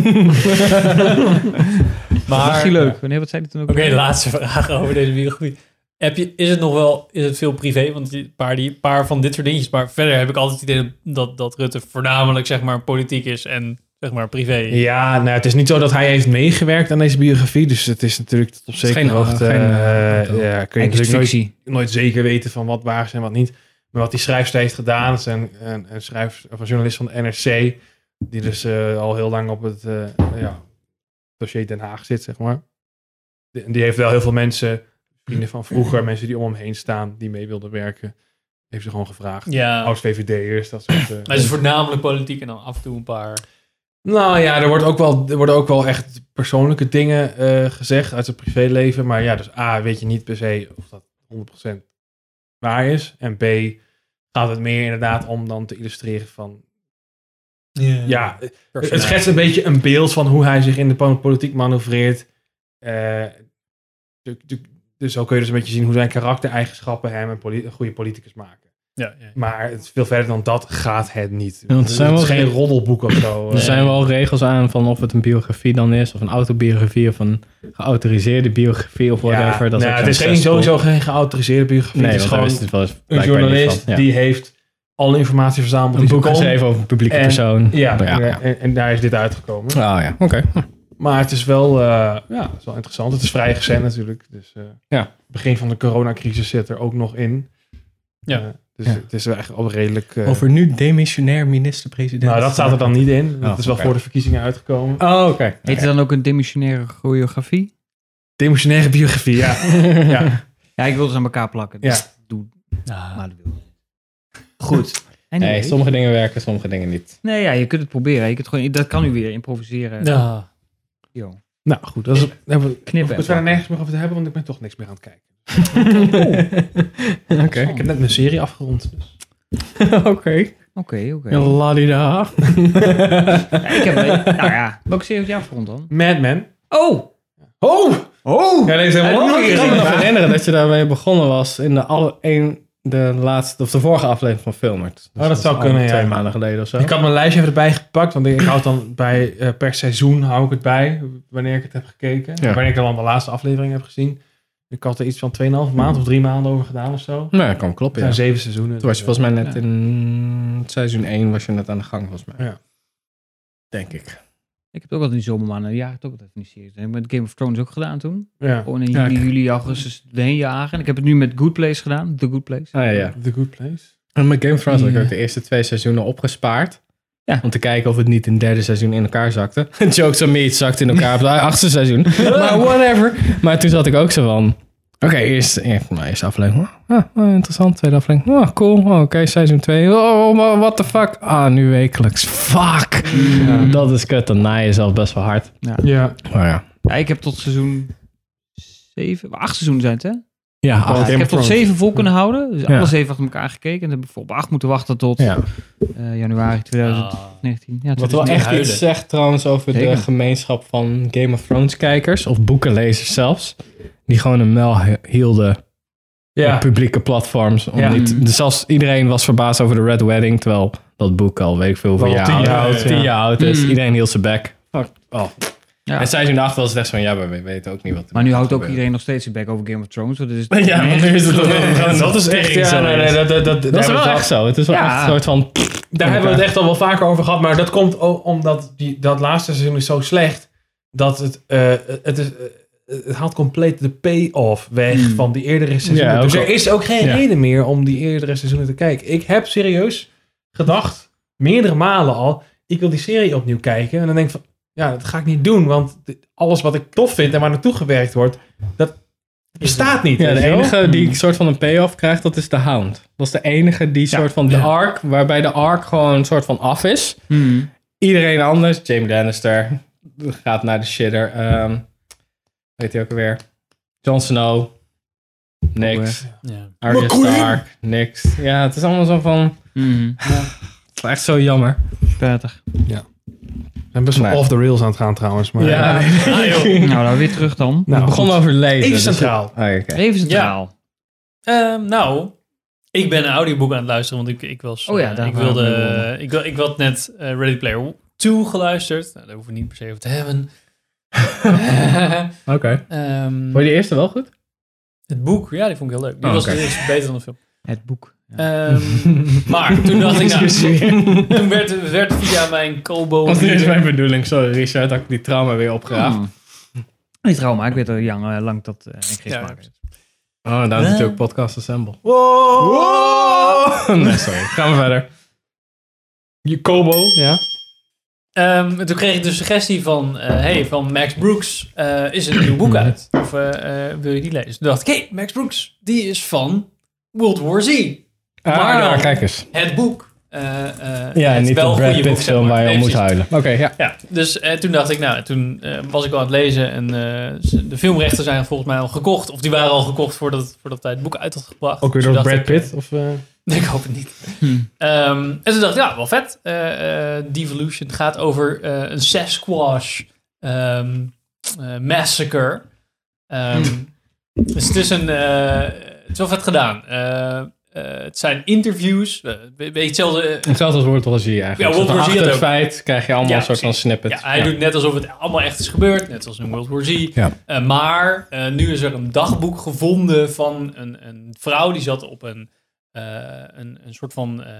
Speaker 2: is
Speaker 7: Maar,
Speaker 2: hij
Speaker 7: oké,
Speaker 2: leuk. Wanneer, wat zei hij toen ook?
Speaker 7: de laatste vraag over deze biografie. Heb je, is het nog wel, is het veel privé? Want die paar, die paar van dit soort dingetjes. Maar verder heb ik altijd het idee dat, dat Rutte voornamelijk zeg maar politiek is en zeg maar privé.
Speaker 3: Ja, nou, het is niet zo dat hij heeft meegewerkt aan deze biografie. Dus het is natuurlijk tot op zekere
Speaker 4: geen-
Speaker 3: hoogte...
Speaker 4: geen,
Speaker 3: eh,
Speaker 4: eh,
Speaker 3: ja, kun je
Speaker 2: Eigenlijk is
Speaker 3: natuurlijk
Speaker 2: het
Speaker 3: dus nooit,
Speaker 2: fictie.
Speaker 3: nooit zeker weten van wat waar is en wat niet. Maar wat die schrijfster heeft gedaan, dat is een, een, een, schrijf, of een journalist van de NRC... die dus eh, al heel lang op het eh, ja, dossier Den Haag zit, zeg maar. Die, die heeft wel heel veel mensen, vrienden van vroeger... mensen die om hem heen staan, die mee wilden werken... heeft ze gewoon gevraagd.
Speaker 7: Ja.
Speaker 3: Oud-VVD'ers, dat soort... eh,
Speaker 7: Maar het is voornamelijk politiek en dan af en toe een paar.
Speaker 3: Nou ja, er, wordt ook wel, er worden ook wel echt persoonlijke dingen eh, gezegd uit het privéleven. Maar ja, dus A, weet je niet per se of dat 100% waar is. En B, gaat het meer inderdaad om dan te illustreren van... Ja, het- het schetst een beetje een beeld van hoe hij zich in de po- politiek manoeuvreert. Eh, du- du- dus zo kun je dus een beetje zien hoe zijn karaktereigenschappen hem een, poli- een goede politicus maken.
Speaker 7: Ja, ja.
Speaker 3: Maar het, veel verder dan dat gaat het niet.
Speaker 4: want er
Speaker 3: het is
Speaker 4: zijn wel
Speaker 3: geen
Speaker 4: geen-
Speaker 3: roddelboek of zo.
Speaker 4: Er
Speaker 3: eh.
Speaker 4: zijn wel regels aan van of het een biografie dan is, of een autobiografie, of een geautoriseerde biografie, of whatever. dat
Speaker 3: nou,
Speaker 4: ook
Speaker 3: het
Speaker 4: zo'n
Speaker 3: is geen,
Speaker 4: zespool.
Speaker 3: sowieso geen geautoriseerde biografie.
Speaker 4: Nee,
Speaker 3: het is
Speaker 4: want daar
Speaker 3: gewoon
Speaker 4: is het wel eens
Speaker 3: een
Speaker 4: blijkbaar niet
Speaker 3: journalist
Speaker 4: van. Ja.
Speaker 3: die heeft alle informatie verzameld.
Speaker 4: een
Speaker 3: die ze
Speaker 4: boek
Speaker 3: kon.
Speaker 4: geschreven over een publieke
Speaker 3: En-
Speaker 4: persoon.
Speaker 3: Ja,
Speaker 4: Maar ja, ja.
Speaker 3: En, en daar is dit uitgekomen.
Speaker 4: Oh ja, oké.
Speaker 3: Maar het is wel, eh, ja, het is wel interessant. Het is vrij recent natuurlijk. Dus eh,
Speaker 4: Ja.
Speaker 3: begin van de coronacrisis zit er ook nog in.
Speaker 7: Ja.
Speaker 3: Eh, dus
Speaker 4: Ja.
Speaker 3: het is eigenlijk al redelijk... eh,
Speaker 4: Over nu demissionair minister-president.
Speaker 3: nou, dat staat er dan niet in. Het
Speaker 4: Oh,
Speaker 3: is wel
Speaker 4: oké.
Speaker 3: voor de verkiezingen uitgekomen.
Speaker 4: Oh, oké.
Speaker 2: Heet het dan ook een demissionaire choreografie?
Speaker 3: Demissionaire biografie,
Speaker 4: [laughs]
Speaker 3: ja. ja.
Speaker 2: Ja, ik wilde ze aan elkaar plakken. dus
Speaker 3: Ja.
Speaker 2: Doe,
Speaker 7: Nou,
Speaker 2: maar dat wil ik. Goed. [laughs] Anyway.
Speaker 4: Nee, sommige dingen werken, sommige dingen niet.
Speaker 2: Nee, ja, je kunt het proberen. Je kunt gewoon, dat kan u weer improviseren.
Speaker 7: ja.
Speaker 2: Yo.
Speaker 3: Nou goed, dat is... daar hebben we-
Speaker 2: Knippen.
Speaker 3: Ik hoef er nergens meer over te hebben, want ik ben toch niks meer aan het kijken. [laughs]
Speaker 4: Oké.
Speaker 3: Ik heb net mijn serie afgerond. Dus.
Speaker 4: Oké.
Speaker 2: Oké, oké.
Speaker 4: Ladida.
Speaker 2: Ja, Ik heb Nou ja, welke serie heb jij afgerond dan?
Speaker 3: Mad Men.
Speaker 2: Oh!
Speaker 3: Oh!
Speaker 2: Oh!
Speaker 3: Ja, deze
Speaker 4: Ik
Speaker 3: hebben we nog
Speaker 4: kan
Speaker 3: gezien.
Speaker 4: me nog herinneren dat je daarmee begonnen was in de, alle, een, de laatste of de vorige aflevering van Filmert. Dus
Speaker 3: Oh, dat
Speaker 4: is
Speaker 3: zou
Speaker 4: al
Speaker 3: kunnen, ja.
Speaker 4: Twee maanden geleden of zo.
Speaker 3: Ik had mijn lijstje even erbij gepakt, want ik houd dan bij, eh, per seizoen hou ik het bij, wanneer ik het heb gekeken.
Speaker 4: Ja.
Speaker 3: Wanneer ik dan de laatste aflevering heb gezien. Ik had er iets van 2,5 maand of 3 maanden over gedaan of zo.
Speaker 4: Nee, dat kan kloppen.
Speaker 3: Er
Speaker 4: Ja.
Speaker 3: zijn zeven seizoenen. dus, eh,
Speaker 4: Toen was je volgens mij net
Speaker 2: Ja.
Speaker 4: in seizoen 1 was je net aan de gang, volgens mij.
Speaker 3: Ja.
Speaker 4: Denk ik.
Speaker 2: Ik heb het ook altijd in de zomermaanden. Ja, ik heb het ook altijd in die series. Ik heb met Game of Thrones ook gedaan toen.
Speaker 3: Ja.
Speaker 2: Gewoon in
Speaker 4: Ja,
Speaker 2: juni,
Speaker 4: ik-
Speaker 2: juli, augustus heen jagen. En ik heb het nu met Good Place gedaan. The Good Place.
Speaker 4: Ah ja, ja.
Speaker 3: The Good Place.
Speaker 4: En met Game of Thrones had ik
Speaker 2: Ja.
Speaker 4: ook de eerste twee seizoenen opgespaard.
Speaker 2: Ja.
Speaker 4: Om te kijken of het niet in het derde seizoen in elkaar zakte. [laughs] Jokes on me, het zakt in elkaar op het achtste
Speaker 2: [laughs]
Speaker 4: seizoen. maar whatever. Maar toen zat ik ook zo van... Oké, eerst, eerst, nou, eerste aflevering. Ah, ah, interessant. Tweede aflevering. Ah, cool. Oh, Oké, seizoen 2. Oh, wa- what the fuck. Ah, nu wekelijks. Fuck.
Speaker 2: Mm.
Speaker 4: Dat is kut. Dan na je zelf best wel hard.
Speaker 3: Ja.
Speaker 4: Maar ja. Oh,
Speaker 2: Ja, ik heb tot seizoen 7, acht seizoenen zijn het hè?
Speaker 1: Ja,
Speaker 2: ik
Speaker 1: acht.
Speaker 2: heb tot zeven vol kunnen houden. Dus
Speaker 1: Ja.
Speaker 2: alles heeft achter elkaar gekeken. En heb ik op acht moeten wachten tot
Speaker 1: Ja.
Speaker 2: eh, januari 2019. Ja,
Speaker 4: Wat wel
Speaker 2: 2019.
Speaker 4: echt
Speaker 2: Huilen.
Speaker 4: iets zegt trouwens over
Speaker 2: Zeker.
Speaker 4: de gemeenschap van Game of Thrones kijkers. Of boekenlezers zelfs. Die gewoon een mel he- hielden
Speaker 3: Ja.
Speaker 4: op publieke platforms. Om
Speaker 3: Ja.
Speaker 4: niet, dus zelfs iedereen was verbaasd over de Red Wedding. Terwijl dat boek al weet ik veel hoeveel
Speaker 3: Wel
Speaker 4: jaar
Speaker 3: tien
Speaker 4: oud
Speaker 3: jaar oud,
Speaker 4: tien
Speaker 3: ja.
Speaker 4: jaar oud is.
Speaker 3: Mm.
Speaker 4: Iedereen hield zijn bek. Fuck. Oh.
Speaker 2: Ja.
Speaker 4: En zij zijn erachter was echt van, ja, maar we weten ook niet wat er
Speaker 2: Maar nu houdt ook
Speaker 4: [laughs] gebeurt.
Speaker 2: iedereen nog steeds zijn bek over Game of Thrones. want het is
Speaker 4: [laughs] Ja, want nu is het
Speaker 2: [laughs]
Speaker 3: dat, is echt... Ja, nee, nee, dat, dat, dat,
Speaker 4: Dat is wel
Speaker 3: daar-
Speaker 4: echt zo. Het is wel
Speaker 3: Ja.
Speaker 4: echt een soort van...
Speaker 3: Daar hebben we het echt al wel vaker over gehad. Maar dat komt ook omdat die, dat laatste seizoen is zo slecht. Dat het, eh, het, is, eh, het haalt compleet de payoff weg
Speaker 2: Hmm.
Speaker 3: van die eerdere seizoenen.
Speaker 2: Ja, ook
Speaker 3: dus er
Speaker 2: al-
Speaker 3: is ook geen
Speaker 2: Ja.
Speaker 3: reden meer om die eerdere seizoenen te kijken. Ik heb serieus gedacht, meerdere malen al, ik wil die serie opnieuw kijken. En dan denk ik van, ja, dat ga ik niet doen. Want dit- alles wat ik tof vind en waar naartoe gewerkt wordt, dat bestaat niet.
Speaker 4: Ja,
Speaker 3: weet
Speaker 4: de
Speaker 3: je wel?
Speaker 4: enige die soort van een payoff krijgt, dat is de Hound. Dat is de enige die soort van de arc, waarbij de arc gewoon een soort van af is.
Speaker 2: Hmm,
Speaker 4: Iedereen anders, Jamie Lannister, gaat naar de shitter. ehm, weet hij ook alweer? Jon Snow, niks.
Speaker 1: Ja.
Speaker 4: Arya
Speaker 1: McQueen.
Speaker 4: Stark, niks. Ja, het is allemaal zo van... Het is echt zo jammer.
Speaker 2: hmm. Prettig.
Speaker 3: Ja. We zijn best wel
Speaker 4: Nee.
Speaker 3: off the rails aan het gaan trouwens.
Speaker 4: [laughs]
Speaker 3: Maar
Speaker 4: Ja. Ah, joh.
Speaker 2: Nou, nou weer terug dan.
Speaker 3: Nou,
Speaker 4: We begonnen
Speaker 3: goed.
Speaker 4: over lezen.
Speaker 3: Even
Speaker 4: dus-
Speaker 3: centraal.
Speaker 4: Oh, oké.
Speaker 2: Even centraal.
Speaker 7: Ehm, nou, ik ben een audioboek aan het luisteren, want ik, ik was...
Speaker 2: Oh ja,
Speaker 7: eh,
Speaker 2: daar
Speaker 7: ik
Speaker 2: waren we
Speaker 7: wilde,
Speaker 2: mee begonnen.
Speaker 7: ik, wil- ik had net eh, Ready Player 2 geluisterd. Nou, daar hoeven we niet per se over te hebben.
Speaker 4: Oké.
Speaker 7: Ehm,
Speaker 4: Vond je de eerste wel goed?
Speaker 7: het boek, ja, die vond ik heel leuk. Die
Speaker 4: Oh,
Speaker 7: was
Speaker 4: oké.
Speaker 7: die is beter dan de film.
Speaker 2: Het boek.
Speaker 7: Ehm,
Speaker 4: [laughs]
Speaker 7: maar toen dacht ik, nou, toen werd, werd via mijn Kobo...
Speaker 4: Want dit is mijn bedoeling. Sorry Richard, dat ik die trauma weer opgraaf.
Speaker 2: [laughs] Hmm. Niet trauma, ik weet al jang- eh, lang dat eh, ik geen
Speaker 7: Ja.
Speaker 2: smaak heb.
Speaker 4: Oh, en daar is
Speaker 7: Eh.
Speaker 4: natuurlijk Podcast Assemble.
Speaker 3: Wow!
Speaker 7: [laughs]
Speaker 4: nee, sorry. Gaan we verder.
Speaker 3: Je Kobo, ja.
Speaker 7: Ehm, en toen kreeg ik de suggestie van, eh, hey, van Max Brooks, eh, is er een nieuw boek uit? Of eh, eh, wil je die lezen? Toen dacht ik, hey, Max Brooks, die is van World War Z. Maar dan
Speaker 4: Ah. eens.
Speaker 7: het boek. eh, eh,
Speaker 4: Ja,
Speaker 7: het
Speaker 4: niet de
Speaker 7: wel goede
Speaker 4: Brad
Speaker 7: boek,
Speaker 4: Pitt
Speaker 7: zeg
Speaker 4: film
Speaker 7: maar.
Speaker 4: waar je
Speaker 7: Nee,
Speaker 4: om moet
Speaker 7: precies.
Speaker 4: huilen. Oké, ja.
Speaker 7: Ja, dus eh, toen dacht ik, nou, toen eh, was ik al aan het lezen en eh, de filmrechten zijn volgens mij al gekocht. Of die waren al gekocht voordat, voordat hij het boek uit had gebracht. Dus
Speaker 3: Ook weer
Speaker 7: Toen
Speaker 3: door
Speaker 7: dacht
Speaker 3: Brad
Speaker 7: ik,
Speaker 3: Pitt? Of, eh,
Speaker 7: Nee, ik hoop het niet.
Speaker 4: Hmm.
Speaker 7: Ehm, en toen dacht ik, ja, wel vet. Eh, eh, Devolution gaat over eh, een Sasquatch ehm, eh, massacre. Ehm,
Speaker 4: Hmm.
Speaker 7: Dus het is een... eh, het is wel vet gedaan. Eh, eh, het zijn interviews. eh, een beetje hetzelfde... eh,
Speaker 4: Hetzelfde als World War Z eigenlijk.
Speaker 7: Ja, World War Z
Speaker 4: Achter
Speaker 7: had
Speaker 4: het
Speaker 7: ook.
Speaker 4: feit krijg je allemaal
Speaker 7: Ja,
Speaker 4: een soort van
Speaker 7: precies.
Speaker 4: snippet.
Speaker 7: ja, hij doet net alsof het allemaal echt is gebeurd. Net als in World War Z.
Speaker 4: Ja.
Speaker 7: Eh, maar eh, nu is er een dagboek gevonden van een, een vrouw die zat op een, eh, een, een soort van eh,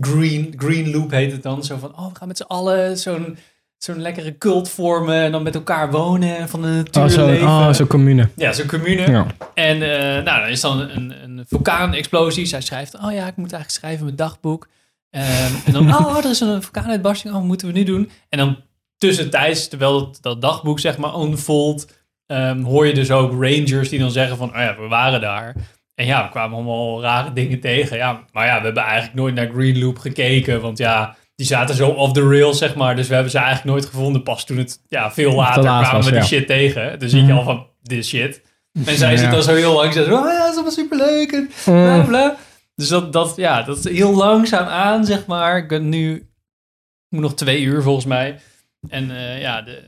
Speaker 7: green, green loop heet het dan. Zo van, oh, we gaan met z'n allen zo'n zo'n lekkere cult vormen en dan met elkaar wonen en van de natuur
Speaker 4: Oh, zo'n
Speaker 7: leven.
Speaker 4: oh, zo'n commune.
Speaker 7: Ja, zo'n commune.
Speaker 4: Ja.
Speaker 7: En eh, nou, dan is dan een, een vulkaanexplosie. Zij schrijft, oh ja, ik moet eigenlijk schrijven in mijn dagboek. Ehm,
Speaker 4: [laughs]
Speaker 7: en dan, oh, er is een vulkaanuitbarsting. Oh, wat moeten we nu doen? En dan tussentijds, terwijl dat, dat dagboek zeg maar unfoldt, ehm, hoor je dus ook rangers die dan zeggen van, oh ja, we waren daar. En ja, we kwamen allemaal rare dingen tegen. Ja, maar ja, we hebben eigenlijk nooit naar Green Loop gekeken, want ja... Die zaten zo off the rails, zeg maar. Dus we hebben ze eigenlijk nooit gevonden. Pas toen het ja, veel later
Speaker 4: laat
Speaker 7: kwamen
Speaker 4: was,
Speaker 7: we die
Speaker 4: ja. Mhm.
Speaker 7: shit tegen. Dus zie je al van, dit is shit. En zij
Speaker 4: Ja. Mhm.
Speaker 7: zit dan zo heel lang. Ze zegt, oh ja, dat is allemaal superleuk. En bla bla. Dus dat, dat, ja, dat is heel langzaam aan, zeg maar. Ik ben nu, ik moet nog twee uur volgens mij. En eh, ja, de,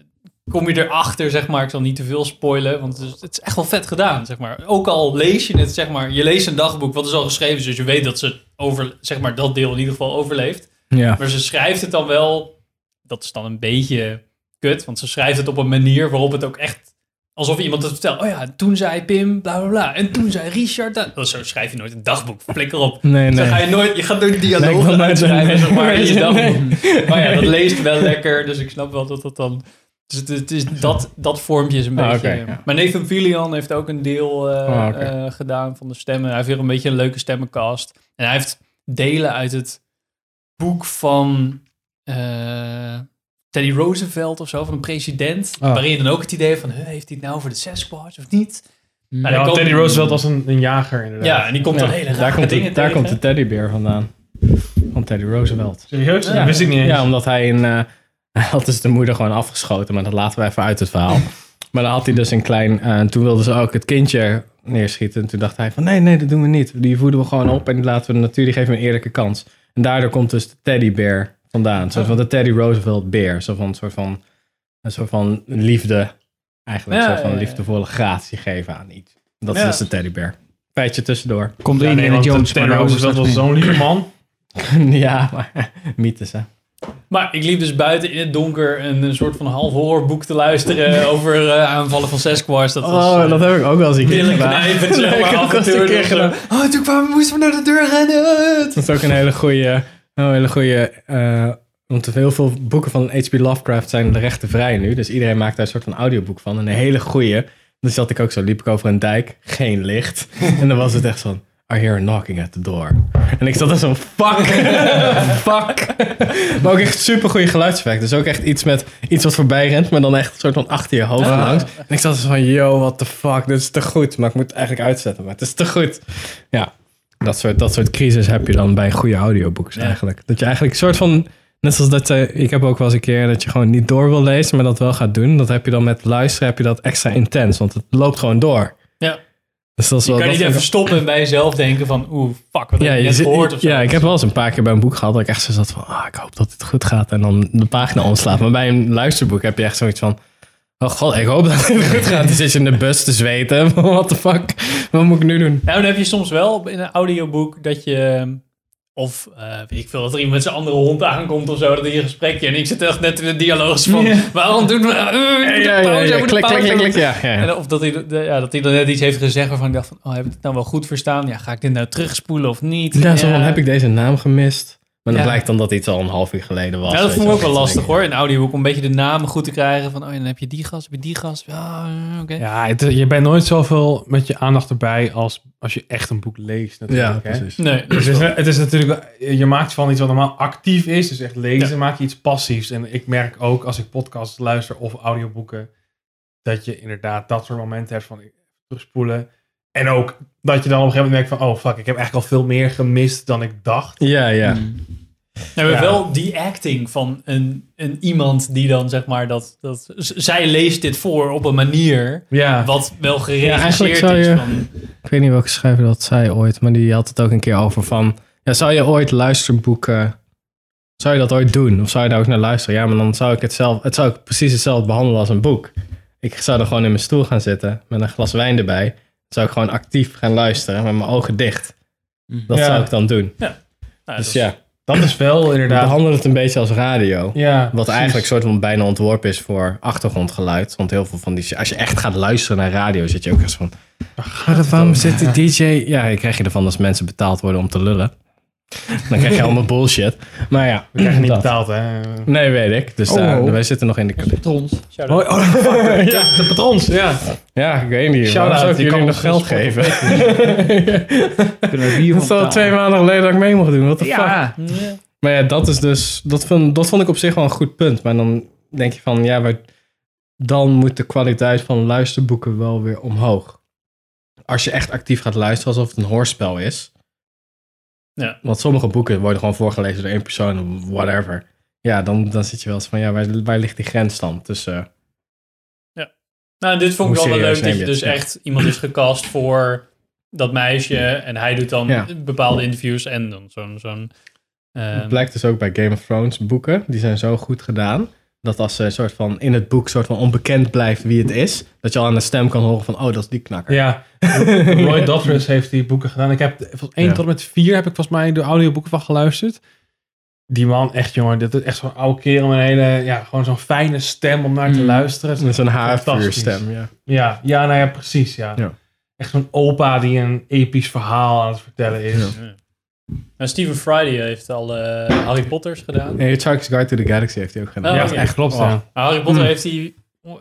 Speaker 7: kom je erachter, zeg maar. Ik zal niet te veel spoilen, want het is, het is echt wel vet gedaan, zeg maar. Ook al lees je het, zeg maar. Je leest een dagboek, wat is al geschreven, dus je weet dat ze over, zeg maar, dat deel in ieder geval overleeft.
Speaker 4: Ja.
Speaker 7: Maar ze schrijft het dan wel. Dat is dan een beetje kut. Want ze schrijft het op een manier waarop het ook echt. Alsof iemand het vertelt. Oh ja, toen zei Pim, bla bla bla. En toen zei Richard. dat. Oh, zo schrijf je nooit een dagboek. Flikker op.
Speaker 4: Nee,
Speaker 7: Zo
Speaker 4: nee.
Speaker 7: ga je, nooit, je gaat
Speaker 4: Nee,
Speaker 7: nooit
Speaker 4: ik
Speaker 7: dialogen
Speaker 4: wil nooit
Speaker 7: uitschrijven.
Speaker 4: een-
Speaker 7: zeg maar, in
Speaker 4: [laughs]
Speaker 7: je
Speaker 4: Nee.
Speaker 7: dagboek. Maar ja, dat
Speaker 4: [laughs]
Speaker 7: leest wel lekker. Dus ik snap wel dat dat dan. Dus het, het is dat, dat vormpje is een
Speaker 4: Ah,
Speaker 7: beetje.
Speaker 4: oké, ja.
Speaker 7: Maar Nathan Fillion heeft ook een deel eh,
Speaker 4: Ah, oké.
Speaker 7: eh, gedaan van de stemmen. Hij heeft weer een beetje een leuke stemmencast. En hij heeft delen uit het boek van eh, Teddy Roosevelt of zo, van een president.
Speaker 3: Ah.
Speaker 7: Waarin je dan ook het idee hebt van, huh, heeft hij het nou voor de Sasquatch of niet? Nou,
Speaker 3: ja,
Speaker 7: dan
Speaker 3: want
Speaker 7: komen-
Speaker 3: Teddy Roosevelt was een, een jager inderdaad.
Speaker 7: Ja, en die komt dan
Speaker 4: Ja,
Speaker 7: hele
Speaker 4: daar
Speaker 7: rare
Speaker 4: komt, de,
Speaker 7: dingen
Speaker 4: daar
Speaker 7: tegen.
Speaker 4: komt de teddybeer vandaan. Van Teddy Roosevelt.
Speaker 3: Serieus? Dat wist ik niet eens.
Speaker 4: Ja, omdat hij in... eh [laughs] had dus de moeder gewoon [laughs] afgeschoten, maar dat laten we even uit het verhaal. maar dan had hij dus een klein... eh, toen wilden ze ook het kindje neerschieten. En toen dacht hij van nee, nee, dat doen we niet. Die voeden we gewoon op en die laten we de natuur, die geven we een eerlijke kans. En daardoor komt dus de teddybeer vandaan. Zoals van de Teddy Roosevelt beer. Zo van, een soort van, een soort van liefde, eigenlijk.
Speaker 7: Ja,
Speaker 4: zo van
Speaker 7: ja, ja.
Speaker 4: liefdevolle gratie geven aan iets. Dat is
Speaker 7: Ja.
Speaker 4: dus de teddybeer. Feitje tussendoor. [laughs]
Speaker 2: Komt erin, Indiana Jones, maar daar
Speaker 3: Roosevelt
Speaker 2: houden
Speaker 3: was
Speaker 2: we
Speaker 3: zo'n lieve man.
Speaker 4: ja, maar [laughs] mythes hè.
Speaker 7: Maar ik liep dus buiten in het donker een, een soort van half horrorboek te
Speaker 4: [laughs]
Speaker 7: luisteren over eh, aanvallen van Sasquatch. Dat was,
Speaker 4: Oh,
Speaker 7: eh,
Speaker 4: dat heb ik ook wel eens een keer
Speaker 7: Billen
Speaker 4: gedaan.
Speaker 7: knijpen, zeg
Speaker 4: heb [laughs]
Speaker 7: maar,
Speaker 4: ik ook
Speaker 7: af en
Speaker 4: wel eens
Speaker 7: toe
Speaker 4: een keer
Speaker 7: of zo.
Speaker 4: gedaan.
Speaker 7: Oh, toen kwamen, moesten we naar de deur rennen.
Speaker 4: Dat is ook een hele goede. Een hele goede eh, want heel veel boeken van H.P. Lovecraft zijn de rechten vrij nu. Dus iedereen maakt daar een soort van audioboek van. En een hele goede. Dus zat ik ook zo, liep ik over een dijk, geen licht. En dan was het echt zo'n. I hear a knocking at the door. En ik zat daar zo'n fuck,
Speaker 7: Dus
Speaker 4: fuck. [laughs] Maar ook echt super goede geluidseffect. Dus ook echt iets met iets wat voorbij rent, maar dan echt een soort van achter je hoofd
Speaker 7: Ah.
Speaker 4: langs. En ik zat zo van, yo, what the fuck, dit is te goed. Maar ik moet het eigenlijk uitzetten, maar het is te goed. Ja, dat soort, dat soort crisis heb je dan bij goede audiobooks eigenlijk. Dat je eigenlijk een soort van, net zoals dat, eh, ik heb ook wel eens een keer dat je gewoon niet door wil lezen, maar dat wel gaat doen. Dat heb je dan met luisteren, heb je dat extra intens, want het loopt gewoon door.
Speaker 7: Ja.
Speaker 4: Dus dat is
Speaker 7: Je
Speaker 4: wel,
Speaker 7: kan
Speaker 4: dat
Speaker 7: niet
Speaker 4: vind ik-
Speaker 7: even stoppen en bij jezelf denken van, oeh, fuck, wat
Speaker 4: ja,
Speaker 7: heb ik
Speaker 4: je
Speaker 7: net
Speaker 4: zit-
Speaker 7: gehoord of zo.
Speaker 4: ja, ik heb wel eens een paar keer bij een boek gehad dat ik echt zo zat van, ah, ik hoop dat het goed gaat en dan de pagina omslaat. Maar bij een luisterboek heb je echt zoiets van, oh god, ik hoop dat het goed gaat. Dan zit je in de bus te zweten, [laughs] what the fuck, wat moet ik nu doen?
Speaker 7: Nou, dan heb je soms wel in een audioboek dat je... Of eh, weet ik veel, dat er iemand met zijn andere hond aankomt of zo, dat je een gesprekje. En ik zit echt net in de dialoog van, waarom doen we... eh, we moeten
Speaker 4: Ja, ja,
Speaker 7: pauze, we
Speaker 4: ja,
Speaker 7: moeten
Speaker 4: klik,
Speaker 7: pauze.
Speaker 4: klik, klik, klik, ja, ja, ja.
Speaker 7: En of dat hij, de- ja, dat hij dan net iets heeft gezegd waarvan ik dacht van, oh, heb ik het nou wel goed verstaan? Ja, ga ik dit nou terugspoelen of niet?
Speaker 4: Ja, zo van, heb ik deze naam gemist? Maar dan
Speaker 7: Ja.
Speaker 4: blijkt dan dat iets al een half uur geleden was.
Speaker 7: Ja, Nou, dat
Speaker 4: weet
Speaker 7: vond ik
Speaker 4: je
Speaker 7: ook wel
Speaker 4: Dan
Speaker 7: lastig
Speaker 4: denk ik,
Speaker 7: hoor, in audioboek, om een beetje de namen goed te krijgen. Van, oh ja, dan heb je die gast, heb je die gast. Ja, eh, oké.
Speaker 3: Ja, het- je bent nooit zoveel met je aandacht erbij als als je echt een boek leest natuurlijk.
Speaker 4: Ja,
Speaker 3: hè?
Speaker 4: precies.
Speaker 7: Nee,
Speaker 3: Dus het, is, het is natuurlijk, wel- je maakt van iets wat normaal actief is, dus echt lezen, maak je iets passiefs. En ik merk ook als ik podcasts luister of audioboeken, dat je inderdaad dat soort momenten hebt van ik- terugspoelen. En ook dat je dan op een gegeven moment merkt van, oh fuck, ik heb eigenlijk al veel meer gemist dan ik dacht.
Speaker 4: Ja, ja. Hmm.
Speaker 7: Ja, maar
Speaker 3: Ja.
Speaker 7: wel die acting van een, een iemand die dan zeg maar dat, dat... z- Zij leest dit voor op een manier
Speaker 3: Ja.
Speaker 7: wat wel
Speaker 4: Ja, eigenlijk
Speaker 7: geregisseerd
Speaker 4: zou
Speaker 7: is.
Speaker 4: je-
Speaker 7: Van,
Speaker 4: Ik weet niet welke schrijver dat zei ooit, maar die had het ook een keer over van... Ja, zou je ooit luisterboeken... Zou je dat ooit doen? Of zou je daar ook naar luisteren? Ja, maar dan zou ik het zelf... Het zou ik precies hetzelfde behandelen als een boek. Ik zou dan gewoon in mijn stoel gaan zitten met een glas wijn erbij. Dan zou ik gewoon actief gaan luisteren met mijn ogen dicht. Dat
Speaker 3: Mm. Ja.
Speaker 4: zou ik dan doen.
Speaker 7: nou,
Speaker 4: Dus
Speaker 7: dat-
Speaker 4: ja,
Speaker 3: Dat is wel inderdaad.
Speaker 4: behandel het een beetje als radio.
Speaker 3: Ja,
Speaker 4: Wat eigenlijk soort van bijna ontworpen is voor achtergrondgeluid. Want heel veel van die... Als je echt gaat luisteren naar radio, zit je ook echt van... waarom zit de [laughs] DJ... Ja, je krijg je ervan als mensen betaald worden om te lullen. Dan krijg je allemaal bullshit. Maar ja,
Speaker 3: we krijgen niet
Speaker 4: dat.
Speaker 3: betaald, hè.
Speaker 4: Nee, weet ik. Dus daar,
Speaker 2: oh.
Speaker 4: wij zitten nog in de...
Speaker 2: Trons. Dus
Speaker 4: oh.
Speaker 3: Ja, de patrons, ja.
Speaker 4: Ja, ik weet niet. Waarom
Speaker 3: Shout-out,
Speaker 4: zou ik
Speaker 3: die
Speaker 4: jullie
Speaker 3: kan
Speaker 4: nog
Speaker 3: ons
Speaker 4: geld
Speaker 3: dus
Speaker 4: geven? [laughs]
Speaker 2: Kunnen we hier
Speaker 4: Dat is al twee maanden geleden dat ik mee mocht doen. Wat de fuck?
Speaker 2: Ja.
Speaker 4: Maar ja, dat is dus. Dat vond, dat vond ik op zich wel een goed punt. Maar dan denk je van ja, maar dan moet de kwaliteit van luisterboeken wel weer omhoog. Als je echt actief gaat luisteren alsof het een hoorspel is.
Speaker 7: Ja.
Speaker 4: Want sommige boeken worden gewoon voorgelezen door één persoon of whatever. Ja, dan, dan zit je wel eens van ja, waar, waar ligt die grens dan tussen.
Speaker 7: Nou, dit vond ik
Speaker 4: Hoe
Speaker 7: wel wel
Speaker 4: serieus
Speaker 7: leuk dat
Speaker 4: neem
Speaker 7: je
Speaker 4: je
Speaker 7: dus
Speaker 4: het? Ja.
Speaker 7: echt iemand is gecast voor dat meisje. En hij doet dan
Speaker 4: Ja.
Speaker 7: bepaalde interviews en dan zo'n... zo'n ehm,
Speaker 4: Het blijkt dus ook bij Game of Thrones boeken. Die zijn zo goed gedaan. Dat als ze een soort van in het boek soort van onbekend blijft wie het is. Dat je al aan de stem kan horen van oh, dat is die knakker. [laughs]
Speaker 3: Ja, Roy Dodgers heeft die boeken gedaan. Ik heb van 1
Speaker 4: Ja.
Speaker 3: tot en met 4 heb ik volgens mij de audioboeken van geluisterd. Die man, echt jongen, dat is echt zo'n oude kerel met een hele, ja, gewoon zo'n fijne stem om naar te
Speaker 7: Mm.
Speaker 3: luisteren.
Speaker 4: Met zo'n
Speaker 3: Fantastisch.
Speaker 4: haarvuurstem. Ja.
Speaker 3: Ja, ja, nou ja, precies, ja.
Speaker 4: Ja.
Speaker 3: Echt zo'n opa die een episch verhaal aan het vertellen is.
Speaker 4: Ja.
Speaker 7: nou, Steven Friday heeft al eh, Harry Potters gedaan.
Speaker 4: Nee, Hitchhiker's Guide to the Galaxy heeft hij ook gedaan.
Speaker 7: Oh,
Speaker 4: ja,
Speaker 7: oké.
Speaker 4: echt klopt.
Speaker 3: Oh.
Speaker 4: Ja.
Speaker 7: Maar Harry
Speaker 4: Hmm.
Speaker 7: Potter heeft die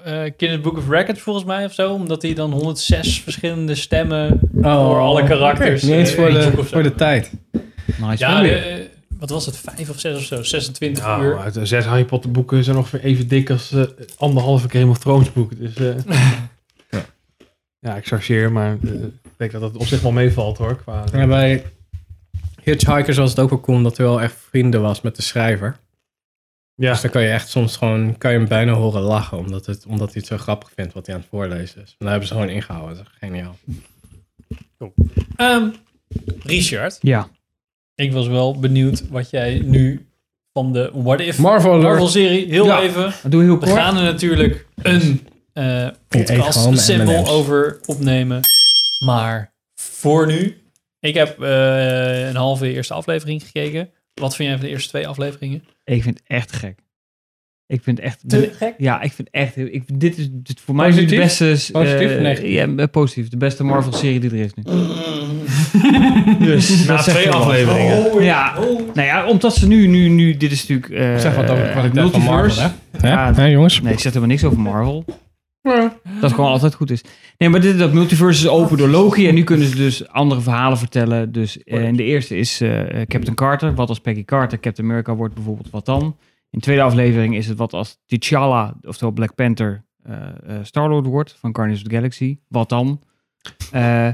Speaker 7: eh Guinness Book of Records volgens mij of zo. Omdat hij dan 106 verschillende stemmen Oh. voor alle karakters.
Speaker 4: Oh, Niet eens
Speaker 7: eh,
Speaker 4: voor
Speaker 7: in het boek
Speaker 4: de,
Speaker 7: of zo.
Speaker 4: voor de tijd.
Speaker 2: Nice.
Speaker 7: Ja,
Speaker 2: Ja,
Speaker 7: eh, wat was het? Vijf of zes of zo? 26 uur.
Speaker 3: Nou, uit de zes Harry Potter boeken zijn ongeveer even dik als eh, anderhalve Game of Thrones boek. Dus eh, [laughs] ja. ik chargeer, maar eh, ik denk dat dat op zich wel meevalt hoor. Qua,
Speaker 4: Ja, bij Hitchhikers was het ook wel cool omdat hij wel echt vrienden was met de schrijver.
Speaker 3: ja.
Speaker 4: Dus dan kan je echt soms gewoon, kan je hem bijna horen lachen, omdat, het, omdat hij het zo grappig vindt wat hij aan het voorlezen is. Maar daar hebben ze gewoon ingehouden. Dat is echt geniaal.
Speaker 1: Ehm, Richard.
Speaker 2: Ja.
Speaker 1: Ik was wel benieuwd wat jij nu van de What If
Speaker 2: Marvel alert.
Speaker 1: serie heel
Speaker 2: Ja,
Speaker 1: even.
Speaker 2: dat doe je heel
Speaker 1: We
Speaker 2: kort.
Speaker 1: gaan er natuurlijk een eh
Speaker 14: eet
Speaker 1: podcast
Speaker 14: gewoon
Speaker 1: een
Speaker 14: mijn
Speaker 1: sample
Speaker 14: M&M's.
Speaker 1: over opnemen. Maar voor nu, ik heb eh, een halve eerste aflevering gekeken. Wat vind jij van de eerste twee afleveringen?
Speaker 2: Ik vind het echt gek. Ik vind het echt...
Speaker 1: Te gek?
Speaker 2: Ja, ik vind het echt... heel- Ik, dit is dit voor mij
Speaker 1: Positief?
Speaker 2: de beste... eh,
Speaker 1: Positief of negatief?
Speaker 2: Ja, eh, positief. De beste Marvel-serie die er is nu. [laughs]
Speaker 1: Dus,
Speaker 2: dus,
Speaker 1: na
Speaker 2: dat zegt
Speaker 1: twee
Speaker 2: wel wat.
Speaker 1: afleveringen. Oh,
Speaker 2: ja,
Speaker 1: oh.
Speaker 2: nou ja, omdat ze nu... nu, nu dit is natuurlijk... eh,
Speaker 4: Zeg wat over de kwaliteit van
Speaker 2: multiverse.
Speaker 4: Marvel, hè? Hè?
Speaker 2: Ja,
Speaker 4: Hè, jongens?
Speaker 2: Nee, ik zeg helemaal niks over Marvel. Dat gewoon altijd goed is. Nee, maar dit, dat multiverse is open door Loki. En nu kunnen ze dus andere verhalen vertellen. Dus eh, in de eerste is eh, Captain Carter. Wat als Peggy Carter Captain America wordt bijvoorbeeld, wat dan? In de tweede aflevering is het wat als T'Challa, oftewel Black Panther, eh eh, Star-Lord wordt van Guardians of the Galaxy. Wat dan? Eh,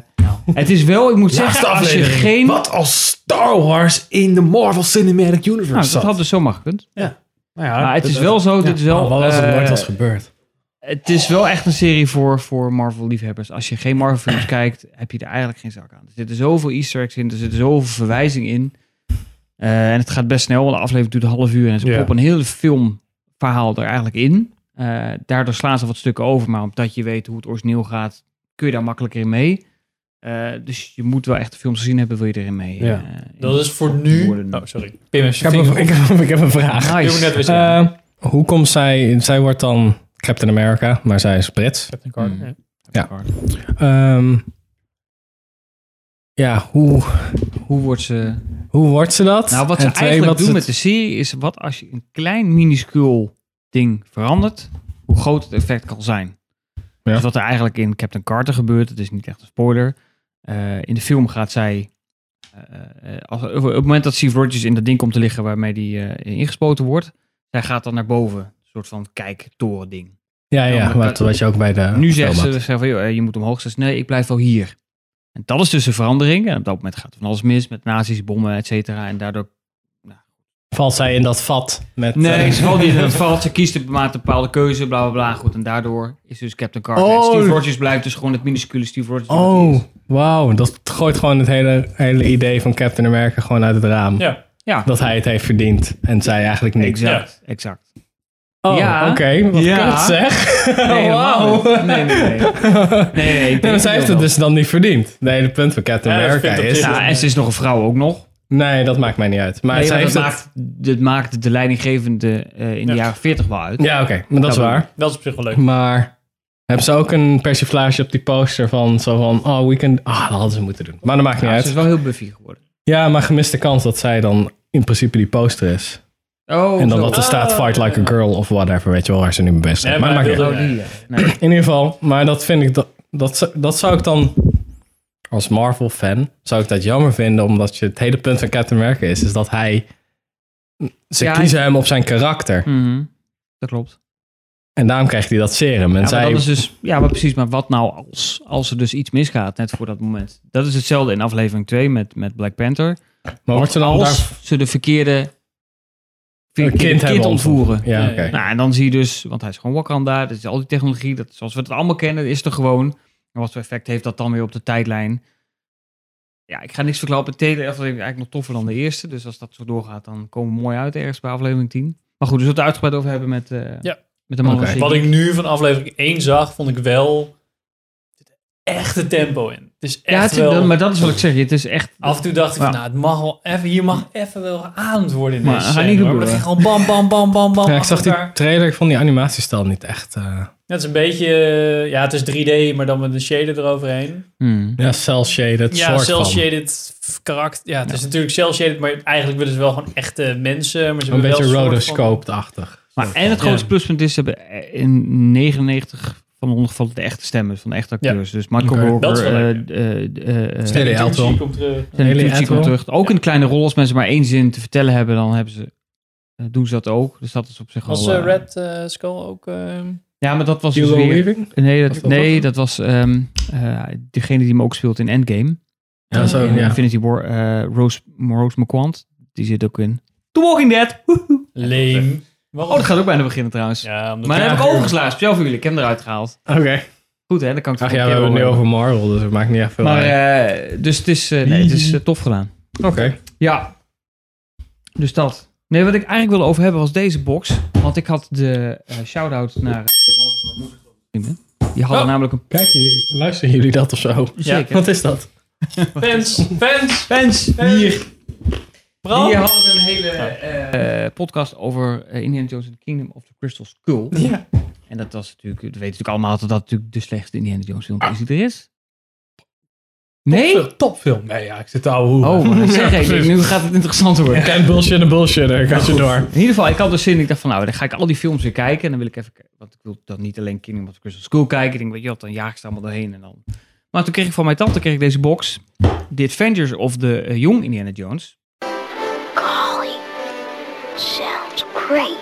Speaker 2: Het is wel, ik moet zeggen, als je geen...
Speaker 3: Wat als Star Wars in de Marvel Cinematic Universe
Speaker 2: Nou, dat
Speaker 3: zat.
Speaker 2: had dus zomaar gekund.
Speaker 3: Ja.
Speaker 2: Nou ja, maar het is wel zo, dit is wel...
Speaker 3: Nou, wat als er
Speaker 2: eh,
Speaker 3: nooit was gebeurd?
Speaker 2: Het is wel echt een serie voor, voor Marvel-liefhebbers. Als je geen Marvel-films kijkt, heb je er eigenlijk geen zak aan. Er zitten zoveel easter eggs in, er zitten zoveel verwijzingen in. Eh, en het gaat best snel, want de aflevering duurt een half uur... en ze
Speaker 14: Ja.
Speaker 2: proppen een heel filmverhaal er eigenlijk in. Eh, daardoor slaan ze wat stukken over, maar omdat je weet hoe het origineel gaat... kun je daar makkelijker in mee. Eh, dus je moet wel echt de films gezien hebben, wil je erin mee.
Speaker 1: Ja.
Speaker 2: eh, in
Speaker 1: Dat is voor nu... Oh, sorry. Pim heeft
Speaker 4: Ik
Speaker 1: zijn
Speaker 4: heb, een,
Speaker 2: [laughs]
Speaker 1: vinger
Speaker 4: ik,
Speaker 1: op.
Speaker 4: heb, ik heb een vraag.
Speaker 1: Nice. Doe me net weer
Speaker 4: Eh, hoe komt zij... Zij wordt dan Captain America, maar zij is Brits.
Speaker 1: Captain Carter,
Speaker 2: Hmm.
Speaker 1: ja.
Speaker 4: Ja. Ehm, ja, hoe...
Speaker 2: Hoe wordt ze...
Speaker 4: Hoe wordt ze dat?
Speaker 2: Nou, wat ze
Speaker 4: En twee,
Speaker 2: eigenlijk
Speaker 4: wat
Speaker 2: doen
Speaker 4: is
Speaker 2: met de
Speaker 4: het-
Speaker 2: serie is wat als je een klein minuscuul ding verandert, hoe groot het effect kan zijn. Dus wat er eigenlijk in Captain Carter gebeurt, dat is niet echt een spoiler. eh, in de film gaat zij, eh, eh, als, op het moment dat Steve Rogers in dat ding komt te liggen waarmee die eh, ingespoten wordt, zij gaat dan naar boven. Een soort van kijktoren ding.
Speaker 4: Ja, ja,
Speaker 2: maar
Speaker 4: wat,
Speaker 2: dat-
Speaker 4: wat je ook bij de...
Speaker 2: Nu
Speaker 4: film
Speaker 2: zeggen ze,
Speaker 4: had.
Speaker 2: ze zeggen van, joh, eh, je moet omhoog. Ze zegt, nee, ik blijf wel hier. En dat is dus een verandering. En op dat moment gaat er van alles mis met nazi's, bommen, et cetera. En daardoor
Speaker 4: Valt zij in dat vat met...
Speaker 2: Nee,
Speaker 4: eh,
Speaker 2: ze [laughs] valt niet in het valt. Ze kiest een bepaald- bepaalde keuze, bla bla bla. Goed, en daardoor is dus Captain Carter. En
Speaker 4: Oh.
Speaker 2: Steve Rogers blijft dus gewoon het minuscule Steve Rogers.
Speaker 4: [laughs] Oh, wauw. Dat gooit gewoon het hele, hele idee van Captain America gewoon uit het raam.
Speaker 1: Ja.
Speaker 2: Ja.
Speaker 4: Dat hij het heeft verdiend en zij eigenlijk niks.
Speaker 2: Exact, exact.
Speaker 4: Oh,
Speaker 2: Ja.
Speaker 4: oké. Wat
Speaker 2: Ja.
Speaker 4: kut zeg.
Speaker 2: Nee, helemaal
Speaker 4: Wauw.
Speaker 2: niet. Nee, nee, nee. Nee, nee, ik
Speaker 4: Nee, maar
Speaker 2: denk
Speaker 4: zij heeft
Speaker 2: wel.
Speaker 4: het dus dan niet verdiend. Het hele punt van Captain
Speaker 2: Ja, dat
Speaker 4: America
Speaker 2: vind ik op
Speaker 4: is...
Speaker 2: zich wel. Ja, en ze is nog een vrouw ook nog.
Speaker 4: Nee, dat maakt mij niet uit. Maar
Speaker 2: Maar, nee,
Speaker 4: zij
Speaker 2: maar dat,
Speaker 4: heeft het...
Speaker 2: maakt, dat maakt de leidinggevende eh, in de jaren 40 wel uit.
Speaker 4: Ja, oké. Maar dat is waar.
Speaker 1: Dat is op zich wel leuk.
Speaker 4: Maar hebben ze ook een persiflage op die poster van zo van... Oh, we can... Ah, dat hadden ze moeten doen. Maar dat maakt niet
Speaker 2: Ja,
Speaker 4: uit.
Speaker 2: ze is wel heel buffy geworden.
Speaker 4: Ja, maar gemiste kans dat zij dan in principe die poster is.
Speaker 2: Oh,
Speaker 4: en dan
Speaker 2: zo.
Speaker 4: dat er staat
Speaker 2: Ah.
Speaker 4: Fight Like a Girl of whatever, weet je wel, waar ze nu mee best zijn.
Speaker 1: Nee,
Speaker 4: maar
Speaker 1: maar
Speaker 4: dat maakt
Speaker 1: hij
Speaker 4: niet
Speaker 1: wilde-
Speaker 4: uit.
Speaker 1: Oh,
Speaker 2: Nee.
Speaker 4: In ieder geval, maar dat vind ik, dat, dat, zou- dat zou ik dan als Marvel-fan, zou ik dat jammer vinden, omdat je, het hele punt van Captain America is, is dat hij, ze
Speaker 2: Ja,
Speaker 4: kiezen hem op zijn karakter.
Speaker 2: Mhm. Dat klopt.
Speaker 4: En daarom krijgt hij dat serum. En
Speaker 2: Ja, maar
Speaker 4: zij,
Speaker 2: dat is dus, ja, maar precies. Maar wat nou als, als er dus iets misgaat net voor dat moment? Dat is hetzelfde in aflevering 2 met, met Black Panther.
Speaker 4: maar wordt ze dan
Speaker 2: als
Speaker 4: daar...
Speaker 2: ze de verkeerde
Speaker 4: Een
Speaker 2: verkeerde
Speaker 4: kind
Speaker 2: kind,
Speaker 4: hebben
Speaker 2: ontvoeren.
Speaker 4: ontvoeren. Ja, oké.
Speaker 2: Nou, en dan zie je dus, want hij is gewoon Wakanda, dus al die technologie, dat, zoals we het allemaal kennen, is er gewoon. En wat voor effect heeft dat dan weer op de tijdlijn? Ja, ik ga niks verklappen. De tweede aflevering is eigenlijk nog toffer dan de eerste. Dus als dat zo doorgaat, dan komen we mooi uit ergens bij aflevering 10. Maar goed, dus we het er uitgebreid over hebben met, eh,
Speaker 1: Ja.
Speaker 2: met de man
Speaker 4: Oké.
Speaker 2: van
Speaker 1: Wat ik nu van aflevering 1 zag, vond ik wel... Er zit echt het tempo in. Het is echt
Speaker 2: Ja, het is-
Speaker 1: wel...
Speaker 2: maar dat is wat ik zeg. Het is echt
Speaker 1: Af en toe dacht ik van,
Speaker 2: Ja.
Speaker 1: nou, het mag wel even, hier mag even wel geademd worden in
Speaker 2: Maar
Speaker 1: deze
Speaker 2: dat gaat
Speaker 1: scène,
Speaker 2: niet
Speaker 1: hoor. Maar dat ging
Speaker 2: gebeuren.
Speaker 1: gewoon bam, bam, bam, bam, bam.
Speaker 4: Ja, ik
Speaker 1: achter
Speaker 4: zag die
Speaker 1: elkaar.
Speaker 4: trailer, ik vond die animatiestijl niet echt... eh,
Speaker 1: Het is een beetje, eh, ja, het is 3D, maar dan met een shader eroverheen.
Speaker 4: ja, cel-shaded
Speaker 1: ja,
Speaker 4: soort van.
Speaker 1: cel-shaded f- karakter. Ja, het is natuurlijk cel-shaded, maar eigenlijk willen ze wel gewoon echte mensen. Maar ze hebben
Speaker 4: Een
Speaker 1: wel
Speaker 4: beetje
Speaker 1: soort van-
Speaker 4: rotoscoped-achtig.
Speaker 2: Maar, en het grootste pluspunt is, ze hebben in 99 van de 100 gevallen de echte stemmen van de echte acteurs. Dus Michael
Speaker 4: Oké.
Speaker 1: Dat is
Speaker 2: Walker,
Speaker 1: wel
Speaker 2: eh
Speaker 1: lekker.
Speaker 2: eh, eh, eh,
Speaker 4: Stanley
Speaker 2: Stanley
Speaker 4: Elton.
Speaker 1: komt terug.
Speaker 4: Stanley
Speaker 2: Tucci
Speaker 4: Elton.
Speaker 2: komt terug. Ook in kleine rol, als mensen maar één zin te vertellen hebben, dan hebben ze, eh, doen ze dat ook. Dus dat is op zich
Speaker 1: Was
Speaker 2: al...
Speaker 1: eh,
Speaker 2: eh,
Speaker 1: Red eh, Skull ook... eh,
Speaker 2: Ja, maar dat was dus
Speaker 4: Hugo
Speaker 2: weer...
Speaker 4: Weaving?
Speaker 2: Nee, dat,
Speaker 4: Was dat
Speaker 2: nee,
Speaker 4: dat?
Speaker 2: dat was ehm, eh, degene die hem ook speelt in Endgame.
Speaker 4: Ja, zo,
Speaker 2: In
Speaker 4: ja.
Speaker 2: Infinity War. eh, Rose, Rose McQuant, die zit ook in The Walking Dead. Woehoe.
Speaker 1: Leem.
Speaker 2: Oh, dat gaat ook bijna beginnen trouwens.
Speaker 1: Ja, omdat
Speaker 2: Maar
Speaker 1: ja,
Speaker 2: dat heb ik overgeslagen. Speciaal voor jullie. Ik heb hem eruit gehaald.
Speaker 4: Oké.
Speaker 2: Goed hè, dat kan ik
Speaker 4: Ach
Speaker 2: toch
Speaker 4: ja,
Speaker 2: een
Speaker 4: we
Speaker 2: keer
Speaker 4: hebben het nu
Speaker 2: horen.
Speaker 4: over Marvel, dus het maakt niet echt veel
Speaker 2: Maar,
Speaker 4: uit.
Speaker 2: eh, dus het is, eh, nee, het is eh, tof gedaan.
Speaker 4: Oké.
Speaker 2: Ja. Dus dat. Nee, wat ik eigenlijk wilde over hebben was deze box. Want ik had de eh, shout-out naar...
Speaker 4: Oh.
Speaker 2: Die hadden namelijk een...
Speaker 4: Kijk, luisteren jullie dat of zo?
Speaker 2: Zeker.
Speaker 4: Wat is dat?
Speaker 7: Fans, fans,
Speaker 2: fans, hier.
Speaker 7: Bram.
Speaker 2: Die hadden een hele eh, podcast over eh, Indiana Jones and the Kingdom of the Crystal Skull.
Speaker 7: Ja.
Speaker 2: En dat was natuurlijk, we weten natuurlijk allemaal dat dat natuurlijk de slechtste Indiana Jones film is die er is. Nee?
Speaker 3: Topfilm. topfilm. Nee, ja, ik zit te ouwe hoeren.
Speaker 2: Oh, maar dat zeg
Speaker 3: Ja,
Speaker 2: ik.
Speaker 3: precies.
Speaker 2: Nu gaat het interessant worden.
Speaker 4: Ken bullshit en bullshit, ik had je door.
Speaker 2: In ieder geval, ik had dus zin. Ik dacht van, nou, dan ga ik al die films weer kijken. En dan wil ik even... kijken, Want ik wil dan niet alleen Kingdom of the Crystal Skull kijken. Ik denk, weet je wat, dan jaag ik ze allemaal doorheen. En dan... Maar toen kreeg ik van mijn tante kreeg ik deze box. The Adventures of the eh, Young Indiana Jones.
Speaker 14: Golly, sounds great.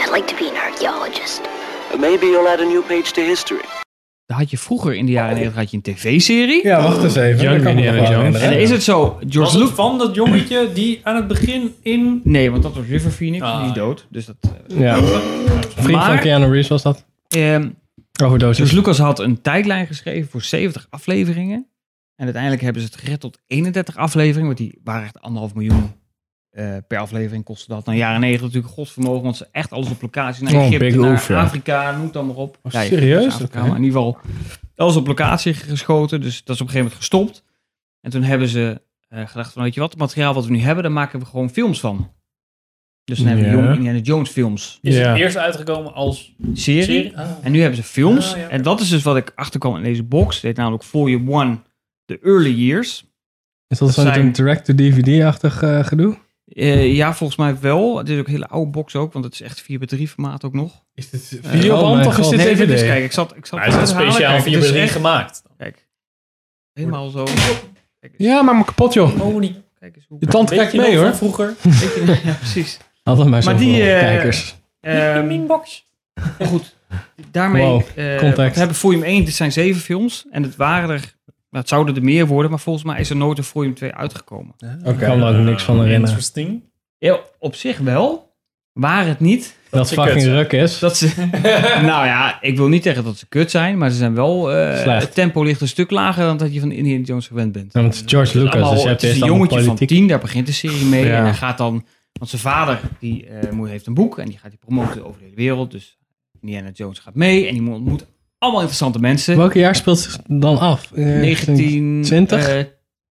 Speaker 14: I'd like to be an archaeologist.
Speaker 13: Maybe you'll add a new page to history.
Speaker 2: Daar had je vroeger in de jaren
Speaker 7: Oh.
Speaker 2: 90 had je een tv-serie.
Speaker 4: Ja, wacht eens even.
Speaker 2: Young
Speaker 4: Dat kan
Speaker 2: Indiana
Speaker 4: nog wel,
Speaker 2: Jones. En
Speaker 4: inderdaad.
Speaker 2: is het zo,
Speaker 7: Was
Speaker 2: George
Speaker 7: het
Speaker 2: Lucas...
Speaker 7: van dat jongetje die aan het begin in...
Speaker 2: Nee, want dat was River Phoenix.
Speaker 7: Ah.
Speaker 2: en die is dood. Dus dat... eh,
Speaker 4: Ja. Vriend van
Speaker 2: Maar-
Speaker 4: Keanu Reeves was dat.
Speaker 2: ehm,
Speaker 4: Overdosis.
Speaker 2: Dus Lucas had een tijdlijn geschreven voor 70 afleveringen. En uiteindelijk hebben ze het gered tot 31 afleveringen. Want die waren echt anderhalf miljoen eh, per aflevering kostte dat. Nou, jaren 90 natuurlijk godsvermogen. Want ze echt alles op locatie. Naar
Speaker 4: Oh,
Speaker 2: Egypte,
Speaker 4: big
Speaker 2: naar
Speaker 4: oof, ja.
Speaker 2: Afrika, noem het dan maar op.
Speaker 3: Oh,
Speaker 2: Ja,
Speaker 3: serieus?
Speaker 2: dus Afrika,
Speaker 3: Oké.
Speaker 2: maar in ieder geval alles op locatie geschoten. Dus dat is op een gegeven moment gestopt. En toen hebben ze eh, gedacht van, weet je wat, het materiaal wat we nu hebben, daar maken we gewoon films van. Dus dan hebben we
Speaker 4: Ja.
Speaker 2: Young Indiana Jones films.
Speaker 7: Is
Speaker 4: Ja.
Speaker 7: het eerst uitgekomen als
Speaker 2: Serie.
Speaker 7: serie? Ah.
Speaker 2: En nu hebben ze films.
Speaker 7: Ah, ja.
Speaker 2: En dat is dus wat ik achterkwam in deze box. Dit namelijk Volume 1, The Early Years.
Speaker 4: Is dat
Speaker 2: dat
Speaker 4: zo'n
Speaker 2: zijn-
Speaker 4: direct-to-DVD-achtig eh, gedoe?
Speaker 2: Eh, ja, volgens mij wel. Dit is ook een hele oude box ook, want het is echt 4x3 formaat ook nog.
Speaker 3: Is dit
Speaker 2: Eh,
Speaker 4: oh
Speaker 3: videoband
Speaker 4: mijn
Speaker 3: of is
Speaker 4: god.
Speaker 3: dit
Speaker 2: nee,
Speaker 3: DVD?
Speaker 2: dit is, kijk, ik zat... Ik zat
Speaker 7: Hij dus is het
Speaker 2: het halen.
Speaker 7: speciaal
Speaker 2: Kijk,
Speaker 7: voor
Speaker 2: het is
Speaker 7: je
Speaker 2: echt-
Speaker 7: gemaakt.
Speaker 2: Kijk, helemaal zo.
Speaker 3: Ja, maar maar kapot joh.
Speaker 7: Holy.
Speaker 2: Kijk eens hoe...
Speaker 3: Je tand
Speaker 7: Weet
Speaker 3: kijkt
Speaker 7: je nog
Speaker 3: mee
Speaker 7: van
Speaker 3: hoor.
Speaker 7: vroeger?
Speaker 2: Weet je- ja, precies.
Speaker 4: Altijd maar
Speaker 2: Maar
Speaker 4: zoveel
Speaker 2: die, eh,
Speaker 4: kijkers.
Speaker 2: Ehm,
Speaker 7: Minbox.
Speaker 2: Maar goed, daarmee
Speaker 4: Wow,
Speaker 2: eh,
Speaker 4: context.
Speaker 2: we hebben volume 1, dit zijn zeven films. En het waren er, nou, het zouden er meer worden, maar volgens mij is er nooit een volume 2 uitgekomen.
Speaker 4: Oké. Ik kan me ook niks van herinneren.
Speaker 7: Interesting.
Speaker 2: Ja, op zich wel. Waar het niet.
Speaker 4: Dat
Speaker 7: ze
Speaker 4: fucking
Speaker 7: kut zijn.
Speaker 4: ruk is.
Speaker 2: Dat ze, [laughs] nou ja, ik wil niet zeggen dat ze kut zijn, maar ze zijn wel... eh,
Speaker 4: Slecht.
Speaker 2: het tempo ligt een stuk lager dan dat je van Indiana Jones gewend bent.
Speaker 4: Ja, want het is George
Speaker 2: Het
Speaker 4: Lucas,
Speaker 2: is
Speaker 4: dus je
Speaker 2: allemaal-
Speaker 4: hebt
Speaker 2: het is
Speaker 4: eerst
Speaker 2: een
Speaker 4: allemaal
Speaker 2: jongetje van
Speaker 4: politiek.
Speaker 2: tien, daar begint de serie mee.
Speaker 4: Ja.
Speaker 2: En hij gaat dan, want zijn vader die, eh, moet- heeft een boek en die gaat die promoten over de hele wereld. Dus Indiana Jones gaat mee en die ontmoet allemaal interessante mensen.
Speaker 4: Welke jaar speelt zich dan af? Eh, 1920?
Speaker 2: 1910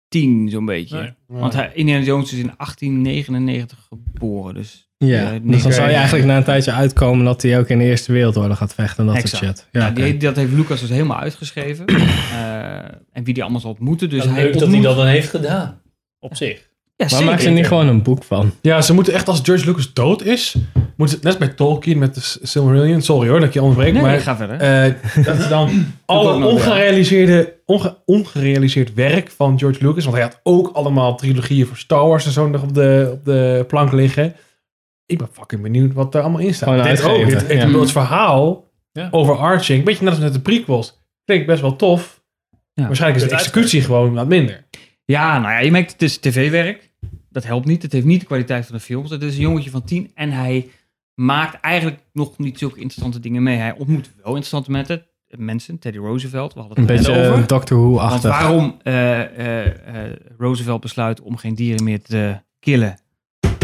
Speaker 2: 10 eh, zo'n beetje.
Speaker 7: Nee.
Speaker 2: Want hij, Indiana Jones is in 1899 geboren. Dus
Speaker 4: ja,
Speaker 2: eh,
Speaker 4: dus dan zou je
Speaker 2: Nick-
Speaker 4: eigenlijk na een tijdje uitkomen dat hij ook in de Eerste Wereldoorlog gaat vechten en dat soort
Speaker 2: Exact.
Speaker 4: shit. Ja,
Speaker 2: Nou, die-
Speaker 4: oké.
Speaker 2: dat heeft Lucas dus helemaal uitgeschreven.
Speaker 4: [clears throat]
Speaker 2: Eh, en wie die allemaal zal ontmoeten. Dus
Speaker 7: Wat
Speaker 2: hij
Speaker 7: leuk dat hij
Speaker 2: ontmoet-
Speaker 7: dat dan heeft gedaan. Op zich.
Speaker 2: Ja,
Speaker 4: Maar
Speaker 2: zeker.
Speaker 4: maakt ze er niet gewoon een boek van?
Speaker 3: Ja, ze moeten echt als George Lucas dood is, moeten ze net als bij Tolkien met de S- Silmarillion. Sorry hoor dat ik je onderbreekt,
Speaker 2: Nee,
Speaker 3: maar
Speaker 2: ga verder.
Speaker 3: eh, dat ze
Speaker 2: [clears throat]
Speaker 3: dan
Speaker 2: ook
Speaker 3: alle
Speaker 2: nog, ja.
Speaker 3: ongerealiseerde, onge- ongerealiseerd werk van George Lucas, want hij had ook allemaal trilogieën voor Star Wars en zo nog op de, op de plank liggen. Ik ben fucking benieuwd wat er allemaal in
Speaker 4: Gewoon
Speaker 3: staat. Dit ook.
Speaker 4: uitgeven,
Speaker 3: Dit, ik
Speaker 4: ja.
Speaker 3: bedoel, het verhaal
Speaker 7: Ja.
Speaker 3: overarching, beetje net als met de prequels, klinkt best wel tof.
Speaker 2: Ja.
Speaker 3: Waarschijnlijk is de executie gewoon wat minder.
Speaker 2: Ja, nou ja, je merkt het is tv-werk. Dat helpt niet. Het heeft niet de kwaliteit van de films. Het is een jongetje van tien en hij maakt eigenlijk nog niet zulke interessante dingen mee. Hij ontmoet wel interessante mensen. mensen Teddy Roosevelt, we hadden
Speaker 4: Een
Speaker 2: het er net
Speaker 4: beetje
Speaker 2: over.
Speaker 4: eh, Doctor
Speaker 2: Want
Speaker 4: Who-achtig.
Speaker 2: waarom eh, eh, eh, Roosevelt besluit om geen dieren meer te killen.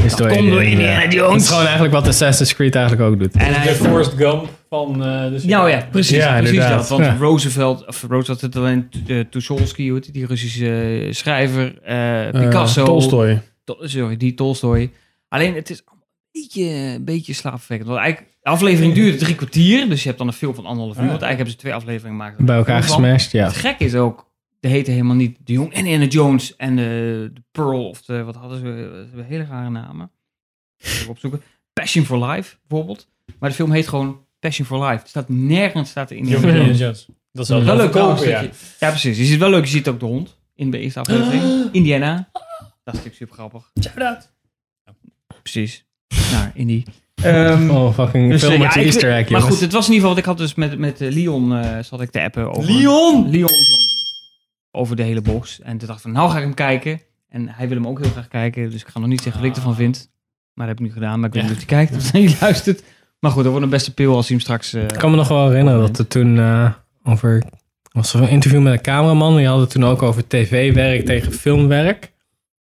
Speaker 4: Is
Speaker 2: dat komt door Indiana Jones.
Speaker 4: Dat eh, is gewoon eigenlijk wat Assassin's Creed eigenlijk ook doet.
Speaker 2: En
Speaker 7: De
Speaker 2: hij...
Speaker 7: Forrest Gump van eh, de serie.
Speaker 2: Nou ja, precies,
Speaker 3: Ja,
Speaker 2: precies
Speaker 3: inderdaad.
Speaker 2: dat. Want
Speaker 4: Ja.
Speaker 2: Roosevelt, of Roosevelt het alleen eh, Tucholsky, hoe heet die, die Russische eh, schrijver, eh,
Speaker 3: Eh,
Speaker 2: Picasso.
Speaker 3: Tolstoy.
Speaker 2: Tol- sorry, die Tolstoy. Alleen het is een beetje, een beetje slaapverwekkend. Want eigenlijk, de aflevering duurde drie kwartier. Dus je hebt dan een film van anderhalf uur. Want eigenlijk hebben ze twee afleveringen gemaakt.
Speaker 4: Bij elkaar
Speaker 2: Van-
Speaker 4: gesmashed, ja.
Speaker 2: Het gek is ook, de heten helemaal niet De Jong en Anna Jones en eh, de Pearl. Of de, wat hadden ze? Ze hebben hele rare namen. Even opzoeken. Passion for Life bijvoorbeeld. Maar de film heet gewoon Passion for Life. Het staat nergens staat er in.
Speaker 7: Jongen,
Speaker 2: Ja,
Speaker 7: Indiana Jones. Dat is wel,
Speaker 2: wel
Speaker 7: wel
Speaker 2: leuk
Speaker 7: verkopen,
Speaker 2: ook. dat
Speaker 7: ja.
Speaker 2: je- Ja, precies. Je ziet wel leuk. Je ziet ook de hond in de eerste aflevering. Indiana. Dat is natuurlijk super grappig.
Speaker 7: Shout-out.
Speaker 2: Precies. Nou, in die.
Speaker 4: oh, fucking
Speaker 2: dus,
Speaker 4: veel
Speaker 2: eh,
Speaker 4: met
Speaker 2: ja,
Speaker 4: je
Speaker 2: ik-
Speaker 4: easter egg,
Speaker 2: Maar
Speaker 4: jongens.
Speaker 2: goed, het was in ieder geval wat ik had dus met, met eh, Leon eh, zat ik te appen over.
Speaker 7: Leon!
Speaker 2: Leon van- over de hele box. En toen dacht ik van, nou ga ik hem kijken. En hij wil hem ook heel graag kijken. Dus ik ga nog niet zeggen wat ik ervan vind. Maar dat heb ik nu gedaan. Maar ik weet
Speaker 7: Ja.
Speaker 2: niet of hij [laughs] kijkt of hij luistert. Maar goed, dat wordt een beste pil als hij hem straks... eh,
Speaker 4: Ik kan me nog wel herinneren dat er toen eh, over. Was er een interview met een cameraman? Die hadden het toen ook over tv-werk tegen filmwerk.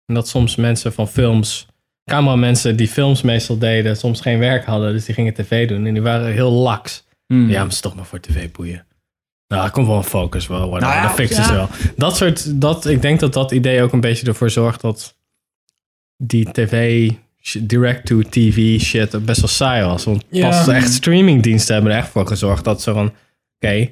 Speaker 4: En dat soms mensen van films, cameramensen die films meestal deden, soms geen werk hadden. Dus die gingen tv doen en die waren heel laks.
Speaker 2: Hmm.
Speaker 4: Ja, maar het is toch maar voor tv boeien. Nou, er komt wel een focus wel. worden.
Speaker 2: Nou ja,
Speaker 4: dat fixen ze
Speaker 2: ja.
Speaker 4: wel. Dat soort, dat, ik denk dat dat idee ook een beetje ervoor zorgt dat die tv, sh- direct-to-tv shit best wel saai was. Want
Speaker 2: Ja.
Speaker 4: pas de echt streamingdiensten hebben er echt voor gezorgd dat ze van, oké,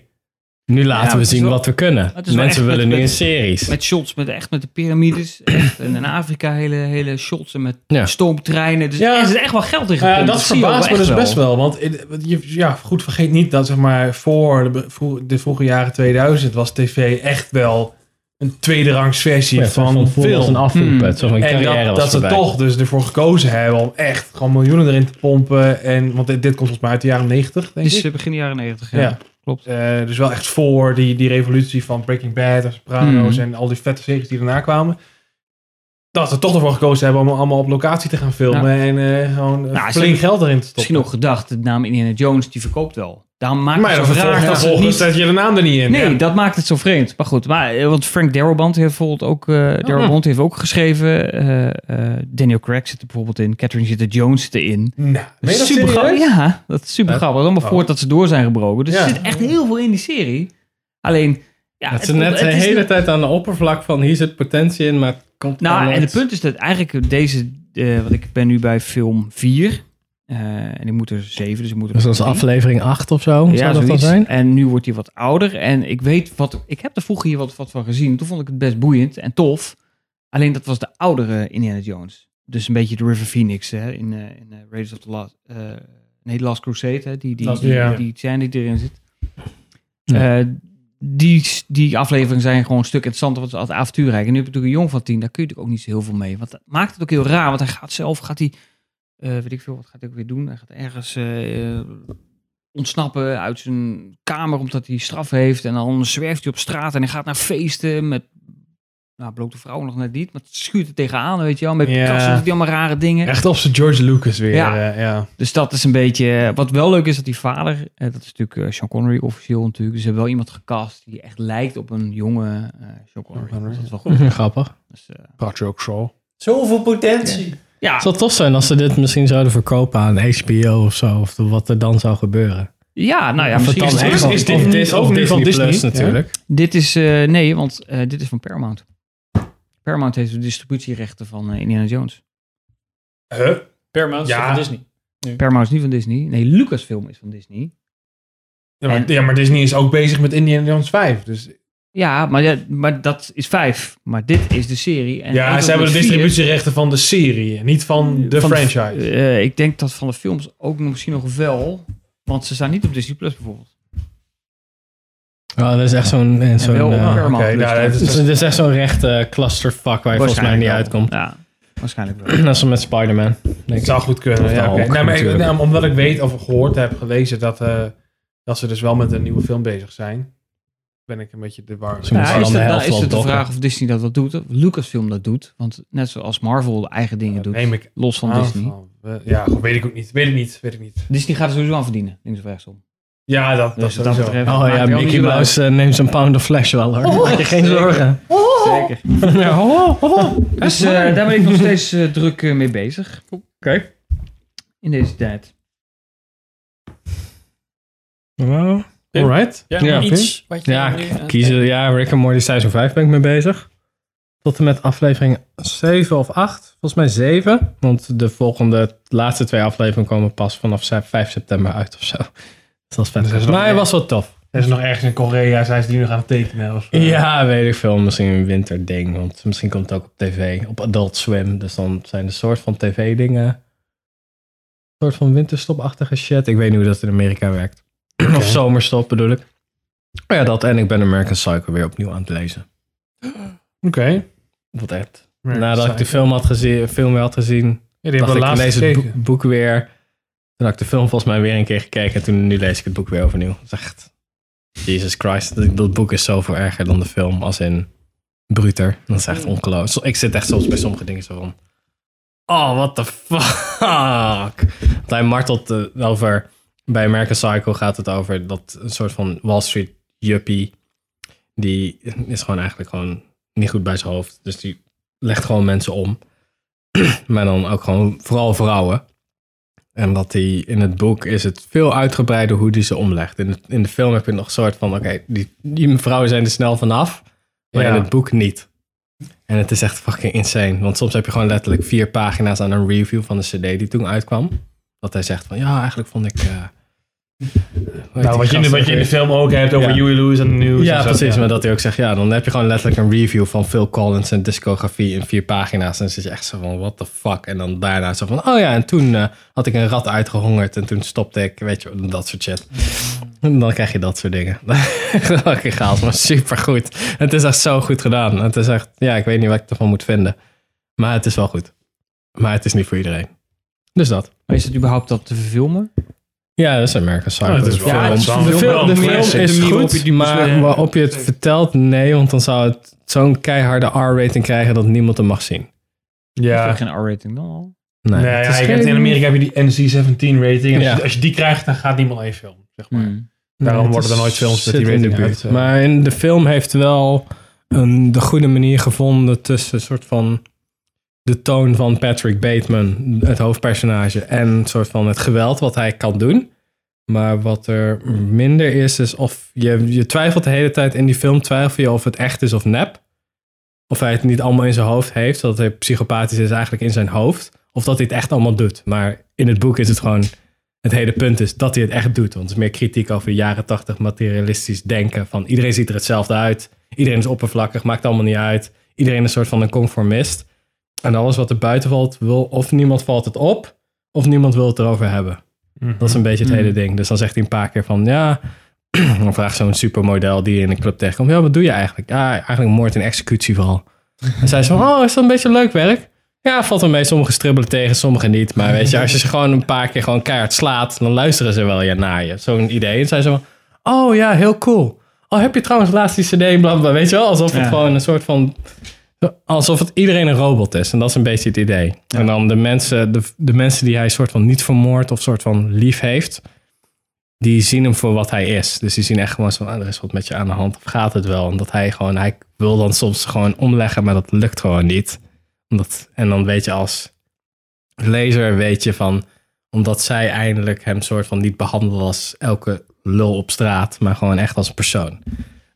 Speaker 4: nu laten
Speaker 2: Ja,
Speaker 4: we
Speaker 2: het is
Speaker 4: zien
Speaker 2: wel-
Speaker 4: wat we kunnen.
Speaker 2: Het is wel
Speaker 4: Mensen
Speaker 2: echt
Speaker 4: willen
Speaker 2: met-
Speaker 4: nu in
Speaker 2: met-
Speaker 4: series.
Speaker 2: Met shots, met echt met de piramides. echt. en in Afrika hele, hele shots en met
Speaker 4: Ja.
Speaker 2: stoomtreinen. Dus
Speaker 3: Ja.
Speaker 2: er zit echt wel geld in
Speaker 3: Nou
Speaker 2: gepompt.
Speaker 3: ja, dat
Speaker 2: zie je
Speaker 3: verbaast
Speaker 2: ook
Speaker 3: me
Speaker 2: echt
Speaker 3: dus best wel. Want in- want je, ja, goed, vergeet niet dat zeg maar voor de, be- vroeg- de vroege jaren 2000 was tv echt wel een tweederangs versie
Speaker 4: Ja,
Speaker 3: van,
Speaker 4: vroeger
Speaker 3: film.
Speaker 4: was een afvoerput,
Speaker 2: Hmm.
Speaker 4: zoals mijn
Speaker 3: en
Speaker 4: carrière
Speaker 3: dat,
Speaker 4: was
Speaker 3: dat ze
Speaker 4: voorbij.
Speaker 3: toch dus ervoor gekozen hebben om echt gewoon miljoenen erin te pompen. En, want dit, dit komt volgens mij uit de jaren 90,
Speaker 2: Het
Speaker 3: denk
Speaker 2: is
Speaker 3: ik.
Speaker 2: eh, begin jaren 90. Ja.
Speaker 3: Ja.
Speaker 2: klopt.
Speaker 3: Eh, dus wel echt voor die, die revolutie van Breaking Bad en Sopranos
Speaker 2: Hmm.
Speaker 3: en al die vette series die daarna kwamen. Dat ze toch ervoor gekozen hebben om allemaal op locatie te gaan filmen en eh, gewoon eh,
Speaker 2: Nou,
Speaker 3: flink
Speaker 2: ze-
Speaker 3: geld erin te stoppen.
Speaker 2: Misschien ook gedacht, de naam Indiana Jones, die verkoopt wel. Daarom maakt
Speaker 3: Maar
Speaker 2: het
Speaker 3: dan
Speaker 2: zo raar
Speaker 3: vervolgens,
Speaker 2: dat ze het
Speaker 3: vervolgens
Speaker 2: niet...
Speaker 3: zet je de naam er niet in.
Speaker 2: Nee,
Speaker 3: Ja.
Speaker 2: dat maakt het zo vreemd. Maar goed, maar, eh, want Frank Darabont heeft bijvoorbeeld ook, eh
Speaker 3: Oh,
Speaker 2: Darabont heeft ook geschreven. eh, eh, Daniel Craig zit er bijvoorbeeld in. Catherine Zeta-Jones zit erin.
Speaker 3: Nou, meen je dat
Speaker 2: super grappig.
Speaker 3: serieus?
Speaker 2: Ja, dat is super
Speaker 4: Ja.
Speaker 2: grappig. Allemaal
Speaker 3: Oh.
Speaker 2: voort dat ze door zijn gebroken. Dus
Speaker 3: Ja.
Speaker 2: er zit echt heel veel in die serie. Alleen, ja,
Speaker 4: het is net de
Speaker 2: het is
Speaker 4: hele
Speaker 2: niet-
Speaker 4: tijd aan de oppervlak van hier zit potentie in, maar het komt
Speaker 2: Nou,
Speaker 4: gewoon
Speaker 2: en
Speaker 4: nooit.
Speaker 2: het punt is dat eigenlijk deze, eh want ik ben nu bij film 4. eh, en ik moet er zeven, dus ik moet er
Speaker 4: Dus dat is
Speaker 2: nog drie.
Speaker 4: aflevering 8 of zo, zou dat dan
Speaker 2: zoiets.
Speaker 4: zijn?
Speaker 2: En nu wordt hij wat ouder. En ik weet wat. Ik heb er vroeger hier wat, wat van gezien. Toen vond ik het best boeiend en tof. Alleen dat was de oudere Indiana Jones. Dus een beetje de River Phoenix hè, in, eh, in eh, Raiders of the Last. eh, nee, The Last Crusade. Hè, die, die,
Speaker 3: Last-
Speaker 2: die,
Speaker 3: ja.
Speaker 2: die scène die erin zit.
Speaker 4: Ja.
Speaker 2: Eh, die, die afleveringen zijn gewoon een stuk interessanter, want het is altijd avontuurrijk. En nu heb je natuurlijk een jong van tien, daar kun je natuurlijk ook niet zo heel veel mee. Want dat maakt het ook heel raar, want hij gaat zelf, gaat hij, eh, weet ik veel, wat gaat hij ook weer doen? Hij gaat ergens eh, eh, ontsnappen uit zijn kamer omdat hij straf heeft. En dan zwerft hij op straat en hij gaat naar feesten met, nou, blote vrouwen nog net niet, maar het schuurt er tegenaan, weet je wel. Met
Speaker 3: Ja.
Speaker 2: krassen doet hij allemaal rare dingen.
Speaker 3: Echt op zijn George Lucas weer.
Speaker 2: Ja.
Speaker 3: Ja. ja.
Speaker 2: Dus dat is een beetje. Wat wel leuk is dat die vader, eh, dat is natuurlijk eh, Sean Connery officieel natuurlijk. Dus ze hebben wel iemand gecast die echt lijkt op een jonge eh Sean Connery.
Speaker 3: Connery,
Speaker 2: Dus dat is wel
Speaker 3: [laughs]
Speaker 2: goed.
Speaker 4: Grappig.
Speaker 2: Dus, eh,
Speaker 3: Patrick Shaw.
Speaker 7: Zoveel potentie.
Speaker 2: ja,
Speaker 4: Het zou tof zijn als ze dit misschien zouden verkopen aan HBO of zo, of wat er dan zou gebeuren.
Speaker 2: ja, nou ja,
Speaker 4: Of het
Speaker 2: misschien
Speaker 4: dan
Speaker 2: is het
Speaker 3: dit-
Speaker 4: echt wel-
Speaker 3: is dit
Speaker 4: of
Speaker 3: nu
Speaker 4: Dis-
Speaker 3: ook
Speaker 4: of
Speaker 3: nu van
Speaker 4: Disney Plus
Speaker 3: Disney?
Speaker 4: natuurlijk.
Speaker 2: Dit is, eh, nee, want eh, dit is van Paramount. Paramount heeft de distributierechten van eh, Indiana Jones.
Speaker 3: Huh?
Speaker 7: Paramount
Speaker 3: Ja.
Speaker 7: ja. van Disney.
Speaker 2: Paramount is niet van Disney. Nee, Lucasfilm is van Disney.
Speaker 3: Ja, maar,
Speaker 2: En-
Speaker 3: ja, maar Disney is ook bezig met Indiana Jones 5. Dus,
Speaker 2: Ja, maar, ja, maar dat is vijf. Maar dit is de serie. En
Speaker 3: ja,
Speaker 2: Angel
Speaker 3: ze hebben de
Speaker 2: Birds 4
Speaker 3: distributierechten van de serie, niet van de
Speaker 2: Van
Speaker 3: franchise.
Speaker 2: eh, ik denk dat van de films ook nog- misschien nog wel. Want ze staan niet op Disney Plus bijvoorbeeld.
Speaker 4: Oh, dat is echt zo'n... eh, zo'n
Speaker 2: wel op
Speaker 4: eh,
Speaker 2: Paramount
Speaker 3: oké,
Speaker 2: Plus.
Speaker 3: nou, dat
Speaker 2: dan.
Speaker 3: is-
Speaker 4: dus het is echt zo'n rechte eh, clusterfuck waar je volgens mij niet
Speaker 2: Waarschijnlijk wel.
Speaker 4: uitkomt.
Speaker 2: Ja, waarschijnlijk wel.
Speaker 4: [clears throat] Net zo met Spider-Man. denk
Speaker 3: Het
Speaker 4: ik.
Speaker 3: zou goed
Speaker 4: Of
Speaker 3: kunnen.
Speaker 4: de
Speaker 3: Ja,
Speaker 4: Hulk,
Speaker 3: oké. Nou, maar ik-
Speaker 4: natuurlijk.
Speaker 3: nou, omdat ik weet of gehoord heb, gelezen dat, eh, dat ze dus wel met een nieuwe film bezig zijn, ben ik een beetje de war.
Speaker 4: Ze moeten
Speaker 2: Nou, is
Speaker 4: dan de
Speaker 2: het, nou,
Speaker 4: helft
Speaker 2: is
Speaker 4: wel
Speaker 2: het de
Speaker 4: dokken.
Speaker 2: vraag of Disney dat wel doet? Of Lucasfilm dat doet? Want net zoals Marvel de eigen dingen doet.
Speaker 3: Neem ik
Speaker 2: Los van
Speaker 3: aan
Speaker 2: Disney.
Speaker 3: van, eh, ja, goed, weet ik ook niet. Weet ik niet. Weet ik niet.
Speaker 2: Disney gaat er sowieso aan verdienen. Links of rechtsom.
Speaker 3: Ja, dat,
Speaker 2: Dus
Speaker 3: dat,
Speaker 2: wat dat
Speaker 3: sowieso.
Speaker 2: betreft
Speaker 4: Oh
Speaker 2: maakt
Speaker 4: ja,
Speaker 2: het ook
Speaker 4: Mickey
Speaker 2: niet uit. Oh,
Speaker 4: Mouse eh, neemt zijn pound of flesh wel hoor. Maak je geen zorgen.
Speaker 2: Zeker. [laughs]
Speaker 4: Ja, oh, oh, oh.
Speaker 2: Dus eh, daar [laughs] ben ik nog steeds eh, druk eh, mee bezig. Oké. In deze tijd.
Speaker 4: Wow. Alright.
Speaker 7: Ja,
Speaker 4: Ja,
Speaker 7: iets wat je
Speaker 4: Ja,
Speaker 7: nu eh, aan het
Speaker 4: kiezen. Ja, Rick and Morty Seizoen 5 ben ik mee bezig. Tot en met aflevering 7 of 8. Volgens mij 7. Want de volgende, de laatste twee afleveringen komen pas vanaf se- 5 september uit of zo. Dus dat is
Speaker 3: Dus dat is
Speaker 4: vet.
Speaker 3: nog
Speaker 4: Maar hij
Speaker 3: meer.
Speaker 4: was wel tof.
Speaker 3: Zijn ze nog ergens in Korea? Zijn ze die nu gaan tekenen? Of, eh,
Speaker 4: Ja, weet ik veel. Misschien een winterding. Want misschien komt het ook op tv. Op Adult Swim. Dus dan zijn er soort van tv-dingen. Een soort van winterstopachtige shit. Ik weet niet hoe dat in Amerika werkt. [clears throat] Of zomerstop bedoel ik. Maar ja, dat en ik ben American Psycho weer opnieuw aan het lezen.
Speaker 3: Oké.
Speaker 4: Wat echt.
Speaker 3: Ja,
Speaker 4: Nadat ik de
Speaker 3: saai.
Speaker 4: film, had gezien, film weer had gezien,
Speaker 3: Ja, die
Speaker 4: dacht
Speaker 3: hebben we
Speaker 4: ik,
Speaker 3: laatst
Speaker 4: lees het
Speaker 3: gekeken.
Speaker 4: boek, boek weer. Toen had ik de film volgens mij weer een keer gekeken. En toen, nu lees ik het boek weer overnieuw. Dat is echt... Jesus Christ. Dat, dat boek is zoveel erger dan de film. Als in bruter. Dat is echt ongelooflijk. Ik zit echt soms bij sommige dingen zo van... Oh, what the fuck. [laughs] Want hij martelt eh, over... Bij American Psycho gaat het over dat een soort van Wall Street juppie. Die is gewoon eigenlijk gewoon niet goed bij zijn hoofd. Dus die legt gewoon mensen om. [clears throat] maar dan ook gewoon vooral vrouwen. En dat die in het boek is het veel uitgebreider hoe die ze omlegt. In de, in de film heb je nog een soort van: oké, die, die vrouwen zijn er snel vanaf. Maar
Speaker 7: Ja.
Speaker 4: in het boek niet. En het is echt fucking insane. Want soms heb je gewoon letterlijk vier pagina's aan een review van de CD die toen uitkwam. Dat hij zegt van ja, eigenlijk vond ik. eh, hoe heet
Speaker 3: Nou,
Speaker 4: die
Speaker 3: wat je, in de-
Speaker 4: gast
Speaker 3: wat je in de
Speaker 4: ook weer?
Speaker 3: film ook hebt over
Speaker 4: Ja.
Speaker 3: Huey Lewis en de nieuws.
Speaker 4: Ja,
Speaker 3: en zo.
Speaker 4: precies.
Speaker 3: Ja.
Speaker 4: Maar dat hij ook zegt, ja, dan heb je gewoon letterlijk een review van Phil Collins en discografie in vier pagina's. En dan zit je echt zo van, what the fuck? En dan daarna zo van, oh ja, en toen eh, had ik een rat uitgehongerd en toen stopte ik, weet je, wel, dat soort shit. En dan krijg je dat soort dingen. [laughs] Fucking chaos, maar supergoed. Het is echt zo goed gedaan. Het is echt, ja, ik weet niet wat ik ervan moet vinden. Maar het is wel goed. Maar het is niet voor iedereen. Dus dat.
Speaker 2: Maar Oh, is het überhaupt dat te verfilmen?
Speaker 4: Ja, dat is American Psycho.
Speaker 2: Oh, dat is
Speaker 4: de
Speaker 2: wel- ja, dat is wel-
Speaker 4: film, de
Speaker 2: wel
Speaker 4: film, de
Speaker 2: een
Speaker 4: film
Speaker 2: classic. De
Speaker 4: is
Speaker 2: manier waarop je
Speaker 4: goed,
Speaker 2: die
Speaker 4: maar
Speaker 2: maakt.
Speaker 4: waarop je het vertelt, nee. Want dan zou het zo'n keiharde R-rating krijgen dat niemand hem mag zien.
Speaker 2: Ja.
Speaker 3: Ja.
Speaker 2: Geen R-rating dan al?
Speaker 4: Nee,
Speaker 3: Nee,
Speaker 4: het
Speaker 3: ja,
Speaker 4: is
Speaker 3: je hebt
Speaker 4: geen-
Speaker 3: in Amerika heb je die NC-17 rating. En
Speaker 4: Ja.
Speaker 3: als, je, als je die krijgt, dan gaat niemand naar je film. Zeg maar.
Speaker 2: Hmm,
Speaker 4: Nee,
Speaker 3: Daarom
Speaker 4: het
Speaker 3: worden er
Speaker 4: is-
Speaker 3: nooit films met
Speaker 4: zit
Speaker 3: die
Speaker 4: in de
Speaker 3: rating
Speaker 4: buurt.
Speaker 3: uit. eh,
Speaker 4: Maar in de film heeft wel een, de goede manier gevonden tussen een soort van de toon van Patrick Bateman, het hoofdpersonage, en een soort van het geweld wat hij kan doen. Maar wat er minder is, is of je, je twijfelt de hele tijd in die film, twijfel je of het echt is of nep. Of hij het niet allemaal in zijn hoofd heeft, dat hij psychopathisch is eigenlijk in zijn hoofd. Of dat hij het echt allemaal doet. Maar in het boek is het gewoon het hele punt is dat hij het echt doet. Want het is meer kritiek over de jaren tachtig materialistisch denken. Van iedereen ziet er hetzelfde uit. Iedereen is oppervlakkig, maakt allemaal niet uit. Iedereen is een soort van een conformist. En alles wat er buiten valt, wil of niemand valt het op, of niemand wil het erover hebben. Dat is een beetje het hele ding. Dus dan zegt hij een paar keer van ja. [clears throat] Dan vraagt zo'n supermodel die je in een club tegenkomt. Ja, wat doe je eigenlijk? Ja, eigenlijk moord en executie vooral. En zij is van, oh, is dat een beetje leuk werk? Ja, valt wel mee. Sommigen stribbelen tegen, sommigen niet. Maar weet je, als je ze gewoon een paar keer gewoon keihard slaat, dan luisteren ze wel ja, naar je. Zo'n idee. En zij zo van, oh ja, heel cool. Oh, heb je trouwens laatst die cd, bla bla. Weet je wel, alsof het
Speaker 2: Ja.
Speaker 4: gewoon een soort van... Alsof het iedereen een robot is. En dat is een beetje het idee. En dan de mensen, de, de mensen die hij soort van niet vermoord of soort van lief heeft, die zien hem voor wat hij is. Dus die zien echt gewoon zo, ah, er is wat met je aan de hand. Of gaat het wel? Omdat hij gewoon, hij wil dan soms gewoon omleggen, maar dat lukt gewoon niet. Omdat, en dan weet je als lezer, weet je van, omdat zij eindelijk hem soort van niet behandelen als elke lul op straat, maar gewoon echt als een persoon. En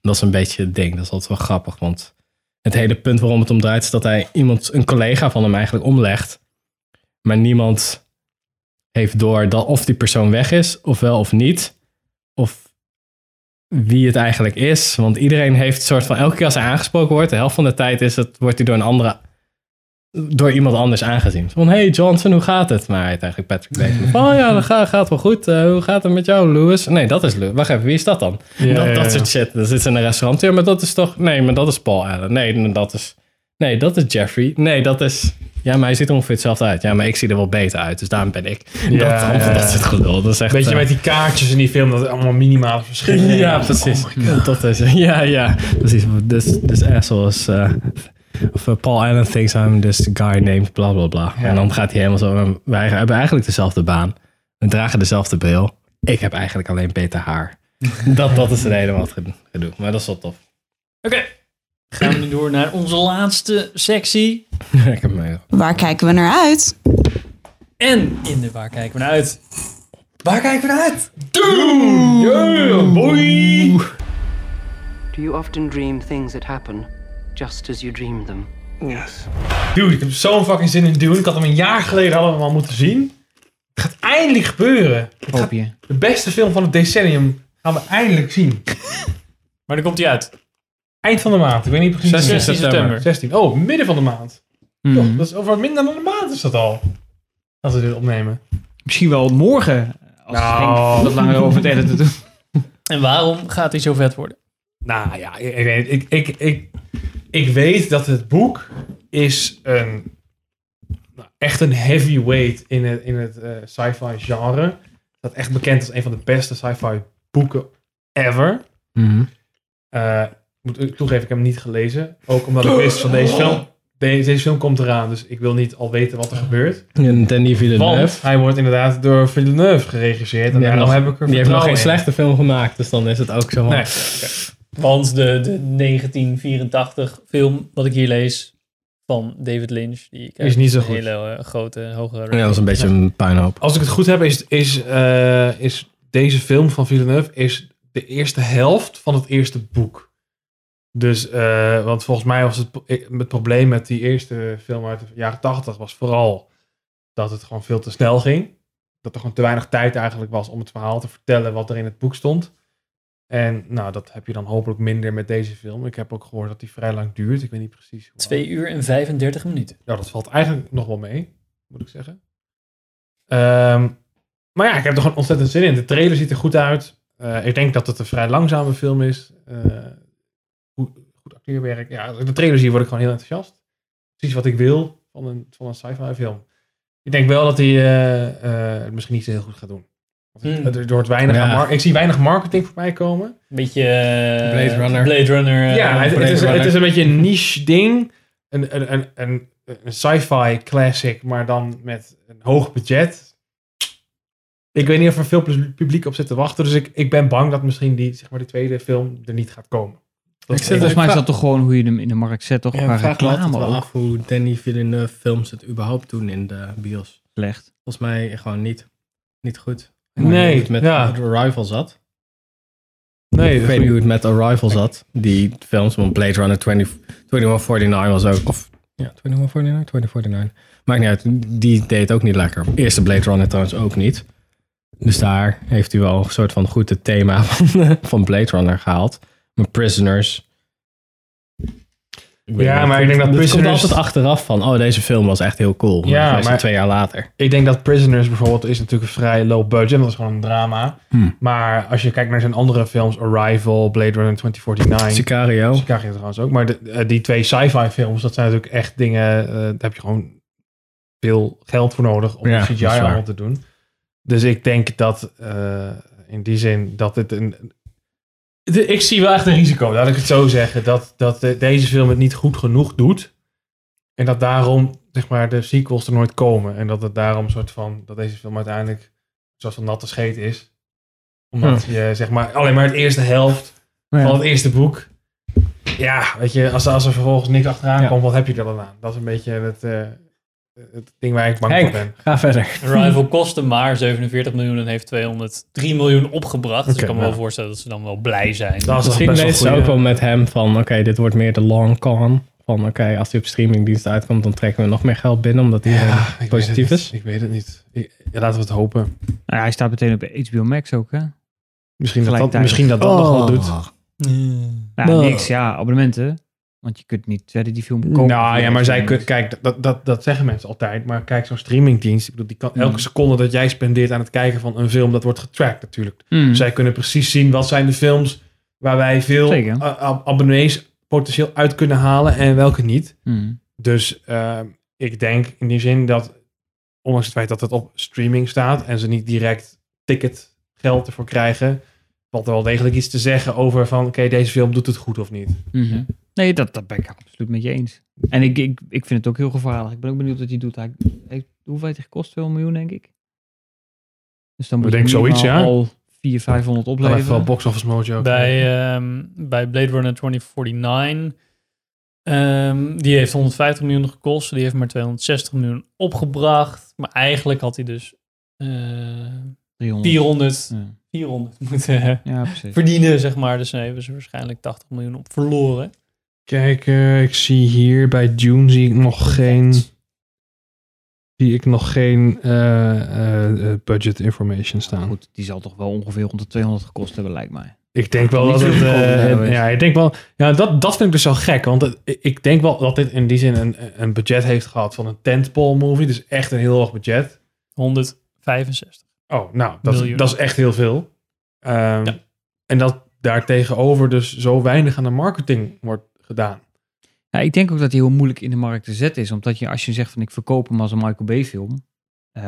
Speaker 4: dat is een beetje het ding. Dat is altijd wel grappig, want het hele punt waarom het om draait is dat hij iemand, een collega van hem eigenlijk omlegt, maar niemand heeft door dat of die persoon weg is, of wel of niet, of wie het eigenlijk is. Want iedereen heeft een soort van, elke keer als hij aangesproken wordt, de helft van de tijd is het, wordt hij door een andere, door iemand anders aangezien. Zo Van, hey Johnson, hoe gaat het? Maar hij heet eigenlijk Patrick Bateman. Van, oh ja, dat gaat, gaat wel goed. Eh, hoe gaat het met jou, Lewis? Nee, dat is Lewis. Wacht even, wie is dat dan?
Speaker 7: Ja,
Speaker 4: dat,
Speaker 7: ja, ja.
Speaker 4: dat soort shit. Dan zit ze in een restaurant. Ja, maar dat is toch... Nee, maar dat is Paul Allen. Nee, dat is... Nee, dat is Jeffrey. Nee, dat is... Ja, maar hij ziet er ongeveer hetzelfde uit. Ja, maar ik zie er wel beter uit. Dus daarom ben ik.
Speaker 3: Ja,
Speaker 4: dat, [laughs]
Speaker 3: ja, ja.
Speaker 4: dat soort gelul. Dat is echt...
Speaker 3: Beetje
Speaker 4: eh,
Speaker 3: met die kaartjes in die film, dat het allemaal minimale verschillen
Speaker 4: [laughs] ja, precies. dat is, ja, ja, precies. Dus, This, this asshole is... eh, of eh, Paul Allen thinks I'm this guy named bla bla bla. En dan gaat hij helemaal zo... Wij hebben eigenlijk dezelfde baan. We dragen dezelfde bril. Ik heb eigenlijk alleen beter [laughs] haar. dat, dat is het helemaal gedoe. Maar dat is wel tof. [laughs]
Speaker 7: Oké, gaan we nu door naar onze laatste sectie.
Speaker 4: ik heb me
Speaker 5: Waar kijken we naar uit?
Speaker 7: En in de waar kijken we naar uit? Waar kijken we naar uit?
Speaker 15: Yeah, boy! Do you often dream things that happen just as you dream them? Yes.
Speaker 3: Dude, ik heb zo'n fucking zin in Dune. Ik had hem een jaar geleden allemaal moeten zien. Het gaat eindelijk gebeuren. Het gaat- de beste film van het decennium gaan we eindelijk zien.
Speaker 7: maar dan komt hij uit.
Speaker 3: Eind van de maand. Ik weet niet precies.
Speaker 7: 16 september.
Speaker 3: 16. Oh, midden van de maand. Joh, dat is over minder dan een maand is dat al. Als we dit opnemen.
Speaker 2: Misschien wel morgen. Als Henk wat langer over het editen doet. [laughs]
Speaker 7: En waarom gaat hij zo vet worden?
Speaker 3: Nou ja, ik, ik, weet- ik, ik, ik, ik weet dat het boek is een, nou, echt een heavyweight in het, in het eh, sci-fi genre. Dat echt bekend is als een van de beste sci-fi boeken ever.
Speaker 4: Mhm.
Speaker 3: Eh, moet ik toegeven, ik heb hem niet gelezen. Ook omdat ik wist van deze film. de- deze film komt eraan, dus ik wil niet al weten wat er gebeurt.
Speaker 4: En Danny
Speaker 3: Want
Speaker 4: Villeneuve.
Speaker 3: hij wordt inderdaad door Villeneuve geregisseerd.
Speaker 4: Die
Speaker 3: En
Speaker 4: heeft
Speaker 3: daarom
Speaker 4: nog-
Speaker 3: heb ik er
Speaker 4: die heeft nog
Speaker 3: vertrouwen
Speaker 4: geen
Speaker 3: in.
Speaker 4: slechte film gemaakt, dus dan is het ook zo. van-
Speaker 3: Nee.
Speaker 7: Want de, de 1984 film, wat ik hier lees, van David Lynch, die krijgt
Speaker 3: niet zo
Speaker 7: een
Speaker 3: goed.
Speaker 7: hele eh, grote, hoge
Speaker 4: Ja, dat is een beetje een puinhoop.
Speaker 3: Als ik het goed heb, is, is, eh, is deze film van Villeneuve is de eerste helft van het eerste boek. Dus, eh, want volgens mij was het, pro- ik- het probleem met die eerste film uit de jaren 80 was vooral dat het gewoon veel te snel ging. Dat er gewoon te weinig tijd eigenlijk was om het verhaal te vertellen wat er in het boek stond. En nou, dat heb je dan hopelijk minder met deze film. Ik heb ook gehoord dat die vrij lang duurt. Ik weet niet precies hoe.
Speaker 7: Twee uur en 35 minuten.
Speaker 3: Nou, dat valt eigenlijk nog wel mee, moet ik zeggen. Ehm, maar ja, ik heb er gewoon ontzettend zin in. De trailer ziet er goed uit. Eh, ik denk dat het een vrij langzame film is. Eh, goed, goed acteerwerk. Ja, als ik de trailer zie word ik gewoon heel enthousiast. Precies wat ik wil van een, van een sci-fi film. Ik denk wel dat hij eh, eh, het misschien niet zo heel goed gaat doen. Want het-
Speaker 7: Hmm.
Speaker 3: het- Er wordt weinig
Speaker 4: Ja.
Speaker 3: aan mar- ik zie weinig marketing voorbij komen.
Speaker 7: Beetje eh,
Speaker 4: Blade Runner.
Speaker 7: Blade Runner. eh,
Speaker 3: Ja, het, het is,
Speaker 4: Blade
Speaker 3: het is een beetje een niche ding. Een, een, een, een, een sci-fi classic, maar dan met een hoog budget. Ik weet niet of er veel plu- publiek op zit te wachten. Dus ik, ik ben bang dat misschien die, zeg maar, die tweede film er niet gaat komen. Dat
Speaker 4: Ik
Speaker 3: is
Speaker 4: zit
Speaker 3: één.
Speaker 4: er-
Speaker 2: Volgens mij is dat toch gewoon hoe je hem in de markt zet, toch?
Speaker 4: Ja,
Speaker 2: Qua
Speaker 4: ik vraag me altijd
Speaker 2: reclame
Speaker 4: wel
Speaker 2: ook.
Speaker 4: af hoe Danny Villeneuve films het überhaupt doen in de bios.
Speaker 2: Slecht.
Speaker 4: Volgens mij gewoon niet, niet goed. Ik
Speaker 3: Nee,
Speaker 4: weet niet hoe het met
Speaker 3: ja.
Speaker 4: Arrival zat.
Speaker 3: nee,
Speaker 4: ik
Speaker 3: dat
Speaker 4: weet
Speaker 3: is
Speaker 4: niet hoe het met Arrival zat. Die films van Blade Runner 20, 2149 was ook... Of, ja, 2149? 2049. Maakt niet uit. Die deed het ook niet lekker. Eerste Blade Runner trouwens ook niet. Dus daar heeft hij wel een soort van goed het thema [laughs] van, van Blade Runner gehaald. Maar Prisoners... Ik weet
Speaker 3: Ja,
Speaker 4: niet.
Speaker 3: maar ik denk dat
Speaker 4: komt
Speaker 3: Prisoners-
Speaker 4: altijd achteraf van... Oh, deze film was echt heel cool. Maar
Speaker 3: Ja,
Speaker 4: ja, maar...
Speaker 3: maar-
Speaker 4: twee jaar later.
Speaker 3: Ik denk dat Prisoners bijvoorbeeld is natuurlijk een vrij low budget. Dat is gewoon een drama.
Speaker 4: Hmm.
Speaker 3: Maar als je kijkt naar zijn andere films, Arrival, Blade Runner 2049.
Speaker 4: Sicario.
Speaker 3: Chicago trouwens ook. Maar de, eh, die twee sci-fi films, dat zijn natuurlijk echt dingen... eh, daar heb je gewoon veel geld voor nodig om
Speaker 4: Ja,
Speaker 3: de
Speaker 4: dat
Speaker 3: CGI
Speaker 4: is waar.
Speaker 3: allemaal te doen. Dus ik denk dat eh, in die zin dat dit een... De- ik zie wel echt een risico, laat ik het zo zeggen. Dat, dat eh, deze film het niet goed genoeg doet. En dat daarom zeg maar, de sequels er nooit komen. En dat het daarom een soort van... Dat deze film uiteindelijk zoals een natte scheet is. Omdat
Speaker 4: Hm.
Speaker 3: je zeg maar alleen maar het eerste helft
Speaker 2: Maar ja, Nou
Speaker 3: van het eerste boek. Ja, weet je, als, als er vervolgens niks achteraan
Speaker 4: Ja.
Speaker 3: komt, wat heb je er dan aan? Dat is een beetje het, eh, het ding waar ik bang
Speaker 4: Henk.
Speaker 3: voor ben.
Speaker 4: Ga verder.
Speaker 7: Arrival kostte maar 47 miljoen en heeft 203 miljoen opgebracht. dus
Speaker 3: Oké,
Speaker 7: ik kan me
Speaker 3: nou.
Speaker 7: wel voorstellen dat ze dan wel blij zijn.
Speaker 3: Dat is
Speaker 4: Misschien
Speaker 3: best wel
Speaker 4: leest ze
Speaker 3: goeie-
Speaker 4: ook wel met hem van, oké, dit wordt meer de long con. Van, oké, als die op streamingdienst uitkomt, dan trekken we nog meer geld binnen, omdat die eh,
Speaker 3: ik weet
Speaker 4: positief
Speaker 3: het
Speaker 4: is.
Speaker 3: niet. Ik weet het niet. Ik- ja, laten we het hopen.
Speaker 2: Nou ja, hij staat meteen op HBO Max ook, hè?
Speaker 3: Misschien dat dat,
Speaker 2: Gelijktijdig.
Speaker 3: misschien dat, dat nog
Speaker 4: Oh,
Speaker 3: wel doet.
Speaker 2: Nou, niks. Ja, abonnementen. Want je kunt niet verder die film kopen.
Speaker 3: Nou ja, maar zij kun- kijk, dat, dat, dat zeggen mensen altijd. Maar kijk, zo'n streamingdienst, ik bedoel, die kan elke
Speaker 2: Mm.
Speaker 3: seconde dat jij spendeert aan het kijken van een film, dat wordt getracked natuurlijk.
Speaker 2: Mm.
Speaker 3: Zij kunnen precies zien wat zijn de films waar wij veel
Speaker 2: Zeker.
Speaker 3: a- a- abonnees potentieel uit kunnen halen en welke niet.
Speaker 2: Mm.
Speaker 3: Dus ehm, ik denk in die zin dat, ondanks het feit dat het op streaming staat en ze niet direct ticketgeld ervoor krijgen, valt er wel degelijk iets te zeggen over van, oké, deze film doet het goed of niet.
Speaker 2: Mhm. Nee, dat, dat ben ik absoluut met je eens. En ik, ik, ik vind het ook heel gevaarlijk. Ik ben ook benieuwd wat hij doet. Hij, hij, hoeveel heeft hij gekost? 2 miljoen, denk ik. Dus dan moet
Speaker 3: Ik
Speaker 2: je
Speaker 3: denk zoiets,
Speaker 2: minimaal
Speaker 3: ja.
Speaker 2: al 400, 500
Speaker 3: Blijf
Speaker 2: opleveren.
Speaker 3: wel Box Office Mojo.
Speaker 7: Bij, ehm, bij Blade Runner 2049. ehm, die heeft 150 miljoen gekost. Die heeft maar 260 miljoen opgebracht. Maar eigenlijk had hij dus eh
Speaker 2: 300.
Speaker 7: 400,
Speaker 2: Ja.
Speaker 7: 400 moeten eh,
Speaker 2: ja, precies.
Speaker 7: verdienen, zeg maar. Dus nee, hebben ze waarschijnlijk 80 miljoen op verloren.
Speaker 3: Kijk, eh, ik zie hier bij June zie ik nog geen... Zie ik nog geen eh, eh, eh, budget information
Speaker 2: Maar
Speaker 3: staan.
Speaker 2: goed, die zal toch wel ongeveer rond de 200 gekost hebben, lijkt mij.
Speaker 3: Ik denk wel
Speaker 2: Niet
Speaker 3: dat het.
Speaker 2: teruggekomen
Speaker 3: eh,
Speaker 2: hebben is.
Speaker 3: ja, ik denk wel. Ja, dat, dat vind ik dus zo gek. Want het- ik denk wel dat dit in die zin een, een budget heeft gehad van een tentpole movie. Dus echt een heel hoog budget.
Speaker 7: 165.
Speaker 3: Oh, nou, dat,
Speaker 7: Miljoen.
Speaker 3: dat is echt heel veel. Ehm,
Speaker 7: Ja.
Speaker 3: En dat daartegenover dus zo weinig aan de marketing wordt gedaan.
Speaker 2: Ja, Nou, ik denk ook dat die heel moeilijk in de markt te zetten is. Omdat je als je zegt van ik verkoop hem als een Michael Bay film. eh,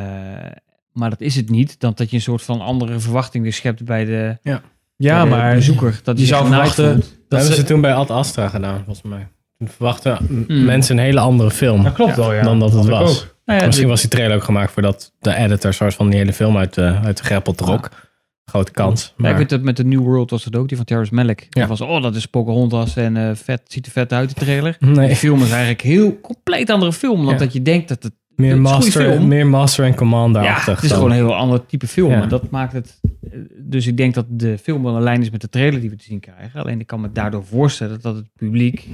Speaker 2: maar dat is het niet. Dan dat je een soort van andere verwachting weer schept bij de,
Speaker 3: Ja,
Speaker 2: bij de
Speaker 3: maar
Speaker 2: bezoeker. Dat
Speaker 3: je
Speaker 2: die
Speaker 3: zou
Speaker 2: zich genaaid
Speaker 3: verwachten
Speaker 2: voelt.
Speaker 4: Dat
Speaker 3: dat
Speaker 4: hebben ze
Speaker 3: ze,
Speaker 4: toen bij Ad Astra gedaan, volgens mij. verwachten m- mensen een hele andere film
Speaker 3: Hmm. Dat klopt wel, ja.
Speaker 4: dan dat het
Speaker 3: Had ik
Speaker 4: was.
Speaker 3: ook. Nou ja,
Speaker 4: Misschien
Speaker 3: dit-
Speaker 4: was die trailer ook gemaakt voordat de editor soort van die hele film uit, de uit de greppel trok. Grote kans.
Speaker 2: Ja, ik
Speaker 4: Maar
Speaker 2: weet dat met de New World was dat ook, die van Terrence Malick. Dat was, oh, dat is Pocahontas en eh, vet, ziet er vet uit, de trailer.
Speaker 4: Nee.
Speaker 2: Die film is eigenlijk heel compleet andere film, dan dat je denkt dat het...
Speaker 4: meer,
Speaker 2: het is een goede
Speaker 4: master,
Speaker 2: film.
Speaker 4: meer Master en Commander
Speaker 2: Ja,
Speaker 4: achtig
Speaker 2: het is
Speaker 4: dan.
Speaker 2: gewoon een heel ander type film.
Speaker 4: Ja.
Speaker 2: En dat maakt het... Dus ik denk dat de film wel een lijn is met de trailer die we te zien krijgen. Alleen ik kan me daardoor voorstellen dat het publiek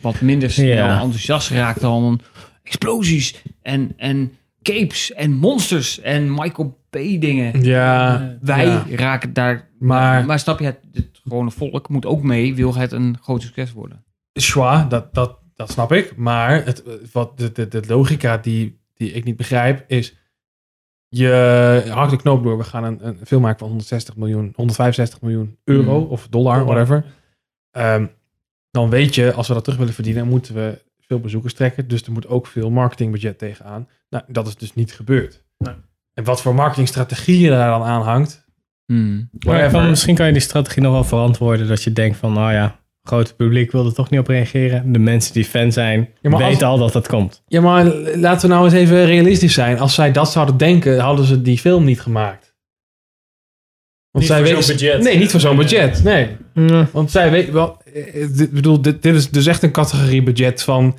Speaker 2: wat minder snel
Speaker 4: Ja.
Speaker 2: enthousiast raakt dan explosies en, en capes en monsters en Michael Bay dingen.
Speaker 3: Ja,
Speaker 2: Eh, Wij
Speaker 3: ja.
Speaker 2: raken daar... Maar, maar snap je, het, het gewone volk moet ook mee, wil het een groot succes worden.
Speaker 3: Schwa, dat, dat, dat snap ik. Maar het, wat de, de, de logica die, die ik niet begrijp is... Je hakt de knoop door. We gaan een, een film maken van 160 miljoen, 165 miljoen euro
Speaker 4: Mm.
Speaker 3: of dollar,
Speaker 4: Dollar.
Speaker 3: whatever. Ehm, dan weet je, als we dat terug willen verdienen, moeten we veel bezoekers trekken. Dus er moet ook veel marketingbudget tegenaan. Nou, dat is dus niet gebeurd. En wat voor marketingstrategie je daar dan aan hangt,
Speaker 2: Hmm.
Speaker 4: Maar
Speaker 3: whatever.
Speaker 4: kan- misschien kan je die strategie nog wel verantwoorden dat je denkt van, nou ja, grote publiek wil er toch niet op reageren. De mensen die fan zijn,
Speaker 3: Ja, maar als-
Speaker 4: weten al dat dat komt.
Speaker 3: Ja, maar laten we nou eens even realistisch zijn. Als zij dat zouden denken, hadden ze die film niet gemaakt.
Speaker 7: Niet voor zo'n budget.
Speaker 3: Nee, niet voor zo'n
Speaker 7: Nee.
Speaker 3: budget. Nee. Want zij weten wel. eh, eh, dit- bedoel, dit, dit is dus echt een categorie budget van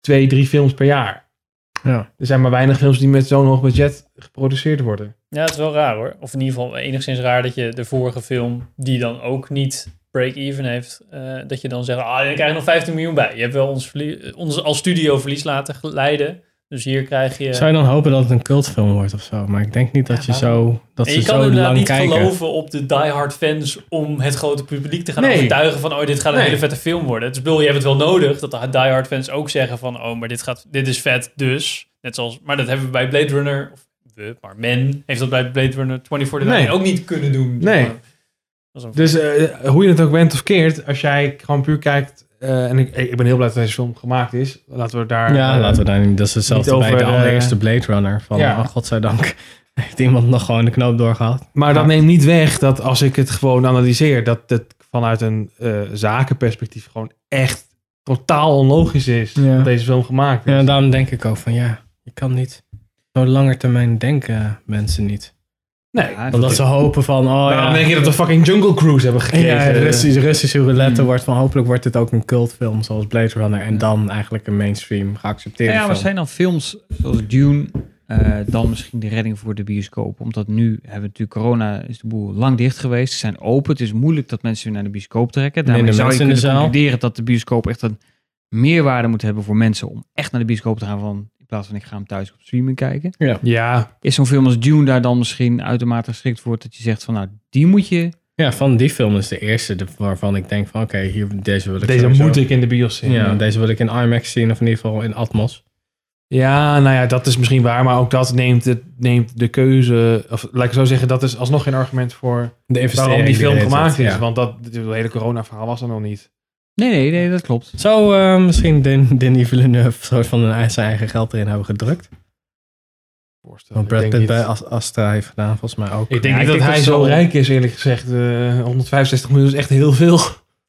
Speaker 3: twee, drie films per jaar.
Speaker 4: Ja.
Speaker 3: Er zijn maar weinig films die met zo'n hoog budget geproduceerd worden.
Speaker 7: Ja, het is wel raar hoor. Of in ieder geval enigszins raar dat je de vorige film, die dan ook niet break-even heeft, eh, dat je dan zegt, ah, je krijgt nog 15 miljoen bij. Je hebt wel ons, verlie- eh, ons als studio verlies laten leiden. Dus hier krijg je...
Speaker 4: Zou je dan hopen dat het een cultfilm wordt of zo? Maar ik denk niet dat je zo, dat
Speaker 7: En
Speaker 4: ze
Speaker 7: je kan
Speaker 4: zo
Speaker 7: inderdaad
Speaker 4: lang
Speaker 7: niet
Speaker 4: kijken.
Speaker 7: geloven op de diehard fans om het grote publiek te gaan
Speaker 4: Nee.
Speaker 7: overtuigen van, oh, dit gaat een
Speaker 4: Nee.
Speaker 7: hele vette film worden. Dus ik bedoel, je hebt het wel nodig dat de diehard fans ook zeggen van, oh, maar dit, gaat, dit is vet, dus. Net zoals, maar dat hebben we bij Blade Runner, of we, maar men heeft dat bij Blade Runner 2049
Speaker 3: Nee.
Speaker 7: ook niet kunnen doen.
Speaker 3: Nee.
Speaker 7: Maar dat is een-
Speaker 3: Dus eh, hoe je het ook bent of keert, als jij gewoon puur kijkt. eh, en ik, ik ben heel blij dat deze film gemaakt is. Laten we daar.
Speaker 4: Ja,
Speaker 3: eh,
Speaker 4: laten we daar niet. Dat is hetzelfde
Speaker 3: niet
Speaker 4: bij de
Speaker 3: over, eh,
Speaker 4: allereerste Blade Runner. Van,
Speaker 3: ja.
Speaker 4: oh godzijdank, [laughs] heeft iemand nog gewoon de knoop doorgehad.
Speaker 3: Maar dat neemt niet weg dat als ik het gewoon analyseer, dat het vanuit een eh, zakenperspectief gewoon echt totaal onlogisch is dat deze film gemaakt is.
Speaker 4: Ja, daarom denk ik ook van, ja, je kan niet zo langer termijn denken mensen niet.
Speaker 3: Nee.
Speaker 4: Omdat ze hopen van, oh
Speaker 3: Daarom
Speaker 4: ja.
Speaker 3: denk je dat we fucking Jungle Cruise hebben gekregen.
Speaker 4: Ja, Russisch, Russische roulette wordt van hopelijk wordt dit ook een cultfilm zoals Blade Runner. En dan eigenlijk een mainstream geaccepteerde
Speaker 2: Nou Ja, maar
Speaker 4: film.
Speaker 2: zijn dan films zoals Dune eh, dan misschien de redding voor de bioscoop? Omdat nu hebben we natuurlijk corona, is de boel lang dicht geweest. Ze zijn open, het is moeilijk dat mensen weer naar de bioscoop trekken. Daarmee
Speaker 4: Minder
Speaker 2: zou je
Speaker 4: mensen in de
Speaker 2: kunnen
Speaker 4: zaal.
Speaker 2: concluderen dat de bioscoop echt een meerwaarde moet hebben voor mensen om echt naar de bioscoop te gaan van in plaats van ik ga hem thuis op streaming kijken.
Speaker 4: Ja.
Speaker 3: Ja.
Speaker 2: Is zo'n film als Dune daar dan misschien uitermate geschikt voor dat je zegt van nou die moet je
Speaker 4: Ja, van die film is de eerste de- waarvan ik denk van, oké, hier deze wil ik
Speaker 3: Deze
Speaker 4: sowieso-
Speaker 3: moet ik in de bios zien.
Speaker 4: Ja, deze wil ik in IMAX zien of in ieder geval in Atmos.
Speaker 3: Ja, nou ja, dat is misschien waar, maar ook dat neemt, het, neemt de keuze, of laat ik zo zeggen, dat is alsnog geen argument voor
Speaker 4: De investering
Speaker 3: waarom die
Speaker 4: die
Speaker 3: film
Speaker 4: erin zit,
Speaker 3: gemaakt is.
Speaker 4: ja.
Speaker 3: Want dat het hele corona-verhaal was er nog niet.
Speaker 2: Nee, nee, nee, dat klopt.
Speaker 4: Zou eh, misschien Den- Denis Villeneuve soort van een- zijn eigen geld erin hebben gedrukt? Want Brad
Speaker 3: denk
Speaker 4: Pitt
Speaker 3: niet.
Speaker 4: bij As- Astra heeft gedaan, volgens mij ook.
Speaker 3: Ik denk niet dat hij zo rijk is, eerlijk gezegd. Eh, 165 miljoen is echt heel veel.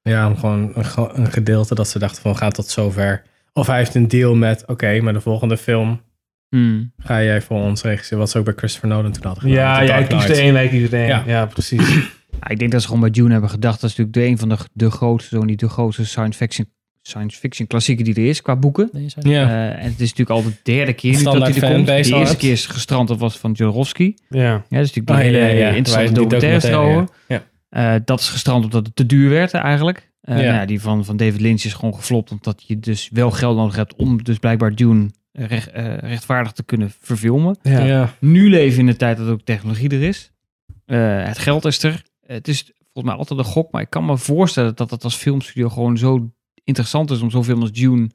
Speaker 4: Ja, om gewoon een, ge- een gedeelte dat ze dachten van gaat tot zover. Of hij heeft een deal met, oké, maar de volgende film
Speaker 2: Hmm.
Speaker 4: ga jij voor ons regisseren. Wat ze ook bij Christopher Nolan toen hadden gedaan. met
Speaker 3: Ja,
Speaker 4: The
Speaker 3: jij
Speaker 4: Dark
Speaker 3: kiest
Speaker 4: Knight.
Speaker 3: de een, wij kiezen de een.
Speaker 4: Ja.
Speaker 3: Ja, precies.
Speaker 2: Ja, ik denk dat ze gewoon bij Dune hebben gedacht. Dat is natuurlijk de een van de, de grootste, zo niet de grootste science fiction, science fiction klassieker die er is qua boeken.
Speaker 4: Ja.
Speaker 2: Eh, en het is natuurlijk al de derde keer nu dat
Speaker 4: Standaard
Speaker 2: hij er komt. De
Speaker 4: fanbase al
Speaker 2: eerste
Speaker 4: uit.
Speaker 2: keer is gestrand, dat was van Jodorowsky.
Speaker 3: Ja.
Speaker 2: Ja, dat is natuurlijk die
Speaker 4: Oh,
Speaker 2: hele
Speaker 4: ja, ja, ja.
Speaker 2: interessante
Speaker 4: Waar die
Speaker 2: documentaire
Speaker 4: documentaire, ja.
Speaker 2: Eh, dat is gestrand omdat het te duur werd eigenlijk. Eh,
Speaker 4: Ja.
Speaker 2: nou ja, die van, van David Lynch is gewoon geflopt omdat je dus wel geld nodig hebt om dus blijkbaar Dune eh, recht, eh, rechtvaardig te kunnen verfilmen.
Speaker 4: Ja. Ja.
Speaker 2: Nu leven we in de tijd dat ook technologie er is. Eh, het geld is er. Het is volgens mij altijd een gok, maar ik kan me voorstellen dat dat als filmstudio gewoon zo interessant is om zo'n film als Dune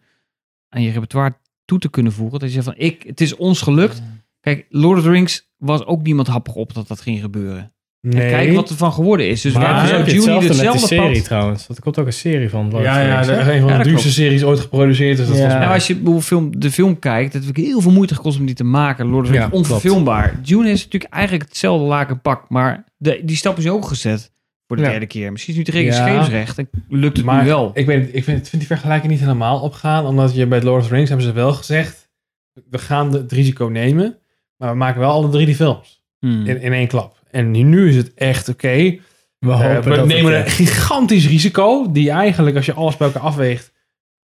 Speaker 2: aan je repertoire toe te kunnen voegen. Dat je zegt van, ik, het is ons gelukt. Kijk, Lord of the Rings was ook niemand happig op dat dat ging gebeuren. En
Speaker 4: Nee.
Speaker 2: kijk wat er van geworden is. Dus
Speaker 4: maar
Speaker 2: waarom zou
Speaker 4: heb je
Speaker 2: Dune niet
Speaker 4: hetzelfde met die
Speaker 2: hetzelfde
Speaker 4: serie
Speaker 2: pad...
Speaker 4: trouwens. Er komt ook een serie van. Lord
Speaker 3: Ja,
Speaker 4: of the
Speaker 3: ja,
Speaker 4: Rings,
Speaker 3: de,
Speaker 4: hè?
Speaker 3: een van
Speaker 2: Ja,
Speaker 3: de
Speaker 2: dat
Speaker 3: duurste
Speaker 2: klopt.
Speaker 3: series ooit geproduceerd is dat
Speaker 4: Ja.
Speaker 3: volgens
Speaker 2: Nou,
Speaker 3: mij.
Speaker 2: als je hoe film, de film kijkt, het heeft heel veel moeite gekost om die te maken. Lord of the Rings,
Speaker 4: Ja,
Speaker 2: onverfilmbaar. Dune is natuurlijk eigenlijk hetzelfde lakenpak, maar de, die stap is ook gezet. Voor de
Speaker 3: Ja.
Speaker 2: derde keer. Misschien is nu tegen
Speaker 3: Ja.
Speaker 2: scheepsrecht. En lukt het
Speaker 3: Maar
Speaker 2: nu wel.
Speaker 3: Ik, weet, het- ik vind, ik vind die vergelijking niet helemaal opgaan. Omdat je bij Lord of the Rings hebben ze wel gezegd... We gaan de- het risico nemen. Maar we maken wel alle drie die films.
Speaker 2: Hmm.
Speaker 3: In, in één klap. En nu, nu is het echt oké.
Speaker 4: We
Speaker 3: Eh,
Speaker 4: hopen dat
Speaker 3: we
Speaker 4: het
Speaker 3: nemen een
Speaker 4: werkt.
Speaker 3: gigantisch risico. Die eigenlijk, als je alles bij elkaar afweegt...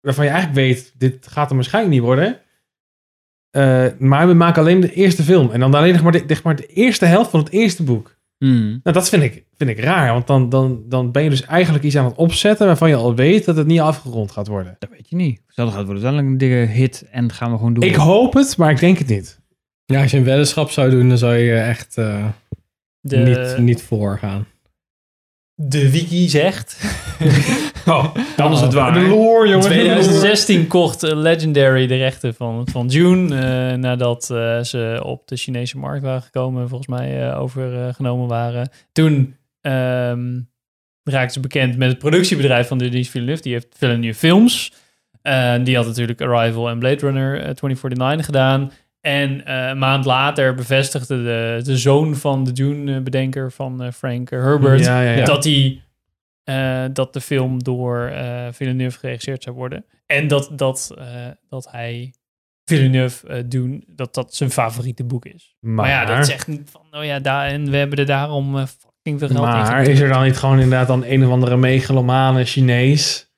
Speaker 3: Waarvan je eigenlijk weet... Dit gaat er waarschijnlijk niet worden. Eh, maar we maken alleen de eerste film. En dan alleen nog maar de, zeg maar de eerste helft van het eerste boek.
Speaker 2: Hmm.
Speaker 3: Nou, dat vind ik, vind ik raar. Want dan, dan, dan ben je dus eigenlijk iets aan het opzetten waarvan je al weet dat het niet afgerond gaat worden.
Speaker 2: Dat weet je niet. Stel, gaat het worden uiteindelijk een dikke hit en gaan we gewoon doen.
Speaker 3: Ik hoop het, maar ik denk het niet.
Speaker 4: Ja, als je een weddenschap zou doen, dan zou je echt eh,
Speaker 7: De-
Speaker 4: niet, niet voor gaan.
Speaker 7: De wiki zegt.
Speaker 3: Oh, dan is het waar.
Speaker 7: De
Speaker 3: lore, jongen.
Speaker 7: 2016 kocht eh, Legendary de rechten van, van Dune. eh, nadat eh, ze op de Chinese markt waren gekomen. en Volgens mij eh, overgenomen waren. Toen ehm raakten ze bekend met het productiebedrijf van Denis Villeneuve. Die heeft Villeneuve Films. Eh, die had natuurlijk Arrival en Blade Runner eh, 2049 gedaan. En eh, een maand later bevestigde de, de zoon van de Dune-bedenker van eh, Frank Herbert...
Speaker 3: Ja, ja, ja.
Speaker 7: dat hij eh, dat de film door eh Villeneuve geregisseerd zou worden. En dat, dat, eh, dat hij Villeneuve eh doen, dat dat zijn favoriete boek is. Maar, ja, dat zegt niet van, oh ja, daar, en we hebben er daarom eh, fucking veel geld in
Speaker 3: Maar
Speaker 7: gestopt.
Speaker 3: is er dan niet gewoon inderdaad dan een of andere megalomane Chinees...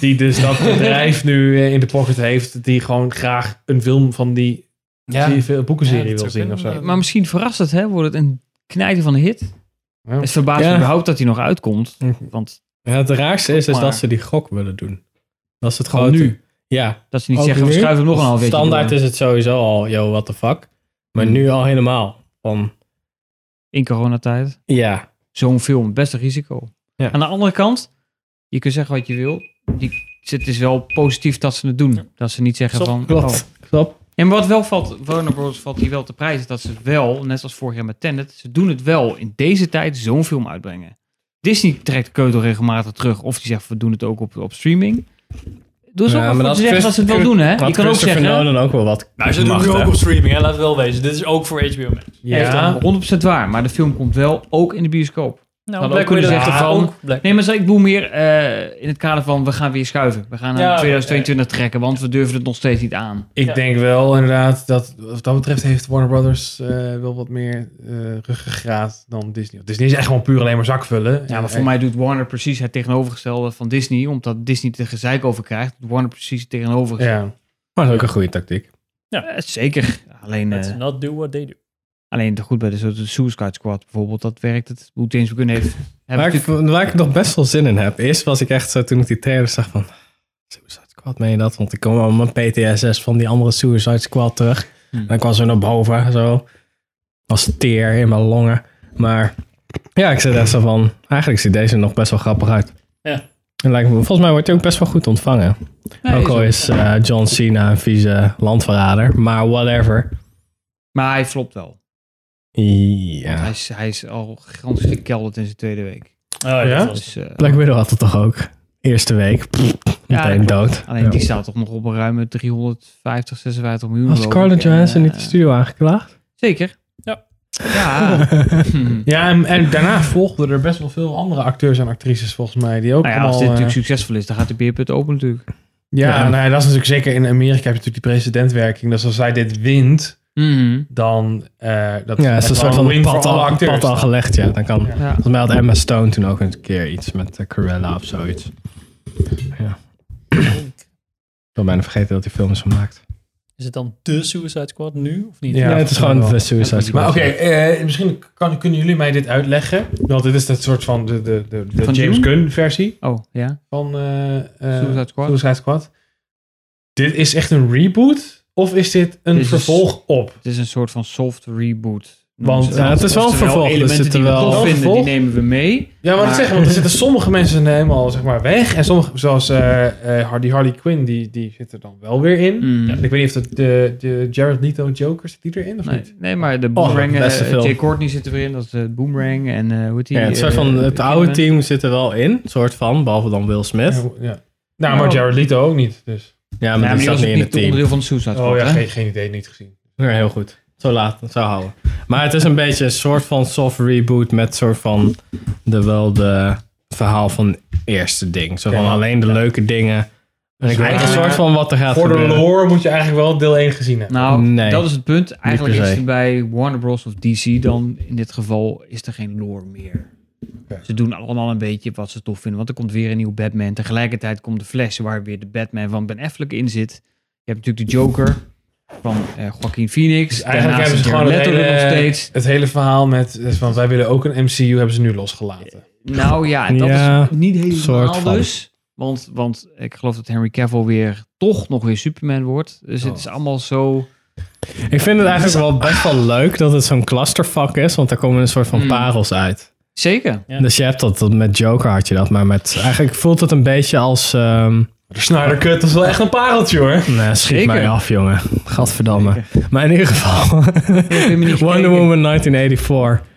Speaker 3: die
Speaker 4: [laughs]
Speaker 3: dus dat bedrijf nu eh, in de pocket heeft... die gewoon graag een film van die,
Speaker 2: Ja.
Speaker 3: die veel- boekenserie
Speaker 2: Ja, dat
Speaker 3: wil
Speaker 2: zou
Speaker 3: zien of zo.
Speaker 2: Maar misschien verrast het, hè? Wordt het een knijter van de hit?
Speaker 3: Ja.
Speaker 2: Het verbaast me
Speaker 4: Ja.
Speaker 2: überhaupt dat hij nog uitkomt. Want
Speaker 4: Ja, het raarste is, is
Speaker 2: Maar-
Speaker 4: dat ze die gok willen doen. Dat is het
Speaker 2: Gewoon
Speaker 4: gewoon
Speaker 2: nu?
Speaker 4: Ja.
Speaker 2: dat ze niet
Speaker 4: Ook
Speaker 2: zeggen, we
Speaker 4: nu?
Speaker 2: schuiven hem nog een half weekje
Speaker 4: Standaard
Speaker 2: door.
Speaker 4: is het sowieso al, yo, what the fuck. Maar
Speaker 2: Hmm.
Speaker 4: nu al helemaal. Van,
Speaker 2: in coronatijd.
Speaker 4: ja,
Speaker 2: Zo'n film, best een risico.
Speaker 4: Ja.
Speaker 2: Aan de andere kant, je kunt zeggen wat je wil. Die, het is wel positief dat ze het doen. Dat ze niet zeggen
Speaker 4: Stop,
Speaker 2: van... oh.
Speaker 4: klopt. klopt.
Speaker 2: En wat wel valt, Warner Bros. valt hier wel te prijzen, dat ze wel, net als vorig jaar met Tenet, ze doen het wel in deze tijd zo'n film uitbrengen. Disney trekt de keutel regelmatig terug, of die zegt we doen het ook op, op streaming. Doe ze
Speaker 4: Ja, maar
Speaker 2: ook wel voor
Speaker 4: dat
Speaker 2: te zeggen
Speaker 4: Christ-
Speaker 2: dat ze het wel doen, hè? Je
Speaker 4: dat
Speaker 2: kan ook
Speaker 4: Christopher
Speaker 2: zeggen,
Speaker 4: Nolan ook wel wat
Speaker 7: Nou, ze doen
Speaker 4: mag,
Speaker 7: nu ook
Speaker 4: hè.
Speaker 7: op streaming, hè? laten we wel wezen. Dit is ook voor HBO Max.
Speaker 3: Ja,
Speaker 2: ja, 100% waar, maar de film komt wel ook in de bioscoop.
Speaker 7: Nou,
Speaker 2: Black Widow
Speaker 7: zegt
Speaker 2: ja,
Speaker 7: ervan.
Speaker 2: ook Nee, maar ik bedoel meer eh, in het kader van we gaan weer schuiven. We gaan naar
Speaker 7: Ja,
Speaker 2: 2022 trekken, want we durven het nog steeds niet aan.
Speaker 3: Ik
Speaker 7: Ja.
Speaker 3: denk wel inderdaad dat wat dat betreft heeft Warner Brothers eh, wel wat meer eh ruggengraat dan Disney. Disney is echt gewoon puur alleen maar zakvullen.
Speaker 2: Ja, maar voor mij doet Warner precies het tegenovergestelde van Disney. Omdat Disney er gezeik over krijgt, doet Warner precies het tegenovergestelde.
Speaker 3: Ja.
Speaker 4: Maar dat is ook een goede tactiek.
Speaker 2: Eh, zeker. Alleen,
Speaker 7: Let's
Speaker 2: eh,
Speaker 7: not do what they do.
Speaker 2: alleen te goed bij de, zo- de Suicide Squad bijvoorbeeld, dat werkt het. Hoe James Gunn heeft... hebben
Speaker 4: Waar ik, waar ik nog best wel zin in heb. Eerst was ik echt zo toen ik die trailer zag van... Suicide Squad, meen je dat? Want ik kwam al mijn PTSS van die andere Suicide Squad terug.
Speaker 2: Hmm.
Speaker 4: En ik was zo naar boven, zo. Als teer in mijn longen. Maar ja, ik zit echt zo van... Eigenlijk ziet deze nog best wel grappig uit.
Speaker 7: Ja.
Speaker 4: En lijkt me, volgens mij wordt hij ook best wel goed ontvangen. ook al is eh, John Cena een vieze landverrader. Maar whatever.
Speaker 2: Maar hij flopt wel. Want Hij,
Speaker 4: Ja.
Speaker 2: is, hij is al gans gekelderd in zijn tweede week.
Speaker 7: Oh, ja,
Speaker 3: Ja?
Speaker 7: dat was-
Speaker 2: Dus, eh,
Speaker 4: Black Widow had het toch ook? Eerste week. Pff, meteen
Speaker 2: dat
Speaker 4: dood.
Speaker 2: alleen
Speaker 4: Ja.
Speaker 2: die staat toch nog op een ruime 350, 56 miljoen.
Speaker 4: Had
Speaker 2: geloof
Speaker 4: Scarlett
Speaker 2: ik. En,
Speaker 4: Johansson
Speaker 2: eh,
Speaker 4: niet de studio aangeklaagd?
Speaker 2: Zeker.
Speaker 7: Ja.
Speaker 2: [laughs] Ja. Hm.
Speaker 3: Ja, en,
Speaker 4: [laughs]
Speaker 3: en daarna volgden er best wel veel andere acteurs en actrices volgens mij. Die ook
Speaker 2: Nou ja,
Speaker 3: allemaal,
Speaker 2: als dit
Speaker 3: eh,
Speaker 2: natuurlijk succesvol is, dan gaat de beerput open natuurlijk.
Speaker 3: ja,
Speaker 4: Ja.
Speaker 3: nou ja, dat is natuurlijk zeker in Amerika heb je natuurlijk die presidentwerking. Dus als zij dit wint, dan eh dat
Speaker 4: Ja, het is een
Speaker 3: dat
Speaker 4: soort
Speaker 3: wel
Speaker 4: van
Speaker 3: win voor
Speaker 4: pad
Speaker 3: alle
Speaker 4: al,
Speaker 3: acteurs.
Speaker 4: pad al gelegd, ja. Dan kan,
Speaker 2: Ja.
Speaker 4: Volgens mij had Emma Stone toen ook een keer iets met eh, Cruella of zoiets. Ja. Ik wil bijna vergeten dat die film is gemaakt.
Speaker 7: Is het dan de Suicide Squad nu of niet?
Speaker 4: Ja, het is gewoon
Speaker 3: wel.
Speaker 4: de Suicide Squad.
Speaker 3: Maar oké, eh, misschien kan, kunnen jullie mij dit uitleggen. Want dit is dat soort van de, de, de, de
Speaker 2: Van
Speaker 3: James
Speaker 2: Dune?
Speaker 3: Gunn versie.
Speaker 2: Oh, ja.
Speaker 3: van eh eh,
Speaker 2: Suicide Squad.
Speaker 3: Suicide Squad. Dit is echt een reboot? Of is dit een
Speaker 2: Dit is-
Speaker 3: vervolg op?
Speaker 2: Het is een soort van soft reboot.
Speaker 3: Want,
Speaker 4: ja, het is wel een
Speaker 2: Oftewel,
Speaker 4: vervolg, dus
Speaker 2: Elementen
Speaker 4: zitten
Speaker 2: die we
Speaker 4: wel-
Speaker 2: tof
Speaker 3: wel een
Speaker 2: vinden,
Speaker 3: vervolg.
Speaker 2: die nemen we mee.
Speaker 3: Ja, maar
Speaker 2: Maar-
Speaker 3: ik zeg, want er zitten sommige mensen zijn helemaal zeg maar, weg. En sommige, zoals eh, eh, Hardy Harley Quinn, die, die zit er dan wel weer in.
Speaker 2: Mm.
Speaker 3: Ik weet niet of dat de, de Jared Leto Joker zit die erin of niet?
Speaker 2: Nee, nee, maar de Boomerang, eh
Speaker 4: Oh, beste film.
Speaker 2: Jay Courtney zit er weer in, dat is de Boomerang en eh, hoe heet die?
Speaker 4: Ja, het, soort
Speaker 2: eh,
Speaker 4: van, het oude
Speaker 2: Kidman.
Speaker 4: team zit er wel in, soort van, behalve dan Will Smith.
Speaker 3: Ja, ja. Nou, maar
Speaker 2: Nou.
Speaker 3: Jared Leto ook niet. Dus.
Speaker 4: Ja,
Speaker 2: Ja,
Speaker 4: maar
Speaker 2: maar
Speaker 4: die
Speaker 2: die
Speaker 4: zat
Speaker 2: was
Speaker 4: niet
Speaker 2: ook
Speaker 4: in het
Speaker 2: niet
Speaker 4: team.
Speaker 2: onderdeel van de Suicide Squad,
Speaker 3: Oh ja,
Speaker 2: hè?
Speaker 3: geen, geen idee, niet gezien.
Speaker 4: Ja, heel goed. zo laat zou houden. Maar het is een beetje een soort van soft reboot met soort van de wel de verhaal van het eerste ding. Zo van
Speaker 3: Oké.
Speaker 4: alleen de leuke dingen. En ik
Speaker 3: Dus
Speaker 4: weet een
Speaker 3: eigenlijk-
Speaker 4: soort van wat er gaat
Speaker 3: Voor de
Speaker 4: gebeuren.
Speaker 3: lore moet je eigenlijk wel deel 1 gezien hebben.
Speaker 2: Nou,
Speaker 4: Nee,
Speaker 2: dat is het punt.
Speaker 4: niet
Speaker 2: Eigenlijk
Speaker 4: per
Speaker 2: is
Speaker 4: se.
Speaker 2: het bij Warner Bros. of DC dan in dit geval is er geen lore meer. Ze doen allemaal een beetje wat ze tof vinden. Want er komt weer een nieuwe Batman. Tegelijkertijd komt de Flash waar weer de Batman van Ben Affleck in zit. Je hebt natuurlijk de Joker van eh Joaquin
Speaker 4: Dus
Speaker 2: Phoenix.
Speaker 3: Dus
Speaker 2: Daarnaast
Speaker 3: Eigenlijk hebben ze
Speaker 2: is
Speaker 3: gewoon het
Speaker 2: Jared Leto er nog steeds.
Speaker 3: hele, het hele verhaal met eh, van wij willen ook een MCU hebben ze nu losgelaten.
Speaker 2: Nou ja, dat
Speaker 4: Ja,
Speaker 2: is niet
Speaker 4: soort
Speaker 2: helemaal
Speaker 4: van.
Speaker 2: dus. Want, want ik geloof dat Henry Cavill weer toch nog weer Superman wordt. Dus het is allemaal zo...
Speaker 4: Ik vind het eigenlijk wel best wel leuk dat het zo'n clusterfuck is, want daar komen een soort van
Speaker 2: Mm.
Speaker 4: parels uit.
Speaker 2: Zeker.
Speaker 4: Dus je hebt dat, dat met Joker had je dat, maar met, eigenlijk voelt het een beetje als... ehm,
Speaker 3: De Snyder Cut dat is wel echt een pareltje hoor.
Speaker 4: Nee, schiet
Speaker 3: Zeker.
Speaker 4: mij af, jongen. Gadverdamme. Maar in ieder geval... [laughs] Wonder Woman 1984.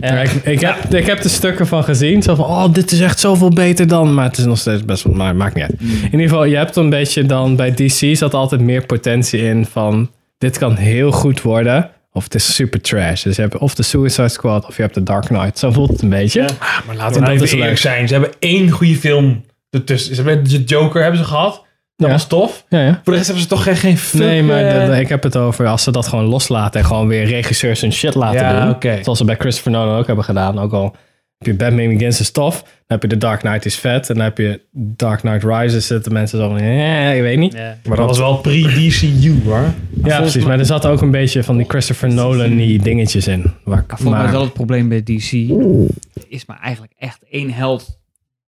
Speaker 4: Ja, ik, ik, heb, ik heb de stukken van gezien. Zo van, oh, dit is echt zoveel beter dan... Maar het is nog steeds best wel... Maar maakt niet uit.
Speaker 3: Mm.
Speaker 4: In ieder geval, je hebt een beetje dan... Bij DC zat altijd meer potentie in van... Dit kan heel goed worden. Of het is super trash. Dus je hebt of de Suicide Squad of je hebt de Dark Knight. Zo voelt het een beetje.
Speaker 3: Maar laten we nou even eerlijk zijn. Ze hebben één goede film ertussen. Ze hebben de Joker hebben ze gehad. Dat was tof.
Speaker 4: Ja, ja.
Speaker 3: Voor de rest hebben ze toch geen, geen fuck,
Speaker 4: Nee, maar
Speaker 3: eh,
Speaker 4: dat- ik heb het over als ze dat gewoon loslaten en gewoon weer regisseurs hun shit laten
Speaker 3: Ja,
Speaker 4: doen.
Speaker 3: oké.
Speaker 4: Zoals ze bij Christopher Nolan ook hebben gedaan. Ook al heb je Batman Begins is tof, dan heb je The Dark Knight is vet en dan heb je Dark Knight Rises zitten mensen zo van, eh, ik weet niet.
Speaker 3: Maar dat was wel pre-DCU hoor.
Speaker 4: Ja, precies. Maar er zat ook een beetje van die Christopher Nolan die dingetjes in. Waar ik,
Speaker 2: Volgens mij is
Speaker 4: maar,
Speaker 2: wel het probleem bij DC. Is maar eigenlijk echt één held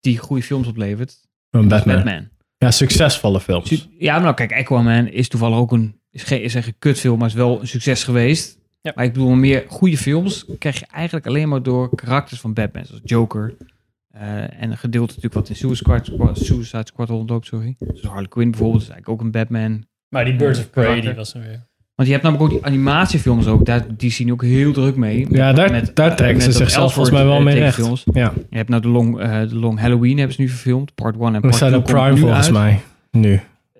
Speaker 2: die goede films oplevert.
Speaker 4: een
Speaker 2: Dat is
Speaker 4: Batman.
Speaker 2: Batman.
Speaker 4: Ja, succesvolle films.
Speaker 2: Ja, maar nou kijk, Aquaman is toevallig ook een... Is, geen, is echt een kutfilm, maar is wel een succes geweest. Maar ik bedoel, meer goede films krijg je eigenlijk alleen maar door karakters van Batman. Zoals Joker. eh, en een gedeelte natuurlijk wat in Suicide Squad, Suicide Squad rondloopt, sorry. Zoals Harley Quinn bijvoorbeeld, is eigenlijk ook een Batman.
Speaker 7: Maar die Birds of Prey,
Speaker 2: karakter.
Speaker 7: die was er weer.
Speaker 2: Want je hebt namelijk ook die animatiefilms ook, daar, die zien ook heel druk mee.
Speaker 4: Ja, daar- daar trekken
Speaker 2: met
Speaker 4: ze
Speaker 2: dat
Speaker 4: zichzelf volgens
Speaker 2: Elseworld,
Speaker 4: mij wel
Speaker 2: eh,
Speaker 4: mee recht.
Speaker 2: tekenfilms.
Speaker 4: Ja.
Speaker 2: Je hebt nou de Long, eh, de long Halloween hebben ze nu verfilmd, part 1 en
Speaker 4: We
Speaker 2: part 2.
Speaker 4: zijn op Prime volgens mij nu.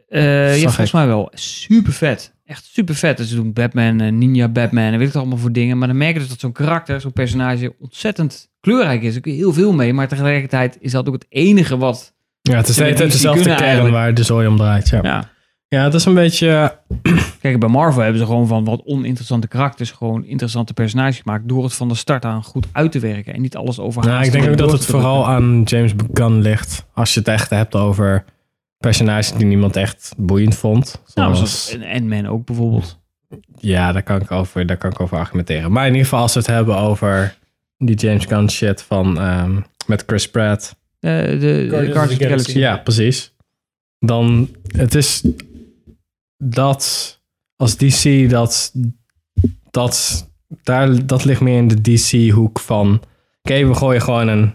Speaker 2: Eh,
Speaker 4: Zag
Speaker 2: ja,
Speaker 4: ik.
Speaker 2: volgens mij wel. Super vet. Echt super vet. Dus ze doen Batman, eh, Ninja Batman en weet ik het allemaal voor dingen. Maar dan merk je dus dat zo'n karakter, zo'n personage ontzettend kleurrijk is. Er kun je heel veel mee, maar tegelijkertijd is dat ook het enige wat...
Speaker 4: Ja, het is
Speaker 2: ze
Speaker 4: de hele
Speaker 2: met
Speaker 4: tijd
Speaker 2: DC
Speaker 4: dezelfde
Speaker 2: kunnen
Speaker 4: kern
Speaker 2: eigenlijk.
Speaker 4: waar de zooi om draait. Ja.
Speaker 2: Ja.
Speaker 4: ja, het is een beetje... eh,
Speaker 2: Kijk, bij Marvel hebben ze gewoon van wat oninteressante karakters gewoon interessante personages gemaakt. Door het van de start aan goed uit te werken en niet alles overhaast.
Speaker 4: Nou, ik denk
Speaker 2: om
Speaker 4: ook dat
Speaker 2: door
Speaker 4: het
Speaker 2: te
Speaker 4: vooral
Speaker 2: drukken.
Speaker 4: aan James Gunn ligt. Als je het echt hebt over personages die niemand echt boeiend vond.
Speaker 2: Nou,
Speaker 4: Zoals,
Speaker 2: zoals een Ant-Man ook bijvoorbeeld.
Speaker 4: ja, daar kan, ik over, daar kan ik over argumenteren. Maar in ieder geval als we het hebben over die James Gunn shit van, ehm, met Chris Pratt.
Speaker 2: Eh, de de Guardians of the Galaxy.
Speaker 4: Ja, precies. Dan, het is dat, als DC, dat, dat, daar, dat ligt meer in de DC-hoek van, oké, we gooien gewoon een,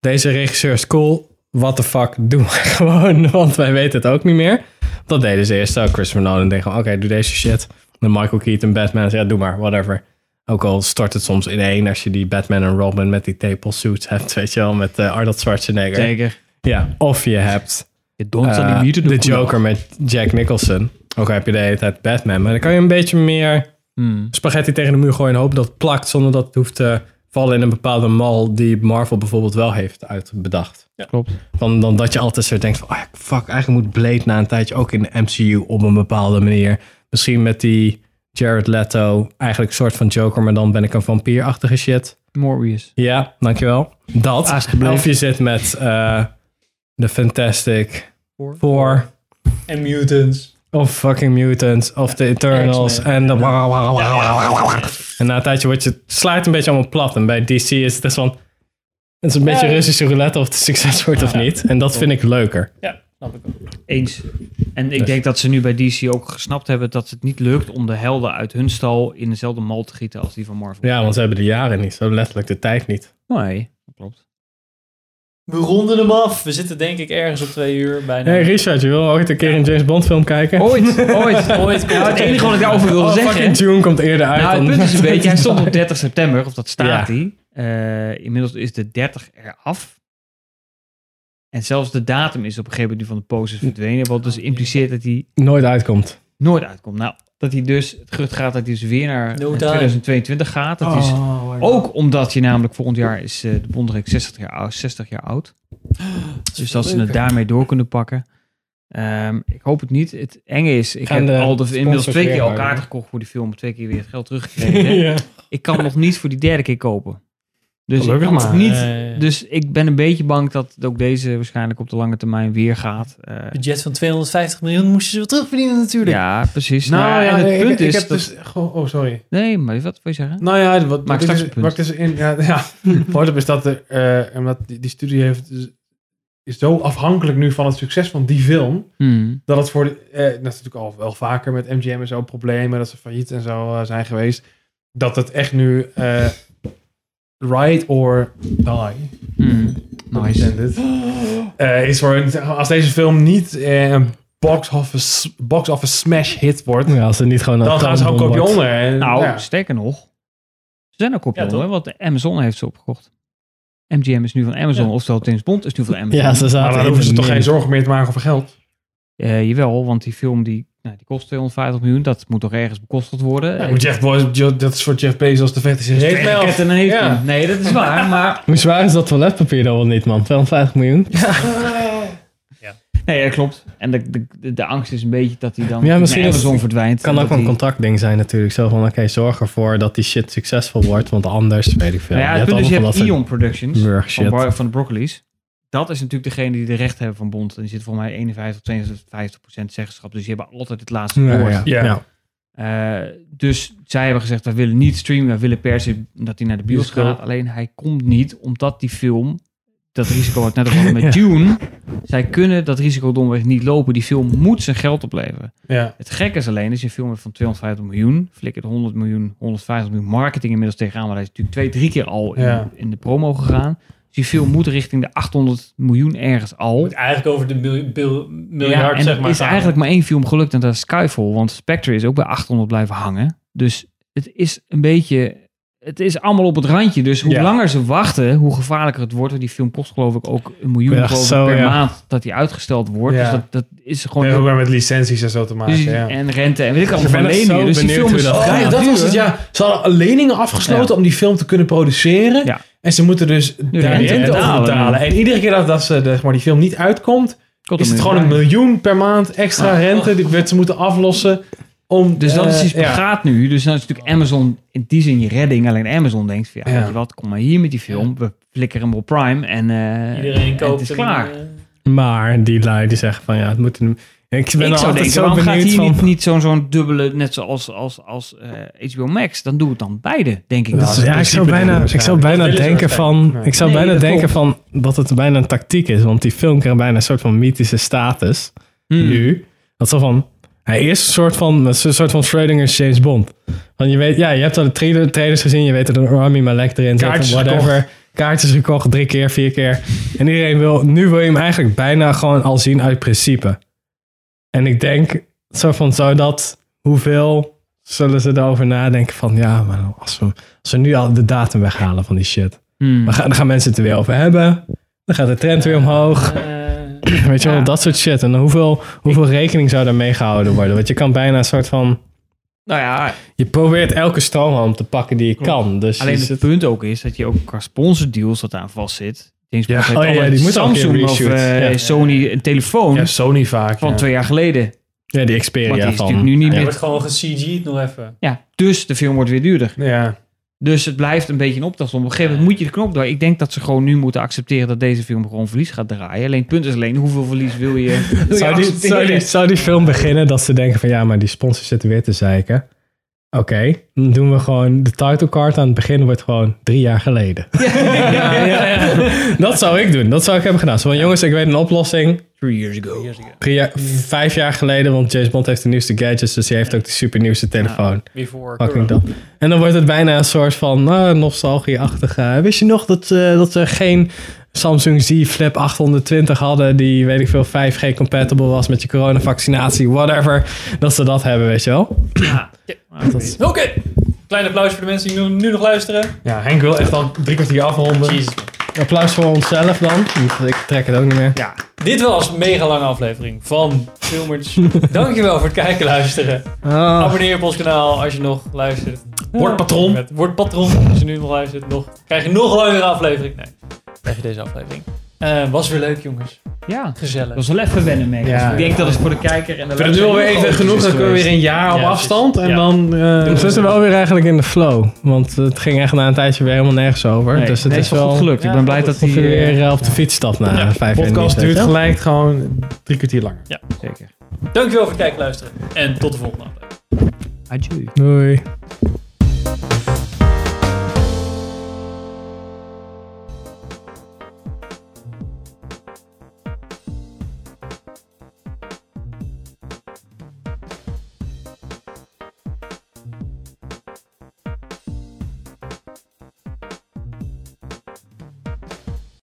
Speaker 4: deze regisseur is cool, what the fuck, doe maar [laughs] gewoon, want wij weten het ook niet meer. Dat deden ze eerst ook, Christopher Nolan deed gewoon, oké, doe deze shit. En Michael Keaton, Batman, ja, doe maar, whatever. Ook al stort het soms ineen als je die Batman en Robin met die table suits hebt, [laughs] weet je wel, met eh, Arnold Schwarzenegger.
Speaker 2: Zeker.
Speaker 4: Ja, of je hebt
Speaker 2: dons aan die
Speaker 4: eh,
Speaker 2: muren doen,
Speaker 4: de
Speaker 2: kom op.
Speaker 4: Joker met Jack Nicholson. Ook al heb je de hele tijd Batman. Maar dan kan je een beetje meer
Speaker 2: Hmm.
Speaker 4: spaghetti tegen de muur gooien en hopen dat het plakt. Zonder dat het hoeft te vallen in een bepaalde mal die Marvel bijvoorbeeld wel heeft uitbedacht.
Speaker 2: Klopt.
Speaker 4: Van, dan dat je altijd zo denkt van, ah, fuck, eigenlijk moet Blade na een tijdje ook in de MCU op een bepaalde manier. Misschien met die Jared Leto, eigenlijk een soort van Joker, maar dan ben ik een vampierachtige shit.
Speaker 2: Morbius.
Speaker 4: Ja, dankjewel. Dat.
Speaker 2: Alsjeblieft.
Speaker 4: Of je zit met eh The Fantastic Four.
Speaker 7: En Mutants.
Speaker 4: Of fucking Mutants. Of The Eternals.
Speaker 7: X-Men.
Speaker 4: En de... En na een tijdje wordt je... het slaat een beetje allemaal plat. En bij DC is het echt van... Het is een beetje
Speaker 7: Ja.
Speaker 4: Russische roulette of het succes wordt of niet. En dat vind ik leuker.
Speaker 7: Ja, snap ik ook.
Speaker 2: Eens. En ik
Speaker 4: Dus.
Speaker 2: denk dat ze nu bij DC ook gesnapt hebben dat het niet lukt om de helden uit hun stal in dezelfde mal te gieten als die van Marvel.
Speaker 4: Ja, want ze hebben de jaren niet. Zo letterlijk de tijd niet.
Speaker 2: Nee, dat klopt.
Speaker 7: We ronden hem af. We zitten denk ik ergens op twee uur bijna.
Speaker 4: hey, Richard, je wil ooit een keer een James Bond film kijken? [laughs]
Speaker 2: Ooit,
Speaker 7: [laughs]
Speaker 2: ooit,
Speaker 7: Ooit.
Speaker 2: Nou, het enige wat ik daarover wilde
Speaker 4: Oh,
Speaker 2: zeggen.
Speaker 4: fucking June komt eerder uit
Speaker 2: Nou, het
Speaker 4: dan-
Speaker 2: punt is een beetje, hij stond op 30 september, of dat staat
Speaker 4: Ja.
Speaker 2: hij. Eh, inmiddels is de 30 eraf. En zelfs de
Speaker 4: Oh,
Speaker 2: datum is op een gegeven moment nu van de posters verdwenen, wat dus impliceert dat hij
Speaker 4: [laughs] Nooit uitkomt.
Speaker 2: nooit uitkomt. Nou, Dat hij dus, het gerucht gaat dat hij dus weer naar
Speaker 7: No
Speaker 2: eh,
Speaker 7: time.
Speaker 2: 2022 gaat. Dat is,
Speaker 7: Oh, my God.
Speaker 2: ook omdat je namelijk volgend jaar is eh, de Bondrijk 60 jaar, oud- 60 jaar
Speaker 4: [gasps]
Speaker 2: oud. dus dat ze het
Speaker 7: leuker.
Speaker 2: daarmee door kunnen pakken. Ehm, ik hoop het niet. Het enge is, ik
Speaker 4: Gaan
Speaker 2: heb
Speaker 4: de
Speaker 2: al de, inmiddels
Speaker 4: sponsors
Speaker 2: twee keer
Speaker 4: weer
Speaker 2: al
Speaker 4: houden,
Speaker 2: kaarten
Speaker 4: hè?
Speaker 2: gekocht voor die film. Twee keer weer het
Speaker 4: [laughs]
Speaker 2: geld teruggekregen.
Speaker 4: Ja.
Speaker 2: Ik kan hem nog niet voor die derde keer kopen. Dus ik
Speaker 3: Gelukkig
Speaker 2: kan het
Speaker 3: maar.
Speaker 2: niet.
Speaker 7: Ja, ja, ja.
Speaker 2: Dus ik ben een beetje bang dat ook deze waarschijnlijk op de lange termijn weer gaat. Eh,
Speaker 7: budget van 250 miljoen moesten ze wel terugverdienen natuurlijk.
Speaker 2: ja, precies.
Speaker 3: Nou,
Speaker 2: Maar-
Speaker 3: ja,
Speaker 2: en het
Speaker 3: ik-
Speaker 2: punt
Speaker 3: ik
Speaker 2: is.
Speaker 3: heb
Speaker 2: dat-
Speaker 3: dus, gewoon- oh, sorry.
Speaker 2: Nee, maar wat wil je zeggen?
Speaker 3: Nou ja, wat,
Speaker 2: Maak
Speaker 3: wat, ik
Speaker 2: straks
Speaker 3: dus,
Speaker 2: een punt.
Speaker 3: wat ik dus in. Ja, ja. Wat ik is dat er, eh, omdat die, die studie heeft, is zo afhankelijk nu van het succes van die film.
Speaker 2: Hmm.
Speaker 3: Dat het voor. de- eh, dat is natuurlijk al wel vaker met MGM en zo problemen. Dat ze failliet en zo eh, zijn geweest. Dat het echt nu. eh ride or die.
Speaker 2: Hmm.
Speaker 3: Pun
Speaker 2: Nice.
Speaker 3: intended. Eh, is voor een, als deze film niet eh, een box office, box office smash hit wordt.
Speaker 4: Ja, als ze niet gewoon...
Speaker 3: Dan gaan ze gewoon kopje onder. En,
Speaker 2: Nou,
Speaker 3: ja.
Speaker 2: sterker nog. Ze zijn ook kopje
Speaker 7: Ja,
Speaker 2: onder,
Speaker 7: toch?
Speaker 2: want Amazon heeft ze opgekocht. MGM is nu van Amazon,
Speaker 7: Ja.
Speaker 2: oftewel James Bond is nu
Speaker 3: [laughs]
Speaker 2: van Amazon.
Speaker 4: Ja, ze
Speaker 3: Maar
Speaker 4: zaten
Speaker 3: dan
Speaker 4: in
Speaker 3: hoeven ze
Speaker 4: de
Speaker 3: toch
Speaker 4: min.
Speaker 3: geen zorgen meer te maken over geld.
Speaker 2: Eh, jawel, want die film die, nou, die kost 250 miljoen, dat moet toch ergens bekostigd worden.
Speaker 3: Ja, moet Jeff Bezos- Jo- dat is voor Jeff Bezos de vet is in zijn
Speaker 2: Heeft
Speaker 3: reet.
Speaker 2: en heeft
Speaker 3: Ja.
Speaker 2: hem. Nee, dat is waar, maar...
Speaker 4: Hoe zwaar is dat toiletpapier dan wel niet, man? 52 miljoen?
Speaker 2: Nee, dat klopt. En de, de, de, de angst is een beetje dat hij dan
Speaker 4: Ja,
Speaker 2: naar
Speaker 4: misschien is-
Speaker 2: Amazon verdwijnt.
Speaker 4: kan
Speaker 2: en
Speaker 4: ook
Speaker 2: dat
Speaker 4: wel een
Speaker 2: hij-
Speaker 4: contractding zijn natuurlijk. Zo van, oké, zorg ervoor dat die shit succesvol wordt, want anders weet ik veel.
Speaker 2: Nou ja, het punt is, je
Speaker 4: allemaal
Speaker 2: hebt
Speaker 4: van dat soort-
Speaker 2: Ion Productions
Speaker 4: Burg
Speaker 2: van,
Speaker 4: shit.
Speaker 2: Bar- van de Broccoli's. Dat is natuurlijk degene die de rechten hebben van Bond. En die zit volgens mij 51, 52 procent zeggenschap. Dus die hebben altijd het laatste woord.
Speaker 4: Ja, ja.
Speaker 3: Ja.
Speaker 4: ja.
Speaker 2: Eh, dus zij hebben gezegd, wij willen niet streamen, wij willen per se dat hij naar de bios
Speaker 3: Bioscoop.
Speaker 2: gaat. Alleen hij komt niet, omdat die film dat risico had.
Speaker 3: [laughs]
Speaker 2: Net als we hadden met Dune, zij kunnen dat risico domweg niet lopen. Die film moet zijn geld opleveren.
Speaker 3: Ja.
Speaker 2: Het gekke is alleen, is je film van 250 miljoen, flikkert 100 miljoen, 150 miljoen marketing inmiddels tegenaan. Maar hij is natuurlijk twee, drie keer al in,
Speaker 3: Ja.
Speaker 2: in de promo gegaan. Dus die film moet richting de 800 miljoen ergens al.
Speaker 7: Het moet eigenlijk over de mil- bil- miljard,
Speaker 2: Ja, en
Speaker 7: zeg
Speaker 2: er
Speaker 7: maar.
Speaker 2: is
Speaker 7: gaan.
Speaker 2: eigenlijk maar één film gelukt en dat is Skyfall. Want Spectre is ook bij 800 blijven hangen. Dus het is een beetje... Het is allemaal op het randje. Dus hoe
Speaker 3: Ja.
Speaker 2: langer ze wachten, hoe gevaarlijker het wordt. Want die film kost geloof ik ook een miljoen
Speaker 4: Ja,
Speaker 2: geloof ik,
Speaker 4: zo,
Speaker 2: per
Speaker 4: ja.
Speaker 2: maand dat die uitgesteld wordt.
Speaker 3: Ja.
Speaker 2: Dus dat, dat is gewoon...
Speaker 3: Nee, ook weer met licenties en zo te maken.
Speaker 2: dus die-
Speaker 3: ja.
Speaker 2: En rente en weet ik allemaal
Speaker 4: Ik ben
Speaker 2: van
Speaker 4: echt
Speaker 2: leningen.
Speaker 4: zo
Speaker 2: Dus die
Speaker 4: benieuwd
Speaker 2: film
Speaker 4: hoe
Speaker 2: is
Speaker 4: dat
Speaker 3: Oh ja,
Speaker 2: vrij
Speaker 3: dat
Speaker 2: duur.
Speaker 3: was het, ja. Ze hadden leningen afgesloten
Speaker 2: Ja.
Speaker 3: om die film te kunnen produceren.
Speaker 2: Ja.
Speaker 3: En ze moeten dus de
Speaker 2: rente
Speaker 3: rente over
Speaker 2: betalen.
Speaker 3: betalen. En iedere keer dat, dat ze, de- zeg maar, die film niet uitkomt,
Speaker 2: Tot
Speaker 3: is het
Speaker 2: miljoen.
Speaker 3: gewoon een miljoen per maand extra rente die werd ze moeten aflossen. Om,
Speaker 2: Ah. Dus dat
Speaker 3: eh,
Speaker 2: is die
Speaker 3: ja.
Speaker 2: spagaat nu. Dus dan is natuurlijk Amazon in die zin je redding. Alleen Amazon denkt van, ja,
Speaker 3: Ja.
Speaker 2: weet je wat, kom maar hier met die film. We flikkeren hem op Prime en eh,
Speaker 7: Iedereen
Speaker 2: en
Speaker 7: koopt
Speaker 2: het is klaar.
Speaker 7: eh,
Speaker 4: Maar die lui die zeggen van, ja, het moet... een- Ik ben
Speaker 2: ik
Speaker 4: al
Speaker 2: zou
Speaker 4: altijd
Speaker 2: denken,
Speaker 4: zo
Speaker 2: waarom gaat
Speaker 4: benieuwd
Speaker 2: hier
Speaker 4: van...
Speaker 2: niet, niet zo'n zo'n dubbele, net zoals als, als, eh, HBO Max. Dan doen we het dan beide, denk ik. Dus-
Speaker 4: Dat
Speaker 2: dan.
Speaker 4: is- ja, ik zou
Speaker 3: principe doen
Speaker 4: bijna,
Speaker 3: we
Speaker 4: ik zou bijna
Speaker 3: waarschijnlijk.
Speaker 4: denken
Speaker 3: Dat
Speaker 4: van,
Speaker 3: willen ze waarschijnlijk.
Speaker 4: ik zou
Speaker 2: Nee,
Speaker 4: bijna
Speaker 2: dat
Speaker 4: denken van dat het bijna een tactiek is, want die film krijgt bijna een soort van mythische status
Speaker 2: Hmm.
Speaker 4: nu. Dat zo van, hij is een soort van, het is een soort van Schrodinger's James Bond. Want je weet, ja, je hebt al de trailer, trailers gezien, je weet dat er een Rami Malek erin zit,
Speaker 3: Kaartjes
Speaker 4: of whatever. Kaartjes gekocht, drie keer, vier keer. En iedereen wil, nu wil je hem eigenlijk bijna gewoon al zien uit principe. En ik denk, zo van, zou dat, hoeveel zullen ze erover nadenken van, ja, maar als we, als we nu al de datum weghalen van die shit.
Speaker 2: Hmm.
Speaker 4: Dan gaan, dan gaan mensen het er weer over hebben. Dan gaat de trend weer omhoog.
Speaker 2: Eh,
Speaker 4: [clears throat] Weet je wel, dat soort shit. En hoeveel, hoeveel rekening zou daarmee gehouden worden? Want je kan bijna een soort van...
Speaker 2: Nou ja,
Speaker 4: Je probeert elke stroomham te pakken die je
Speaker 2: Klopt.
Speaker 4: kan. Dus
Speaker 2: alleen
Speaker 4: je
Speaker 2: het
Speaker 4: zit-
Speaker 2: punt ook is dat je ook qua sponsordeals dat aan vast zit. James Bond
Speaker 4: Ja.
Speaker 2: heeft
Speaker 4: Oh ja,
Speaker 2: altijd
Speaker 4: die moeten ook een keer
Speaker 2: Samsung of
Speaker 4: reshoot.
Speaker 2: eh,
Speaker 4: Ja.
Speaker 2: Sony een telefoon
Speaker 3: Ja, Sony vaak.
Speaker 2: van
Speaker 3: ja.
Speaker 2: twee jaar geleden.
Speaker 4: ja, die
Speaker 2: Want die
Speaker 4: Xperia
Speaker 2: is
Speaker 4: van...
Speaker 2: natuurlijk nu niet
Speaker 7: Er
Speaker 2: meer.
Speaker 7: wordt gewoon ge-CG'd nog even.
Speaker 2: Ja, dus de film wordt weer duurder.
Speaker 3: Ja.
Speaker 2: Dus het blijft een beetje een optelsom. Op een gegeven moment moet je de knop door. Ik denk dat ze gewoon nu moeten accepteren dat deze film gewoon verlies gaat draaien. Alleen het punt is alleen, hoeveel verlies wil je, [laughs] wil je
Speaker 4: Zou die, zou, die,
Speaker 2: accepteren?
Speaker 4: zou die film beginnen dat ze denken van... Ja, maar die sponsors zitten weer te zeiken. Oké, dan doen we gewoon... De title card aan het begin wordt gewoon drie jaar geleden. [laughs]
Speaker 2: ja, ja, ja.
Speaker 4: Dat zou ik doen. Dat zou ik hebben gedaan. Zo van, jongens, ik weet een oplossing.
Speaker 2: Three years ago.
Speaker 4: Drie jaar- vijf jaar geleden, want James Bond heeft de nieuwste gadgets, dus hij heeft ook de supernieuwste telefoon.
Speaker 7: Before
Speaker 4: Fucking
Speaker 7: corona.
Speaker 4: dat. En dan wordt het bijna een soort van ah, nostalgie-achtige. eh, Wist je nog dat, eh, dat ze geen Samsung Z Flip 820 hadden, die weet ik veel 5G-compatible was met je coronavaccinatie, whatever. Dat ze dat hebben, weet je wel.
Speaker 7: Oké, klein applaus voor de mensen die nu, nu nog luisteren.
Speaker 3: ja, Henk wil echt al drie kwartier afronden.
Speaker 7: Jezus.
Speaker 4: Applaus voor onszelf dan. want Ik trek het ook niet meer.
Speaker 7: Ja. Dit was een mega lange aflevering van
Speaker 2: [laughs]
Speaker 7: Filmers. Dankjewel voor het kijken en luisteren.
Speaker 2: Ah.
Speaker 7: Abonneer je op ons kanaal als je nog luistert.
Speaker 3: Word patron.
Speaker 7: Met- Word patron als je nu nog luistert. Nog, krijg je nog een langere aflevering. Nee, krijg je deze aflevering. Eh, was weer leuk jongens.
Speaker 2: Ja.
Speaker 7: Gezellig.
Speaker 2: Dat was wel even wennen, mee.
Speaker 7: Ja.
Speaker 2: ik denk dat is voor de kijker en de
Speaker 7: We hebben nu alweer even genoeg,
Speaker 3: dan kunnen we weer een jaar op afstand en dan, eh,
Speaker 4: we zitten wel weer eigenlijk in de flow. Want het ging echt na een tijdje weer helemaal nergens over.
Speaker 3: Nee,
Speaker 4: dus het
Speaker 3: nee,
Speaker 4: is
Speaker 3: het is
Speaker 4: wel
Speaker 3: goed gelukt. Ik ben blij dat
Speaker 4: hij
Speaker 3: die,
Speaker 4: weer
Speaker 3: eh,
Speaker 4: eh, op de fiets stapt na
Speaker 3: Ja,
Speaker 4: vijf jaar.
Speaker 3: podcast
Speaker 4: niet, weet
Speaker 3: duurt
Speaker 4: je wel.
Speaker 3: gelijk gewoon drie kwartier langer.
Speaker 7: Ja.
Speaker 2: Zeker.
Speaker 7: Dankjewel voor het kijken en luisteren. En tot de volgende aflevering.
Speaker 2: Adieu.
Speaker 4: Doei.